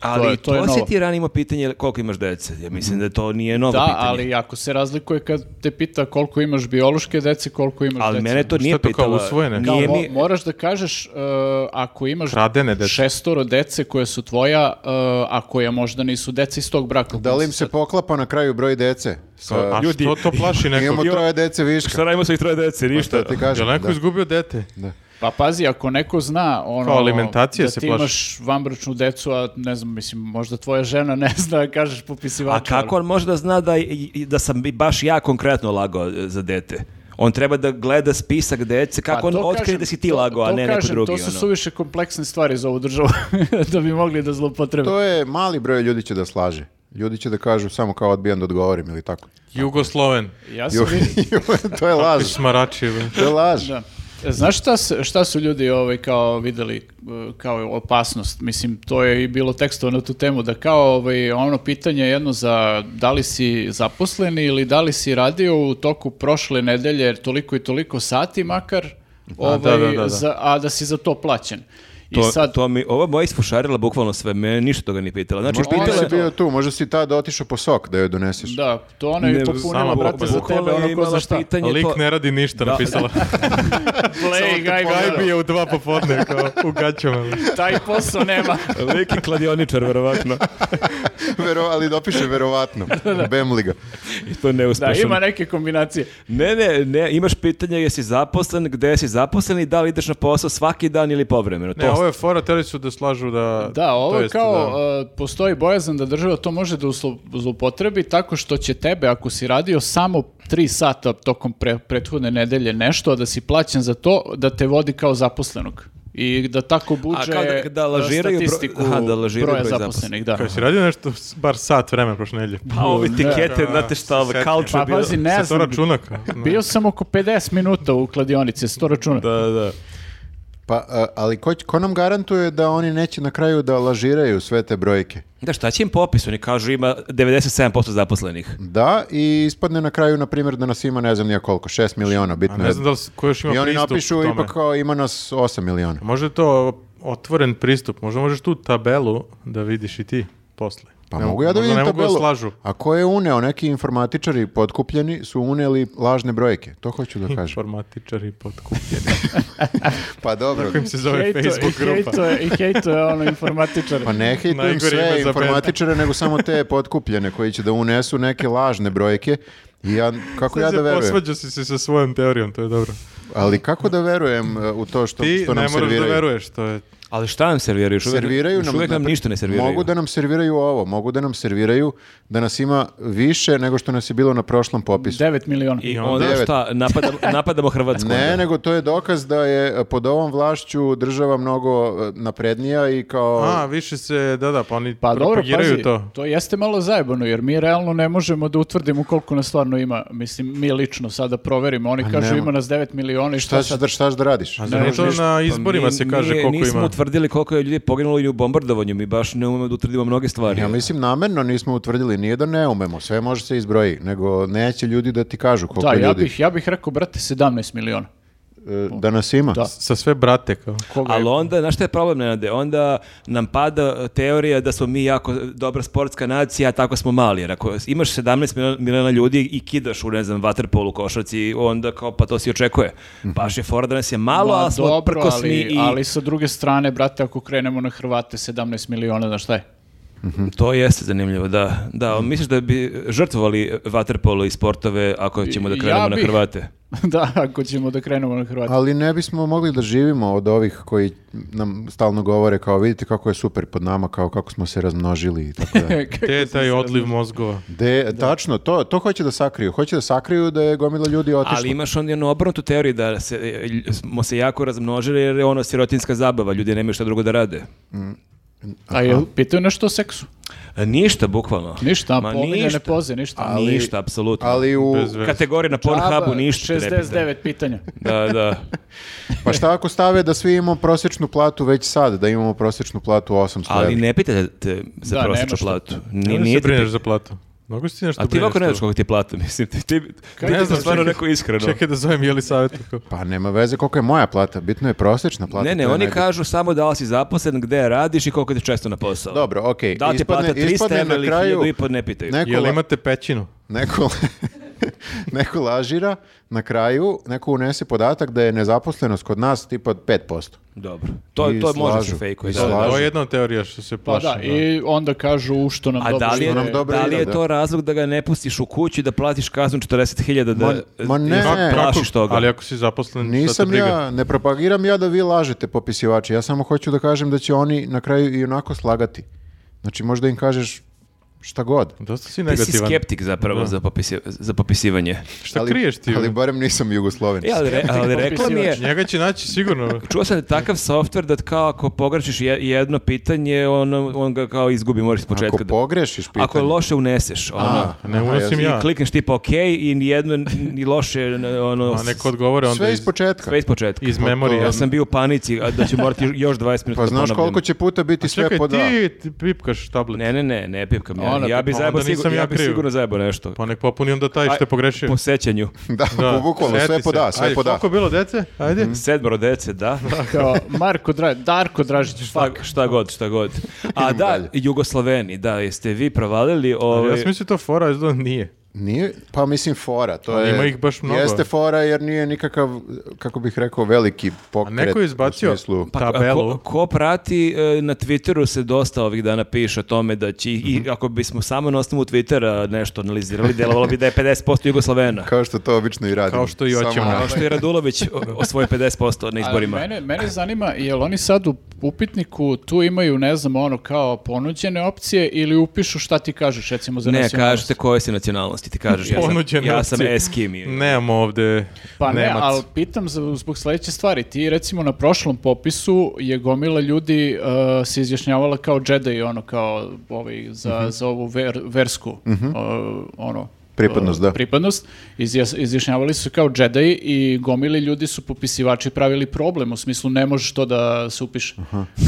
[SPEAKER 4] ali
[SPEAKER 3] to
[SPEAKER 4] to,
[SPEAKER 3] je- to je
[SPEAKER 4] si
[SPEAKER 3] novo.
[SPEAKER 4] ti ranimo pitanje koliko imaš dece. Ja mislim Pa da to nije novo
[SPEAKER 3] Da,
[SPEAKER 4] pitanje.
[SPEAKER 3] ali jako se razlikuje kad te pita koliko imaš biološke dece, koliko imaš
[SPEAKER 4] Ali
[SPEAKER 3] dece.
[SPEAKER 4] mene to
[SPEAKER 1] Šta
[SPEAKER 4] nije
[SPEAKER 1] to kao
[SPEAKER 4] pitalo.
[SPEAKER 1] usvojene?
[SPEAKER 3] Kao,
[SPEAKER 4] Nije
[SPEAKER 3] mo-
[SPEAKER 4] mi...
[SPEAKER 3] moraš da kažeš uh, ako imaš
[SPEAKER 1] Kradene dece.
[SPEAKER 3] šestoro dece koje su tvoja, uh, a koja možda nisu deca iz tog braka.
[SPEAKER 2] Da li im se poklapa na kraju broj dece? Sa-
[SPEAKER 1] A što to plaši nekog?
[SPEAKER 2] imamo troje dece viška.
[SPEAKER 4] Šta radimo sa ih troje dece, ništa.
[SPEAKER 2] Šta ti kažem?
[SPEAKER 1] Je neko
[SPEAKER 2] da.
[SPEAKER 1] izgubio dete?
[SPEAKER 3] Pa pazi, ako neko zna ono,
[SPEAKER 1] Kao alimentacije
[SPEAKER 3] da
[SPEAKER 1] se
[SPEAKER 3] ti
[SPEAKER 1] plaši.
[SPEAKER 3] imaš vanbračnu decu, a ne znam, mislim, možda tvoja žena ne [laughs] zna, kažeš
[SPEAKER 4] A
[SPEAKER 3] popisivača. ono.
[SPEAKER 4] kako on može da zna da, i- i- da sam i baš ja konkretno lagao e, za dete? On treba da gleda spisak dece, kako
[SPEAKER 3] Pa
[SPEAKER 4] on
[SPEAKER 3] to
[SPEAKER 4] otkrije
[SPEAKER 3] kažem,
[SPEAKER 4] da si ti
[SPEAKER 3] to-
[SPEAKER 4] lagao, a
[SPEAKER 3] to
[SPEAKER 4] ne neko
[SPEAKER 3] kažem,
[SPEAKER 4] drugi.
[SPEAKER 3] To su
[SPEAKER 4] ono.
[SPEAKER 3] suviše kompleksne stvari za ovu državu [laughs] da bi mogli da zloupotrebe.
[SPEAKER 2] To je mali broj ljudi će da slaže. Ljudi će da kažu samo kao odbijam da odgovorim ili tako.
[SPEAKER 1] Jugosloven.
[SPEAKER 3] Ja sam
[SPEAKER 2] Ju-
[SPEAKER 3] vidio-
[SPEAKER 2] [laughs] ju- to je laž.
[SPEAKER 1] Smarači. bre.
[SPEAKER 2] To je laž.
[SPEAKER 3] Da. E, Znaš šta, se- šta su ljudi ovaj kao videli e, kao opasnost? Mislim, to je i bilo tekstovo na tu temu, da kao ovaj, ono pitanje jedno za da li si zaposleni ili da li si radio u toku prošle nedelje toliko i toliko sati makar, ovaj,
[SPEAKER 1] da, da, da, da.
[SPEAKER 3] za- a da si za to plaćen. I
[SPEAKER 4] To,
[SPEAKER 3] sad,
[SPEAKER 4] to mi, ova moja isfušarila bukvalno sve, me ništa toga nije pitala. Znači,
[SPEAKER 2] Možda
[SPEAKER 4] pitala
[SPEAKER 2] nisi
[SPEAKER 4] je-
[SPEAKER 2] bio tu, možda si tada otišao po sok da joj doneseš.
[SPEAKER 3] da, to ona je
[SPEAKER 4] Ne,
[SPEAKER 3] popunila,
[SPEAKER 1] sama
[SPEAKER 3] brate, za
[SPEAKER 4] bukvalno
[SPEAKER 3] tebe,
[SPEAKER 4] je
[SPEAKER 3] ono ko
[SPEAKER 4] imala
[SPEAKER 3] za šta.
[SPEAKER 4] pitanje
[SPEAKER 1] Lik
[SPEAKER 4] to-
[SPEAKER 1] ne radi ništa, [laughs]
[SPEAKER 4] Da.
[SPEAKER 1] napisala.
[SPEAKER 3] Play, gaj,
[SPEAKER 1] Gajbi je u dva popodne, kao u gaćama.
[SPEAKER 3] taj posao
[SPEAKER 4] [laughs]
[SPEAKER 3] nema.
[SPEAKER 4] Lik je kladioničar, verovatno.
[SPEAKER 2] [laughs] Vero, ali dopiše
[SPEAKER 1] [laughs]
[SPEAKER 2] verovatno. Bemliga.
[SPEAKER 4] I to ne
[SPEAKER 3] [laughs] Da, ima neke kombinacije.
[SPEAKER 4] Ne, ne, ne, imaš pitanje jesi zaposlen, gde si zaposlen i da li ideš na posao svaki dan ili povremeno.
[SPEAKER 1] Ne,
[SPEAKER 4] to,
[SPEAKER 1] ovo je fora, teli su da slažu da...
[SPEAKER 3] Da, ovo
[SPEAKER 1] to
[SPEAKER 3] je
[SPEAKER 1] jest
[SPEAKER 3] kao
[SPEAKER 1] da-
[SPEAKER 3] e, postoji bojazan da država to može da uslo- zloupotrebi tako što će tebe ako si radio samo tri sata tokom pre- prethodne nedelje nešto, a da si plaćen za to, da te vodi kao zaposlenog. I da tako
[SPEAKER 4] A
[SPEAKER 3] buđe e,
[SPEAKER 4] kao da- da lažiraju bro-
[SPEAKER 3] statistiku
[SPEAKER 4] aha, da lažiraju
[SPEAKER 3] broja
[SPEAKER 4] broj
[SPEAKER 3] zaposlenih. Da.
[SPEAKER 1] Kao si radio nešto s- bar sat vremena prošle nedelje?
[SPEAKER 4] Pa ovi tikete,
[SPEAKER 1] Da,
[SPEAKER 4] znate šta, ovo,
[SPEAKER 1] se setim.
[SPEAKER 4] culture
[SPEAKER 3] Pa
[SPEAKER 4] bilo.
[SPEAKER 3] pazi, ne
[SPEAKER 1] Sa to
[SPEAKER 3] znam.
[SPEAKER 1] računa
[SPEAKER 3] [laughs]
[SPEAKER 1] kao. Ne.
[SPEAKER 3] Bio sam oko 50 minuta u kladionici, se to računa.
[SPEAKER 4] Da, da.
[SPEAKER 2] Pa, a, ali ko, ko nam garantuje da oni neće na kraju da lažiraju sve te brojke?
[SPEAKER 4] Da, šta će im popis? Oni kažu ima 97% zaposlenih.
[SPEAKER 2] Da, i ispadne na kraju, na primjer, da nas ima ne znam nija koliko, 6 miliona,
[SPEAKER 1] A
[SPEAKER 2] bitno je.
[SPEAKER 1] ne znam da li s- ko još ima
[SPEAKER 2] I oni
[SPEAKER 1] pristup
[SPEAKER 2] napišu
[SPEAKER 1] tome. Pa
[SPEAKER 2] ipak kao ima nas 8 miliona.
[SPEAKER 1] Može to otvoren pristup, možda možeš tu tabelu da vidiš i ti posle.
[SPEAKER 2] Pa
[SPEAKER 1] Ne-
[SPEAKER 2] mogu ja
[SPEAKER 1] možda
[SPEAKER 2] da vidim
[SPEAKER 1] ne mogu da
[SPEAKER 2] tabelu.
[SPEAKER 1] slažu.
[SPEAKER 2] A ko je uneo? Neki informatičari potkupljeni su uneli lažne brojke. To hoću da
[SPEAKER 1] [laughs]
[SPEAKER 2] kažem.
[SPEAKER 1] Informatičari potkupljeni.
[SPEAKER 2] Pa dobro.
[SPEAKER 1] Kako im se zove
[SPEAKER 3] Hejto-
[SPEAKER 1] Facebook
[SPEAKER 3] i
[SPEAKER 1] grupa?
[SPEAKER 3] hejto je- I hejto je ono informatičar.
[SPEAKER 2] Pa ne hejtujem
[SPEAKER 1] [laughs] Najgore ime
[SPEAKER 2] sve
[SPEAKER 1] za
[SPEAKER 2] informatičare, nego samo te potkupljene koji će da unesu neke lažne brojke. I ja, kako ja da verujem?
[SPEAKER 1] Posvađa si se sa svojom teorijom, to je dobro.
[SPEAKER 2] Ali kako da verujem e, u to što,
[SPEAKER 1] Ti
[SPEAKER 2] što
[SPEAKER 1] ne
[SPEAKER 2] nam
[SPEAKER 1] moraš
[SPEAKER 2] serviraju?
[SPEAKER 1] da veruješ, to je...
[SPEAKER 4] Ali šta nam serviraju? Još uvek-
[SPEAKER 2] Serviraju
[SPEAKER 4] još
[SPEAKER 2] nam,
[SPEAKER 4] uvek nam
[SPEAKER 2] na pr-
[SPEAKER 4] ništa ne serviraju.
[SPEAKER 2] Mogu da nam serviraju ovo, mogu da nam serviraju da nas ima više nego što nas je bilo na prošlom popisu.
[SPEAKER 3] 9 miliona.
[SPEAKER 4] I
[SPEAKER 1] onda
[SPEAKER 4] onda
[SPEAKER 2] devet.
[SPEAKER 4] šta, napadamo,
[SPEAKER 1] [laughs]
[SPEAKER 4] napadamo Hrvatsku.
[SPEAKER 2] Ne,
[SPEAKER 4] onda.
[SPEAKER 2] nego to je dokaz da je e, pod ovom vlašću država mnogo e, naprednija i kao...
[SPEAKER 1] A, više se, da, da, pa oni
[SPEAKER 3] Pa dobro,
[SPEAKER 1] propagiraju
[SPEAKER 3] pazi, to.
[SPEAKER 1] to.
[SPEAKER 3] jeste malo zajebano, jer mi realno ne možemo da utvrdimo koliko nas stvarno ima. Mislim, mi lično sada proverimo. Oni kažu
[SPEAKER 2] nema.
[SPEAKER 3] ima nas 9 miliona i šta,
[SPEAKER 2] šta, ćeš
[SPEAKER 3] sad?
[SPEAKER 2] da, šta ćeš da radiš?
[SPEAKER 1] A zar nije to na pa izborima
[SPEAKER 3] pa
[SPEAKER 4] mi-
[SPEAKER 1] se kaže
[SPEAKER 4] mi
[SPEAKER 1] koliko
[SPEAKER 4] Pa Nismo
[SPEAKER 1] ima?
[SPEAKER 4] utvrdili koliko je ljudi poginulo i u bombardovanju. Mi baš ne umemo da utvrdimo mnoge stvari.
[SPEAKER 2] Ja mislim namerno nismo utvrdili, nije da ne umemo, sve može se izbroji, nego neće ljudi da ti kažu koliko
[SPEAKER 3] Da,
[SPEAKER 2] ljudi.
[SPEAKER 3] ja bih, ja bih rekao, brate, 17 miliona.
[SPEAKER 2] e, da nas ima.
[SPEAKER 3] Da.
[SPEAKER 1] Sa sve brate,
[SPEAKER 2] [laughs]
[SPEAKER 1] kao.
[SPEAKER 3] Koga je-
[SPEAKER 4] Ali onda, znaš šta je problem, Nenade? Onda nam pada e, teorija da smo mi jako dobra sportska nacija, a tako smo mali. Jer ako imaš 17 miliona, miliona ljudi i kidaš u, ne znam, vaterpolu, košarci, onda kao, pa to si očekuje. Baš je fora da nas je malo,
[SPEAKER 3] Mhm. Ma,
[SPEAKER 4] ali smo
[SPEAKER 3] dobro,
[SPEAKER 4] prkosni
[SPEAKER 3] ali,
[SPEAKER 4] i
[SPEAKER 3] ali sa druge strane, brate, ako krenemo na Hrvate 17 miliona, znaš šta je? [laughs]
[SPEAKER 4] to jeste zanimljivo, da. Da, misliš da bi žrtvovali vaterpolo i sportove ako ćemo da
[SPEAKER 3] Ja
[SPEAKER 4] krenemo na
[SPEAKER 3] bih.
[SPEAKER 4] Hrvate?
[SPEAKER 3] da, ako ćemo da krenemo na
[SPEAKER 4] Pa-
[SPEAKER 3] Hrvate.
[SPEAKER 2] Ali ne bismo mogli da živimo od ovih koji nam stalno govore kao vidite kako je super pod nama, kao kako smo se razmnožili i tako
[SPEAKER 4] [laughs]
[SPEAKER 2] da.
[SPEAKER 3] Kako
[SPEAKER 1] Te
[SPEAKER 3] sam
[SPEAKER 1] taj
[SPEAKER 3] se
[SPEAKER 1] odliv mozgova.
[SPEAKER 2] De, Tačno, to, to hoće da sakriju. Hoće da sakriju da je gomila ljudi otišla.
[SPEAKER 4] Ali imaš onda jednu obrnutu teoriju da se, e, lj- smo se jako razmnožili jer je ono sirotinska zabava, ljudi nemaju šta drugo da rade.
[SPEAKER 3] A jel pitaju nešto o seksu?
[SPEAKER 4] E, Ništa, bukvalno.
[SPEAKER 3] Ništa,
[SPEAKER 4] Ma
[SPEAKER 3] pominjane
[SPEAKER 4] ništa.
[SPEAKER 3] poze, ništa.
[SPEAKER 4] Ali, ništa, apsolutno.
[SPEAKER 2] Ali u...
[SPEAKER 1] Bez veze.
[SPEAKER 4] Kategorija na Pornhubu
[SPEAKER 3] Džaba,
[SPEAKER 4] ništa. te ne pita.
[SPEAKER 3] 69 pitanja.
[SPEAKER 4] Da, da.
[SPEAKER 2] Pa šta ako stave da svi imamo prosječnu platu već sad, da imamo prosječnu platu 800
[SPEAKER 4] Ali
[SPEAKER 2] evra?
[SPEAKER 4] ne pitate te za
[SPEAKER 3] Da, nema
[SPEAKER 4] prosječnu
[SPEAKER 3] što.
[SPEAKER 4] platu. Ni,
[SPEAKER 1] Nije,
[SPEAKER 4] nije
[SPEAKER 1] se
[SPEAKER 4] ti
[SPEAKER 1] brineš
[SPEAKER 4] pita-
[SPEAKER 1] za platu. Mnogo si ti nešto
[SPEAKER 4] A ti ovako ne
[SPEAKER 1] brineš,
[SPEAKER 4] znaš koliko ti je plata, [laughs] mislim. Ti, ti,
[SPEAKER 3] Kaj
[SPEAKER 4] ne
[SPEAKER 3] ti
[SPEAKER 4] znam,
[SPEAKER 3] to
[SPEAKER 4] stvarno
[SPEAKER 1] čekaj?
[SPEAKER 4] neko iskreno.
[SPEAKER 1] Čekaj da zovem jeli savjetu.
[SPEAKER 2] Pa nema veze koliko je moja plata, bitno je prosječna plata.
[SPEAKER 4] Ne, ne,
[SPEAKER 2] to je
[SPEAKER 4] oni
[SPEAKER 2] najbitnije.
[SPEAKER 4] kažu samo da li si zaposlen, gde radiš i koliko ti je često na posao.
[SPEAKER 2] Dobro, okej.
[SPEAKER 4] Da li ti je plata 300 evra ili 1000 i pod ne pitaju.
[SPEAKER 2] neko,
[SPEAKER 1] Jel
[SPEAKER 2] la-
[SPEAKER 1] imate pećinu?
[SPEAKER 2] neko, [laughs] neko lažira, na kraju neko unese podatak da je nezaposlenost kod nas tipa 5%.
[SPEAKER 4] Dobro. To,
[SPEAKER 2] I
[SPEAKER 4] to može
[SPEAKER 2] slažu.
[SPEAKER 4] se fejkuje.
[SPEAKER 2] I
[SPEAKER 4] da.
[SPEAKER 2] slažu.
[SPEAKER 1] To je jedna od teorija što se
[SPEAKER 3] Pa
[SPEAKER 1] plaši.
[SPEAKER 3] da, i onda kažu u što nam
[SPEAKER 4] A
[SPEAKER 3] dobro
[SPEAKER 4] da li je,
[SPEAKER 3] ide.
[SPEAKER 4] [laughs]
[SPEAKER 2] nam dobro
[SPEAKER 4] da li
[SPEAKER 2] ide,
[SPEAKER 4] je
[SPEAKER 2] da.
[SPEAKER 4] to razlog da ga ne pustiš u kuću i da platiš kaznu 40.000 da
[SPEAKER 2] Ma- ma ne.
[SPEAKER 4] da se
[SPEAKER 2] Kako-
[SPEAKER 4] plašiš toga?
[SPEAKER 1] Ali ako si zaposlen, šta te
[SPEAKER 2] Nisam
[SPEAKER 1] briga?
[SPEAKER 2] ja, ne propagiram ja da vi lažete popisivači, ja samo hoću da kažem da će oni na kraju i onako slagati. Znači možda im kažeš šta god.
[SPEAKER 1] Dosta si
[SPEAKER 4] Ti si
[SPEAKER 1] negativan.
[SPEAKER 4] skeptik zapravo za, popisi- za popisivanje.
[SPEAKER 1] Šta
[SPEAKER 2] ali,
[SPEAKER 1] kriješ ti? ono?
[SPEAKER 2] Ali barem nisam jugosloven.
[SPEAKER 4] E, ali, re- ali rekla mi je,
[SPEAKER 1] Njega će naći
[SPEAKER 4] [laughs]
[SPEAKER 1] sigurno.
[SPEAKER 4] čuo sam da je takav softver da kao ako pogrešiš je- jedno pitanje, on, on ga kao izgubi, moraš s početka.
[SPEAKER 2] Ako
[SPEAKER 4] da-
[SPEAKER 2] pogrešiš pitanje.
[SPEAKER 4] ako loše uneseš, ono,
[SPEAKER 2] A,
[SPEAKER 1] Ne
[SPEAKER 2] aha,
[SPEAKER 1] unosim
[SPEAKER 4] i
[SPEAKER 1] ja.
[SPEAKER 4] klikneš tipa ok i nijedno ni loše, n- ono,
[SPEAKER 1] A neko odgovore onda
[SPEAKER 2] sve
[SPEAKER 1] iz,
[SPEAKER 2] iz početka.
[SPEAKER 4] sve iz početka.
[SPEAKER 1] iz memorije.
[SPEAKER 4] Ja sam bio u panici a da ću morati još 20 minuta
[SPEAKER 2] Pa
[SPEAKER 4] da
[SPEAKER 2] znaš
[SPEAKER 4] ponavljam.
[SPEAKER 2] koliko će puta biti sve
[SPEAKER 1] Čekaj,
[SPEAKER 2] po dva.
[SPEAKER 1] ti, ti pipkaš tablet.
[SPEAKER 4] Ne, ne, ne, ne pipkam ja.
[SPEAKER 3] Ona,
[SPEAKER 4] ja bi
[SPEAKER 1] pa
[SPEAKER 4] zajebao
[SPEAKER 1] onda nisam
[SPEAKER 4] sigurno,
[SPEAKER 1] ja
[SPEAKER 4] ja bi
[SPEAKER 1] kriv.
[SPEAKER 4] sigurno zajebao nešto.
[SPEAKER 1] Pa nek popuni onda taj što je
[SPEAKER 4] Aj,
[SPEAKER 1] pogrešio.
[SPEAKER 4] Po sećanju.
[SPEAKER 2] Da, bukvalno, sve
[SPEAKER 1] seti
[SPEAKER 2] po
[SPEAKER 1] se.
[SPEAKER 2] da, sve
[SPEAKER 1] Ajde,
[SPEAKER 2] po da.
[SPEAKER 1] Koliko je bilo dece? Ajde.
[SPEAKER 4] Sedmoro dece, da.
[SPEAKER 3] Kao Marko Dra- Darko Dražić,
[SPEAKER 4] Šta,
[SPEAKER 3] fuck.
[SPEAKER 4] šta god, šta god. A
[SPEAKER 2] Idemo
[SPEAKER 4] da,
[SPEAKER 2] dalje.
[SPEAKER 4] Jugoslaveni, da, jeste vi provalili
[SPEAKER 1] Ali
[SPEAKER 4] ovaj...
[SPEAKER 1] Ja sam mislio to fora, izgleda nije.
[SPEAKER 2] Nije, pa mislim fora, to
[SPEAKER 1] Ali
[SPEAKER 2] je...
[SPEAKER 1] ima ih baš mnogo.
[SPEAKER 2] Jeste fora jer nije nikakav, kako bih rekao, veliki
[SPEAKER 1] A
[SPEAKER 2] pokret.
[SPEAKER 1] neko je
[SPEAKER 2] u
[SPEAKER 1] izbacio
[SPEAKER 2] smislu-
[SPEAKER 4] Pa,
[SPEAKER 1] tabelu.
[SPEAKER 4] Ko, ko prati, e, na Twitteru se dosta ovih dana piše o tome da će, ih-
[SPEAKER 1] Mhm.
[SPEAKER 4] i ako bismo samo na osnovu Twittera nešto analizirali, delovalo bi da je 50% Jugoslavena.
[SPEAKER 2] Kao što to obično i radimo.
[SPEAKER 1] Kao što i
[SPEAKER 2] Samo- ono,
[SPEAKER 1] hoćemo.
[SPEAKER 4] Kao što je Radulović o- osvojio 50% na
[SPEAKER 3] A
[SPEAKER 4] izborima.
[SPEAKER 3] Mene, mene zanima, jel oni sad u upitniku tu imaju, ne znam, ono kao ponuđene opcije ili upišu šta ti kažeš, recimo za
[SPEAKER 4] Ne,
[SPEAKER 3] nacionalnost?
[SPEAKER 4] kažete koje si nacionalnosti, ti kažeš, ja sam,
[SPEAKER 1] Ponuđene
[SPEAKER 4] ja sam
[SPEAKER 1] opcije.
[SPEAKER 4] Eskimi.
[SPEAKER 1] Nemamo ovde
[SPEAKER 3] Pa ne,
[SPEAKER 1] Nemac.
[SPEAKER 3] ali pitam za- zbog sledeće stvari. Ti recimo na prošlom popisu je gomila ljudi uh, se izjašnjavala kao Jedi, ono kao ovaj, za, za ovu ver, versku uh, ono,
[SPEAKER 2] Pripadnost,
[SPEAKER 3] uh,
[SPEAKER 2] da.
[SPEAKER 3] pripadnost. Izjas- izjašnjavali su se kao Jedi i gomili ljudi su popisivači pravili problem, u smislu ne možeš to da se upiše.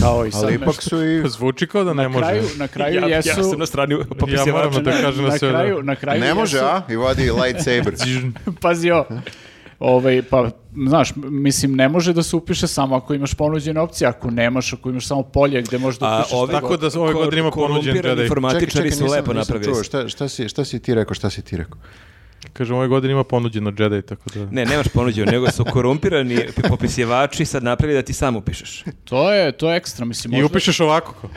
[SPEAKER 3] Kao i
[SPEAKER 4] ono.
[SPEAKER 3] sad
[SPEAKER 2] Ali
[SPEAKER 3] nešto.
[SPEAKER 2] ipak su i...
[SPEAKER 1] Zvuči kao da ne
[SPEAKER 3] Na
[SPEAKER 1] može. [laughs]
[SPEAKER 3] kraju, na kraju
[SPEAKER 4] Ja, ja
[SPEAKER 3] jesu...
[SPEAKER 4] sam na strani popisivača.
[SPEAKER 1] Ja moram da kažem da ono-
[SPEAKER 3] na,
[SPEAKER 1] sve da.
[SPEAKER 3] kraju, na kraju
[SPEAKER 2] Ne može,
[SPEAKER 3] jesu-
[SPEAKER 2] a? I vadi lightsaber.
[SPEAKER 1] [laughs]
[SPEAKER 3] Pazi ovo. Ovaj, pa, znaš, m- mislim, ne može da se upiše samo ako imaš ponuđene opcije, ako nemaš, ako imaš samo polje gde možeš da
[SPEAKER 4] A
[SPEAKER 3] upišeš.
[SPEAKER 4] ovi
[SPEAKER 1] Tako da ove godine ima ponuđen
[SPEAKER 4] korumpirani
[SPEAKER 1] Jedi.
[SPEAKER 4] informatičari su lepo
[SPEAKER 2] nisam
[SPEAKER 4] napravili.
[SPEAKER 2] čuo. Šta, šta, si, šta si ti rekao, šta si ti rekao?
[SPEAKER 1] Kažem, ove godine ima ponuđeno Jedi, tako da...
[SPEAKER 4] Ne, nemaš ponuđeno, nego su korumpirani popisivači sad napravili da ti sam upišeš.
[SPEAKER 3] To je, to je ekstra, mislim,
[SPEAKER 1] I
[SPEAKER 3] možda,
[SPEAKER 1] upišeš ovako. kao.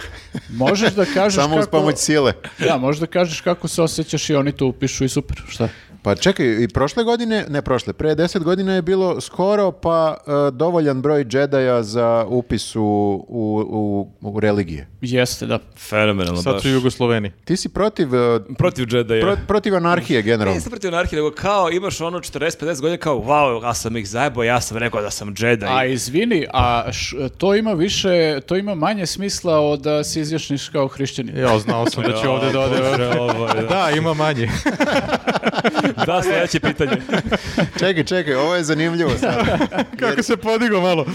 [SPEAKER 3] možeš
[SPEAKER 1] [laughs]
[SPEAKER 3] da kažeš
[SPEAKER 2] Samo
[SPEAKER 3] kako...
[SPEAKER 2] uz pomoć sile.
[SPEAKER 3] Da, možeš da kažeš kako se osjećaš i oni to upišu i super, šta?
[SPEAKER 2] Pa čekaj, i prošle godine, ne prošle, pre deset godina je bilo skoro pa e, dovoljan broj džedaja za upis u, u, u, u religije.
[SPEAKER 3] Jeste, da.
[SPEAKER 4] Fenomenalno
[SPEAKER 1] Sad su Jugosloveni.
[SPEAKER 2] Ti si protiv, e,
[SPEAKER 4] Protiv Jedi-a.
[SPEAKER 2] pro- protiv anarhije
[SPEAKER 4] Ne,
[SPEAKER 2] generalno.
[SPEAKER 4] nisam protiv anarhije, nego kao imaš ono 40-50 godina kao, wow, ja sam ih zajebao, ja sam rekao da sam Jedi.
[SPEAKER 3] A izvini, a š- to ima više, to ima manje smisla od da se izjašniš kao hrišćanin.
[SPEAKER 1] Ja, znao sam
[SPEAKER 4] [laughs]
[SPEAKER 1] da će ovde da ode. [laughs] Da, ima manje.
[SPEAKER 4] da, sljedeće pitanje.
[SPEAKER 2] Čekaj, čekaj, ovo je zanimljivo sad.
[SPEAKER 1] Kako se podigo malo.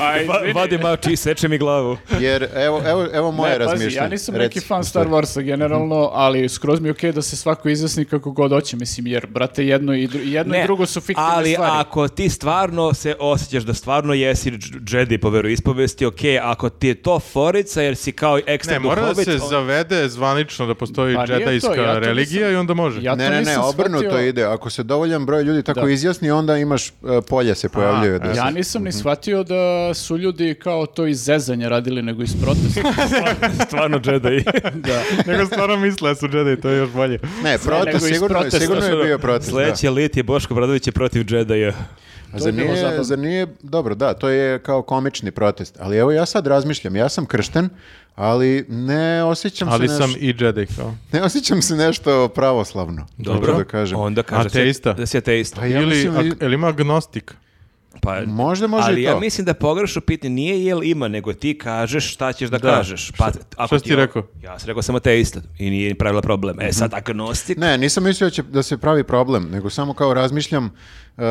[SPEAKER 3] Aj, izvini.
[SPEAKER 4] Vadi mač i seče mi glavu.
[SPEAKER 2] Jer evo, evo, evo moje
[SPEAKER 3] Ne,
[SPEAKER 2] razmišljanje.
[SPEAKER 3] pazi, ja nisam
[SPEAKER 2] Reci,
[SPEAKER 3] neki fan
[SPEAKER 2] u
[SPEAKER 3] Star
[SPEAKER 2] stvari.
[SPEAKER 3] Warsa generalno, ali skroz mi je okej da se svako izjasni kako god hoće, mislim, jer, brate, jedno i, dru- jedno i drugo su fiktivne
[SPEAKER 4] ali
[SPEAKER 3] stvari.
[SPEAKER 4] ako ti stvarno se osjećaš da stvarno jesi dž- Jedi po veru ispovesti, ok, ako ti je to forica jer si kao ekstra
[SPEAKER 1] Ne, mora da
[SPEAKER 4] duhovit,
[SPEAKER 1] se
[SPEAKER 4] on-
[SPEAKER 1] zavede zvanično da postoji
[SPEAKER 3] Pa nije to,
[SPEAKER 1] džedajska
[SPEAKER 3] ja to nisam-
[SPEAKER 1] religija i onda može.
[SPEAKER 3] Ja
[SPEAKER 2] Ne,
[SPEAKER 3] to
[SPEAKER 2] ne, ne,
[SPEAKER 3] nisam
[SPEAKER 2] obrnuto
[SPEAKER 3] shvatio-
[SPEAKER 2] ide. Ako se dovoljan broj ljudi tako
[SPEAKER 3] Da.
[SPEAKER 2] izjasni, onda imaš e, polja se pojavljaju. da se-
[SPEAKER 3] Ja nisam ni shvatio da su ljudi kao to iz zezanja radili, nego iz
[SPEAKER 2] [laughs]
[SPEAKER 3] protesta.
[SPEAKER 4] stvarno [laughs] Jedi.
[SPEAKER 3] da.
[SPEAKER 1] Nego stvarno misle da su džedaj, to je još bolje.
[SPEAKER 2] Ne,
[SPEAKER 3] nego
[SPEAKER 2] protest,
[SPEAKER 3] iz
[SPEAKER 2] sigurno,
[SPEAKER 3] protesta.
[SPEAKER 2] sigurno je bio protest. da.
[SPEAKER 4] Sljedeći lit je Boško Bradović je protiv Jedi.
[SPEAKER 2] A
[SPEAKER 3] To
[SPEAKER 2] zar
[SPEAKER 3] je bilo zabavno.
[SPEAKER 2] nije, zar nije, dobro, da, to je kao komični protest, ali evo ja sad razmišljam, ja sam kršten, ali ne osjećam
[SPEAKER 1] Ali
[SPEAKER 2] se
[SPEAKER 1] sam
[SPEAKER 2] neš-
[SPEAKER 1] i džedaj kao.
[SPEAKER 2] ne osjećam se nešto pravoslavno. Dobro. Da kažem.
[SPEAKER 4] Onda kaže da si-
[SPEAKER 1] Ateista.
[SPEAKER 4] da si ateista.
[SPEAKER 2] Pa ja
[SPEAKER 1] Ili,
[SPEAKER 2] mislim, i-
[SPEAKER 1] ak- jel ima agnostik?
[SPEAKER 4] Pa,
[SPEAKER 2] Možda može
[SPEAKER 4] ali
[SPEAKER 2] i to.
[SPEAKER 4] ja mislim da je pogrešno pitanje nije jel ima, nego ti kažeš šta ćeš da,
[SPEAKER 1] Da.
[SPEAKER 4] kažeš. Pa,
[SPEAKER 1] šta si ti
[SPEAKER 4] je-
[SPEAKER 1] rekao?
[SPEAKER 4] Ja sam rekao sam ateista i nije pravila problem. E sad agnostik,
[SPEAKER 2] Mhm. Ne, nisam mislio da će- da se pravi problem, nego samo kao razmišljam uh,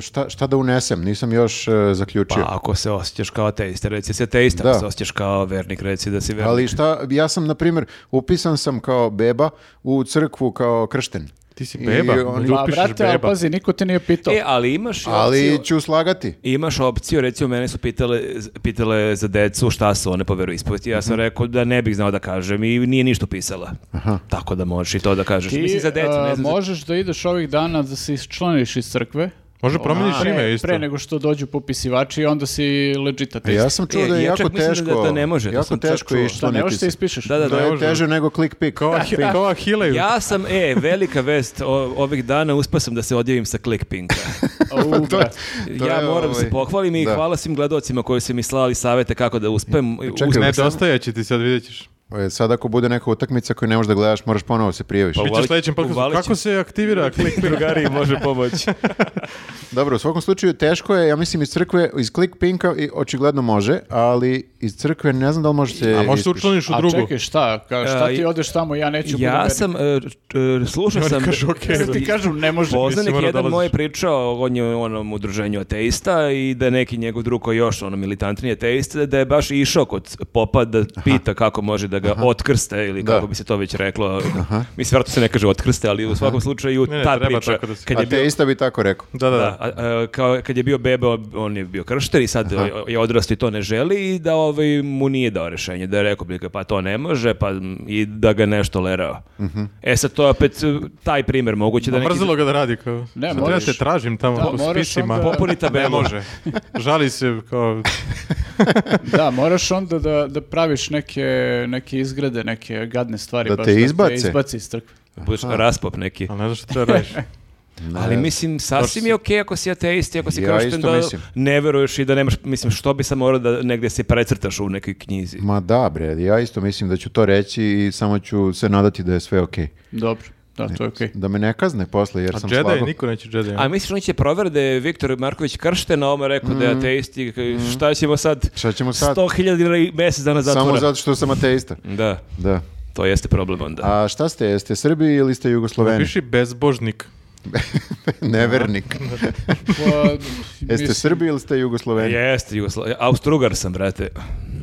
[SPEAKER 2] šta, šta da unesem, nisam još uh,
[SPEAKER 4] pa
[SPEAKER 2] zaključio.
[SPEAKER 4] ako se osjećaš kao ateista, reci da si ateista,
[SPEAKER 2] Da.
[SPEAKER 4] ako se osjećaš kao vernik, reci da si vernik.
[SPEAKER 2] Ali šta, ja sam, na primjer, upisan sam kao beba u crkvu kao kršten.
[SPEAKER 1] Ti si
[SPEAKER 2] I
[SPEAKER 1] beba,
[SPEAKER 2] oni-
[SPEAKER 1] ljudi-
[SPEAKER 3] Pa,
[SPEAKER 1] Upišeš
[SPEAKER 3] brate, ali
[SPEAKER 1] beba.
[SPEAKER 3] pazi, niko te nije pitao.
[SPEAKER 4] E, ali imaš i
[SPEAKER 2] Ali
[SPEAKER 4] opciju-
[SPEAKER 2] ću slagati.
[SPEAKER 4] Imaš opciju, recimo mene su pitale, pitale za decu šta su one po veroispovesti. Ja
[SPEAKER 2] Mhm.
[SPEAKER 4] sam rekao da ne bih znao da kažem i nije ništa pisala. Tako da možeš i to da kažeš.
[SPEAKER 3] Ti
[SPEAKER 4] Mislim za decu,
[SPEAKER 3] a,
[SPEAKER 4] ne znam. za-
[SPEAKER 3] možeš da ideš ovih dana da se isčlaniš iz crkve,
[SPEAKER 1] Može promeniš ime
[SPEAKER 3] pre,
[SPEAKER 1] isto.
[SPEAKER 3] pre nego što dođu popisivači i onda si legit
[SPEAKER 2] A
[SPEAKER 3] ateist.
[SPEAKER 2] ja sam čuo
[SPEAKER 4] E,
[SPEAKER 2] da je
[SPEAKER 4] ja čak
[SPEAKER 2] jako
[SPEAKER 4] mislim da-
[SPEAKER 2] teško.
[SPEAKER 4] da ne može, da
[SPEAKER 2] Jako
[SPEAKER 4] sam čak
[SPEAKER 2] teško
[SPEAKER 4] čuo.
[SPEAKER 3] Da, ne
[SPEAKER 2] iščlaniti
[SPEAKER 3] možeš da
[SPEAKER 2] se.
[SPEAKER 3] ispišeš.
[SPEAKER 4] Da, da,
[SPEAKER 2] To
[SPEAKER 4] da.
[SPEAKER 1] Ne
[SPEAKER 2] je
[SPEAKER 1] može.
[SPEAKER 2] teže nego clickpick.
[SPEAKER 3] [laughs]
[SPEAKER 1] Kao, kao Ahilej.
[SPEAKER 4] Ja sam, e, velika vest, o- ovih dana uspao sam da se odjavim sa Clickpinka.
[SPEAKER 3] Au, brate.
[SPEAKER 2] [laughs] [laughs] To
[SPEAKER 4] ja
[SPEAKER 2] je,
[SPEAKER 4] moram
[SPEAKER 2] ovaj,
[SPEAKER 4] se pohvalim i
[SPEAKER 2] da.
[SPEAKER 4] hvala svim gledocima koji su mi slali savete kako da uspem. Uz-
[SPEAKER 1] Ne, dostaje će ti sad, vidjet ćeš.
[SPEAKER 3] Pa
[SPEAKER 2] E, Sad ako bude neka utakmica koju ne možeš da gledaš, moraš ponovo se prijaviš.
[SPEAKER 4] Pa-
[SPEAKER 1] Biće
[SPEAKER 4] Uvalit-
[SPEAKER 1] sledećem podcastu,
[SPEAKER 4] uvalit ću.
[SPEAKER 1] Kako se aktivira klik
[SPEAKER 4] Drugari može
[SPEAKER 3] [laughs]
[SPEAKER 4] pomoći.
[SPEAKER 2] Dobro, u svakom slučaju teško je, ja mislim iz crkve, iz clickpinka i očigledno može, ali iz crkve ne znam da li može se...
[SPEAKER 1] A možeš se
[SPEAKER 2] ispiš.
[SPEAKER 1] učlaniš u
[SPEAKER 3] E, A
[SPEAKER 1] drugu.
[SPEAKER 3] čekaj, šta? Ka, šta
[SPEAKER 4] E,
[SPEAKER 3] ti odeš tamo, ja neću
[SPEAKER 4] Ja
[SPEAKER 3] budem
[SPEAKER 4] sam, e, č- e, slušao
[SPEAKER 1] Oni
[SPEAKER 4] sam...
[SPEAKER 1] kažu, okej.
[SPEAKER 3] vernik. Ti kažu, ne može.
[SPEAKER 1] Poz-
[SPEAKER 4] Poznanik
[SPEAKER 1] mora
[SPEAKER 4] jedan
[SPEAKER 1] dolaziš.
[SPEAKER 4] moj je pričao on je u onom udruženju ateista i da je neki njegov drug koji je još ono militantni ateista da je baš išao kod popa da pita kako može da ga otkrste ili
[SPEAKER 2] Da.
[SPEAKER 4] kako bi se to već reklo. Mislim, vjerojatno se ne kaže otkrste, ali u svakom slučaju
[SPEAKER 1] Ne, ne,
[SPEAKER 4] ta
[SPEAKER 1] treba
[SPEAKER 4] priča.
[SPEAKER 1] tako da se-
[SPEAKER 4] Kad je bio,
[SPEAKER 2] Ateista bi tako rekao.
[SPEAKER 1] Da, da, Pa
[SPEAKER 4] da,
[SPEAKER 1] da.
[SPEAKER 4] a- a, kao, kad je bio beba, on je bio kršter i sad je odrastao i to ne želi i da ovaj, mu nije dao rešenje. Da je rekao bi ga, pa to ne može pa, i da ga nešto lerao.
[SPEAKER 2] Mhm.
[SPEAKER 4] E sad to je opet e, taj primjer moguće da neki...
[SPEAKER 1] Pa Mrzelo ga da radi kao.
[SPEAKER 3] Ne,
[SPEAKER 1] Ne,
[SPEAKER 3] moraš-
[SPEAKER 1] moraš. te tražim tamo
[SPEAKER 3] Da,
[SPEAKER 1] po
[SPEAKER 3] moraš
[SPEAKER 1] spisima.
[SPEAKER 3] onda- Popuni
[SPEAKER 1] Ne
[SPEAKER 4] tabelu.
[SPEAKER 1] može. Žali se kao
[SPEAKER 3] [laughs] Da, moraš onda da, da praviš neke, neke izgrade, neke gadne stvari.
[SPEAKER 2] Da
[SPEAKER 3] baš
[SPEAKER 2] te
[SPEAKER 3] Da
[SPEAKER 2] izbace.
[SPEAKER 3] te izbaci iz crkve.
[SPEAKER 4] Budeš raspop neki.
[SPEAKER 2] Pa
[SPEAKER 1] Ali ne znaš šta treba
[SPEAKER 3] [laughs]
[SPEAKER 1] radiš.
[SPEAKER 4] Ali mislim, sasvim je okej ako si ateist i ako si
[SPEAKER 2] Ja
[SPEAKER 4] kršten
[SPEAKER 2] isto
[SPEAKER 4] da
[SPEAKER 2] mislim.
[SPEAKER 4] ne veruješ i da nemaš, mislim, što bi sam morao da negdje se precrtaš u nekoj knjizi.
[SPEAKER 2] Ma da bre, ja isto mislim da ću to reći i samo ću se nadati da je sve okej.
[SPEAKER 3] Dobro, da, to je okej.
[SPEAKER 2] Da me ne kazne posle jer
[SPEAKER 1] A
[SPEAKER 2] sam
[SPEAKER 1] Jedi,
[SPEAKER 2] slago.
[SPEAKER 1] niko neće Jedi.
[SPEAKER 4] A misliš, oni će provjeriti da je Viktor Marković kršten, a ovome rekao da je ateist i k- šta ćemo sad?
[SPEAKER 2] Mhm. Šta ćemo sad?
[SPEAKER 4] 100.000 dinara i mjesec dana zatvora.
[SPEAKER 2] Samo zato što sam ateista.
[SPEAKER 4] Da,
[SPEAKER 2] Da.
[SPEAKER 4] to jeste problem onda.
[SPEAKER 2] A šta ste, jeste Srbi ili ste Jugosloveni?
[SPEAKER 1] Piši bezbožnik.
[SPEAKER 2] [laughs]
[SPEAKER 1] [laughs]
[SPEAKER 2] Nevernik.
[SPEAKER 3] Pa,
[SPEAKER 2] [laughs] Jeste
[SPEAKER 3] mislim,
[SPEAKER 2] Srbi ili ste Jugosloveni?
[SPEAKER 4] Pa Jeste, Jugoslavija. Austrugar sam, brate.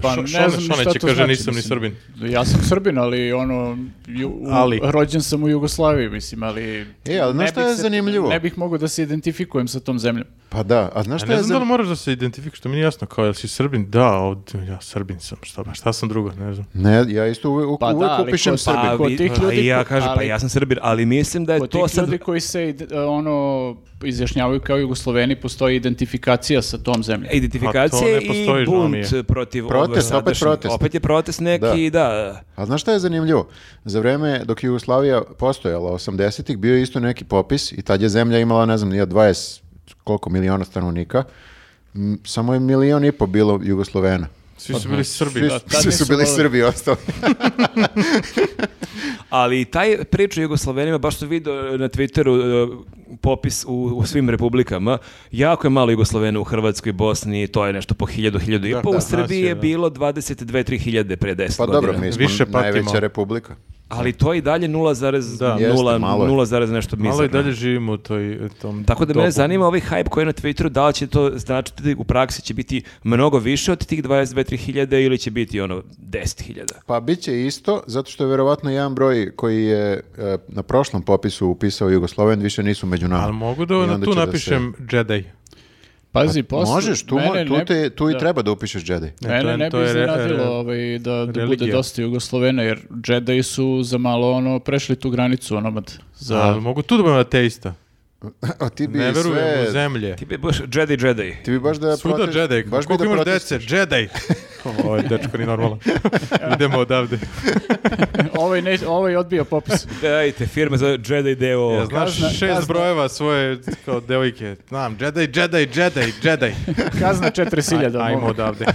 [SPEAKER 3] Pa
[SPEAKER 1] Šo-
[SPEAKER 3] ne
[SPEAKER 1] Šone-
[SPEAKER 3] znam ni
[SPEAKER 1] Šone
[SPEAKER 3] šta
[SPEAKER 1] će
[SPEAKER 3] to
[SPEAKER 1] kaže,
[SPEAKER 3] znači,
[SPEAKER 1] nisam ni
[SPEAKER 3] mislim.
[SPEAKER 1] Srbin.
[SPEAKER 3] Ja sam Srbin, ali ono, ju, u-
[SPEAKER 1] Ali.
[SPEAKER 3] rođen sam u Jugoslaviji, mislim, ali...
[SPEAKER 2] E, ali znaš
[SPEAKER 3] ne
[SPEAKER 2] šta
[SPEAKER 3] bih
[SPEAKER 2] je
[SPEAKER 3] se-
[SPEAKER 2] zanimljivo?
[SPEAKER 3] Ne bih mogao da se identifikujem sa tom zemljom.
[SPEAKER 2] Pa da, a znaš
[SPEAKER 1] A
[SPEAKER 2] šta
[SPEAKER 1] ne znam da
[SPEAKER 2] je
[SPEAKER 1] li
[SPEAKER 2] zanimljivo?
[SPEAKER 1] moraš da se identifikuješ, što mi nije jasno, kao jel si Srbin? Da, ovdje, ja Srbin sam, šta, šta sam drugo, ne znam.
[SPEAKER 2] Ne, ja isto uvek,
[SPEAKER 3] Pa da,
[SPEAKER 2] uvek
[SPEAKER 3] ali
[SPEAKER 2] upišem
[SPEAKER 3] ko-
[SPEAKER 2] Srbi.
[SPEAKER 4] Pa,
[SPEAKER 3] Kod
[SPEAKER 4] vi-
[SPEAKER 3] tih
[SPEAKER 4] pa
[SPEAKER 3] ljudi
[SPEAKER 4] i ja
[SPEAKER 3] ko-
[SPEAKER 4] kažem, pa
[SPEAKER 3] ali-
[SPEAKER 4] ja sam Srbir, ali mislim
[SPEAKER 1] E,
[SPEAKER 4] da je
[SPEAKER 3] Kod
[SPEAKER 4] to
[SPEAKER 3] tih
[SPEAKER 4] sad...
[SPEAKER 3] ljudi koji se ide- ono izjašnjavaju kao Jugosloveni postoji identifikacija sa tom zemljom.
[SPEAKER 1] Pa to
[SPEAKER 4] Identifikacije
[SPEAKER 1] ne
[SPEAKER 4] i
[SPEAKER 1] postoji, žao mi
[SPEAKER 4] bunt
[SPEAKER 1] je.
[SPEAKER 4] protiv
[SPEAKER 2] Protest,
[SPEAKER 4] ove
[SPEAKER 2] opet
[SPEAKER 4] sadašnje.
[SPEAKER 2] protest.
[SPEAKER 4] Opet je protest neki, da.
[SPEAKER 2] A znaš šta je zanimljivo? Za vreme dok je Jugoslavija postojala, 80-ih, bio je isto neki popis i tad je zemlja imala, ne znam, nije 20 koliko miliona stanovnika. M, Samo je milion i po bilo Jugoslovena.
[SPEAKER 1] Svi
[SPEAKER 3] Pa
[SPEAKER 1] su bili Srbi.
[SPEAKER 2] Svi,
[SPEAKER 1] Da.
[SPEAKER 3] tad
[SPEAKER 2] svi
[SPEAKER 3] nisu
[SPEAKER 2] su bili
[SPEAKER 3] voleli.
[SPEAKER 2] Srbi ostali.
[SPEAKER 4] Ali i taj priča o Jugoslovenima, baš sam vidio na Twitteru e, popis u, u svim republikama. Jako je malo Jugoslovena u Hrvatskoj, Bosni, to je nešto po hiljadu, hiljadu i
[SPEAKER 1] Da, da,
[SPEAKER 4] po. u
[SPEAKER 1] nas
[SPEAKER 4] Srbiji
[SPEAKER 1] je,
[SPEAKER 4] je
[SPEAKER 1] da.
[SPEAKER 4] bilo 22-3 hiljade pre 10
[SPEAKER 2] Pa
[SPEAKER 4] godina.
[SPEAKER 2] dobro, mi smo
[SPEAKER 1] Više patimo.
[SPEAKER 2] najveća republika.
[SPEAKER 4] Ali to je i dalje 0,0
[SPEAKER 1] Da.
[SPEAKER 2] Jeste, malo je.
[SPEAKER 4] 0,0 nešto mizerno.
[SPEAKER 1] Malo i dalje živimo u toj, tom
[SPEAKER 4] Tako da
[SPEAKER 1] dobu.
[SPEAKER 4] mene zanima ovaj hype koji je na Twitteru, da li će to značiti u praksi će biti mnogo više od tih 22-3 hiljade ili će biti ono 10 hiljada.
[SPEAKER 2] Pa bit će isto, zato što je verovatno jedan broj koji je e, na prošlom popisu upisao Jugosloven, više nisu među nama.
[SPEAKER 1] Ali mogu da
[SPEAKER 2] I
[SPEAKER 1] na
[SPEAKER 2] onda
[SPEAKER 1] tu
[SPEAKER 2] će da se-
[SPEAKER 1] napišem Jedi.
[SPEAKER 3] Pazi, posle...
[SPEAKER 2] Pa Možeš, tu, mo-
[SPEAKER 3] mene
[SPEAKER 2] tu,
[SPEAKER 3] ne-
[SPEAKER 2] te, tu i
[SPEAKER 3] da.
[SPEAKER 2] treba da upišeš Jedi. [laughs]
[SPEAKER 1] Ne, E, to
[SPEAKER 3] Mene
[SPEAKER 1] je-
[SPEAKER 3] ne
[SPEAKER 1] to
[SPEAKER 3] bi
[SPEAKER 1] je re-
[SPEAKER 3] iznenadilo
[SPEAKER 1] re-
[SPEAKER 3] ovaj, da, da bude
[SPEAKER 1] religija.
[SPEAKER 3] dosta Jugoslovena, jer Jedi su za malo ono, prešli tu granicu onomad. Za...
[SPEAKER 1] Ali mogu tu da budem ateista.
[SPEAKER 2] A ti bi
[SPEAKER 1] Ne verujem u
[SPEAKER 2] sve...
[SPEAKER 1] zemlje.
[SPEAKER 4] Ti bi baš Jedi Jedi.
[SPEAKER 2] Ti bi baš da
[SPEAKER 1] Svuda
[SPEAKER 2] protest-
[SPEAKER 1] Jedi.
[SPEAKER 2] baš bi
[SPEAKER 1] Koliko
[SPEAKER 2] da
[SPEAKER 1] imaš
[SPEAKER 2] protest-
[SPEAKER 1] dece?
[SPEAKER 2] [laughs]
[SPEAKER 1] Jedi. Ovo je dečko ni normalno. Idemo odavde.
[SPEAKER 3] [laughs] ovaj, ne, ovaj odbio popis.
[SPEAKER 4] Dajte, firme za Jedi deo.
[SPEAKER 1] Ja znaš
[SPEAKER 3] kazna-
[SPEAKER 1] šest
[SPEAKER 3] kazna.
[SPEAKER 1] brojeva svoje kao devojke. Znam, Jedi, Jedi, Jedi, Jedi.
[SPEAKER 3] Kazna 4000.
[SPEAKER 1] Ajmo
[SPEAKER 3] mogu.
[SPEAKER 1] odavde.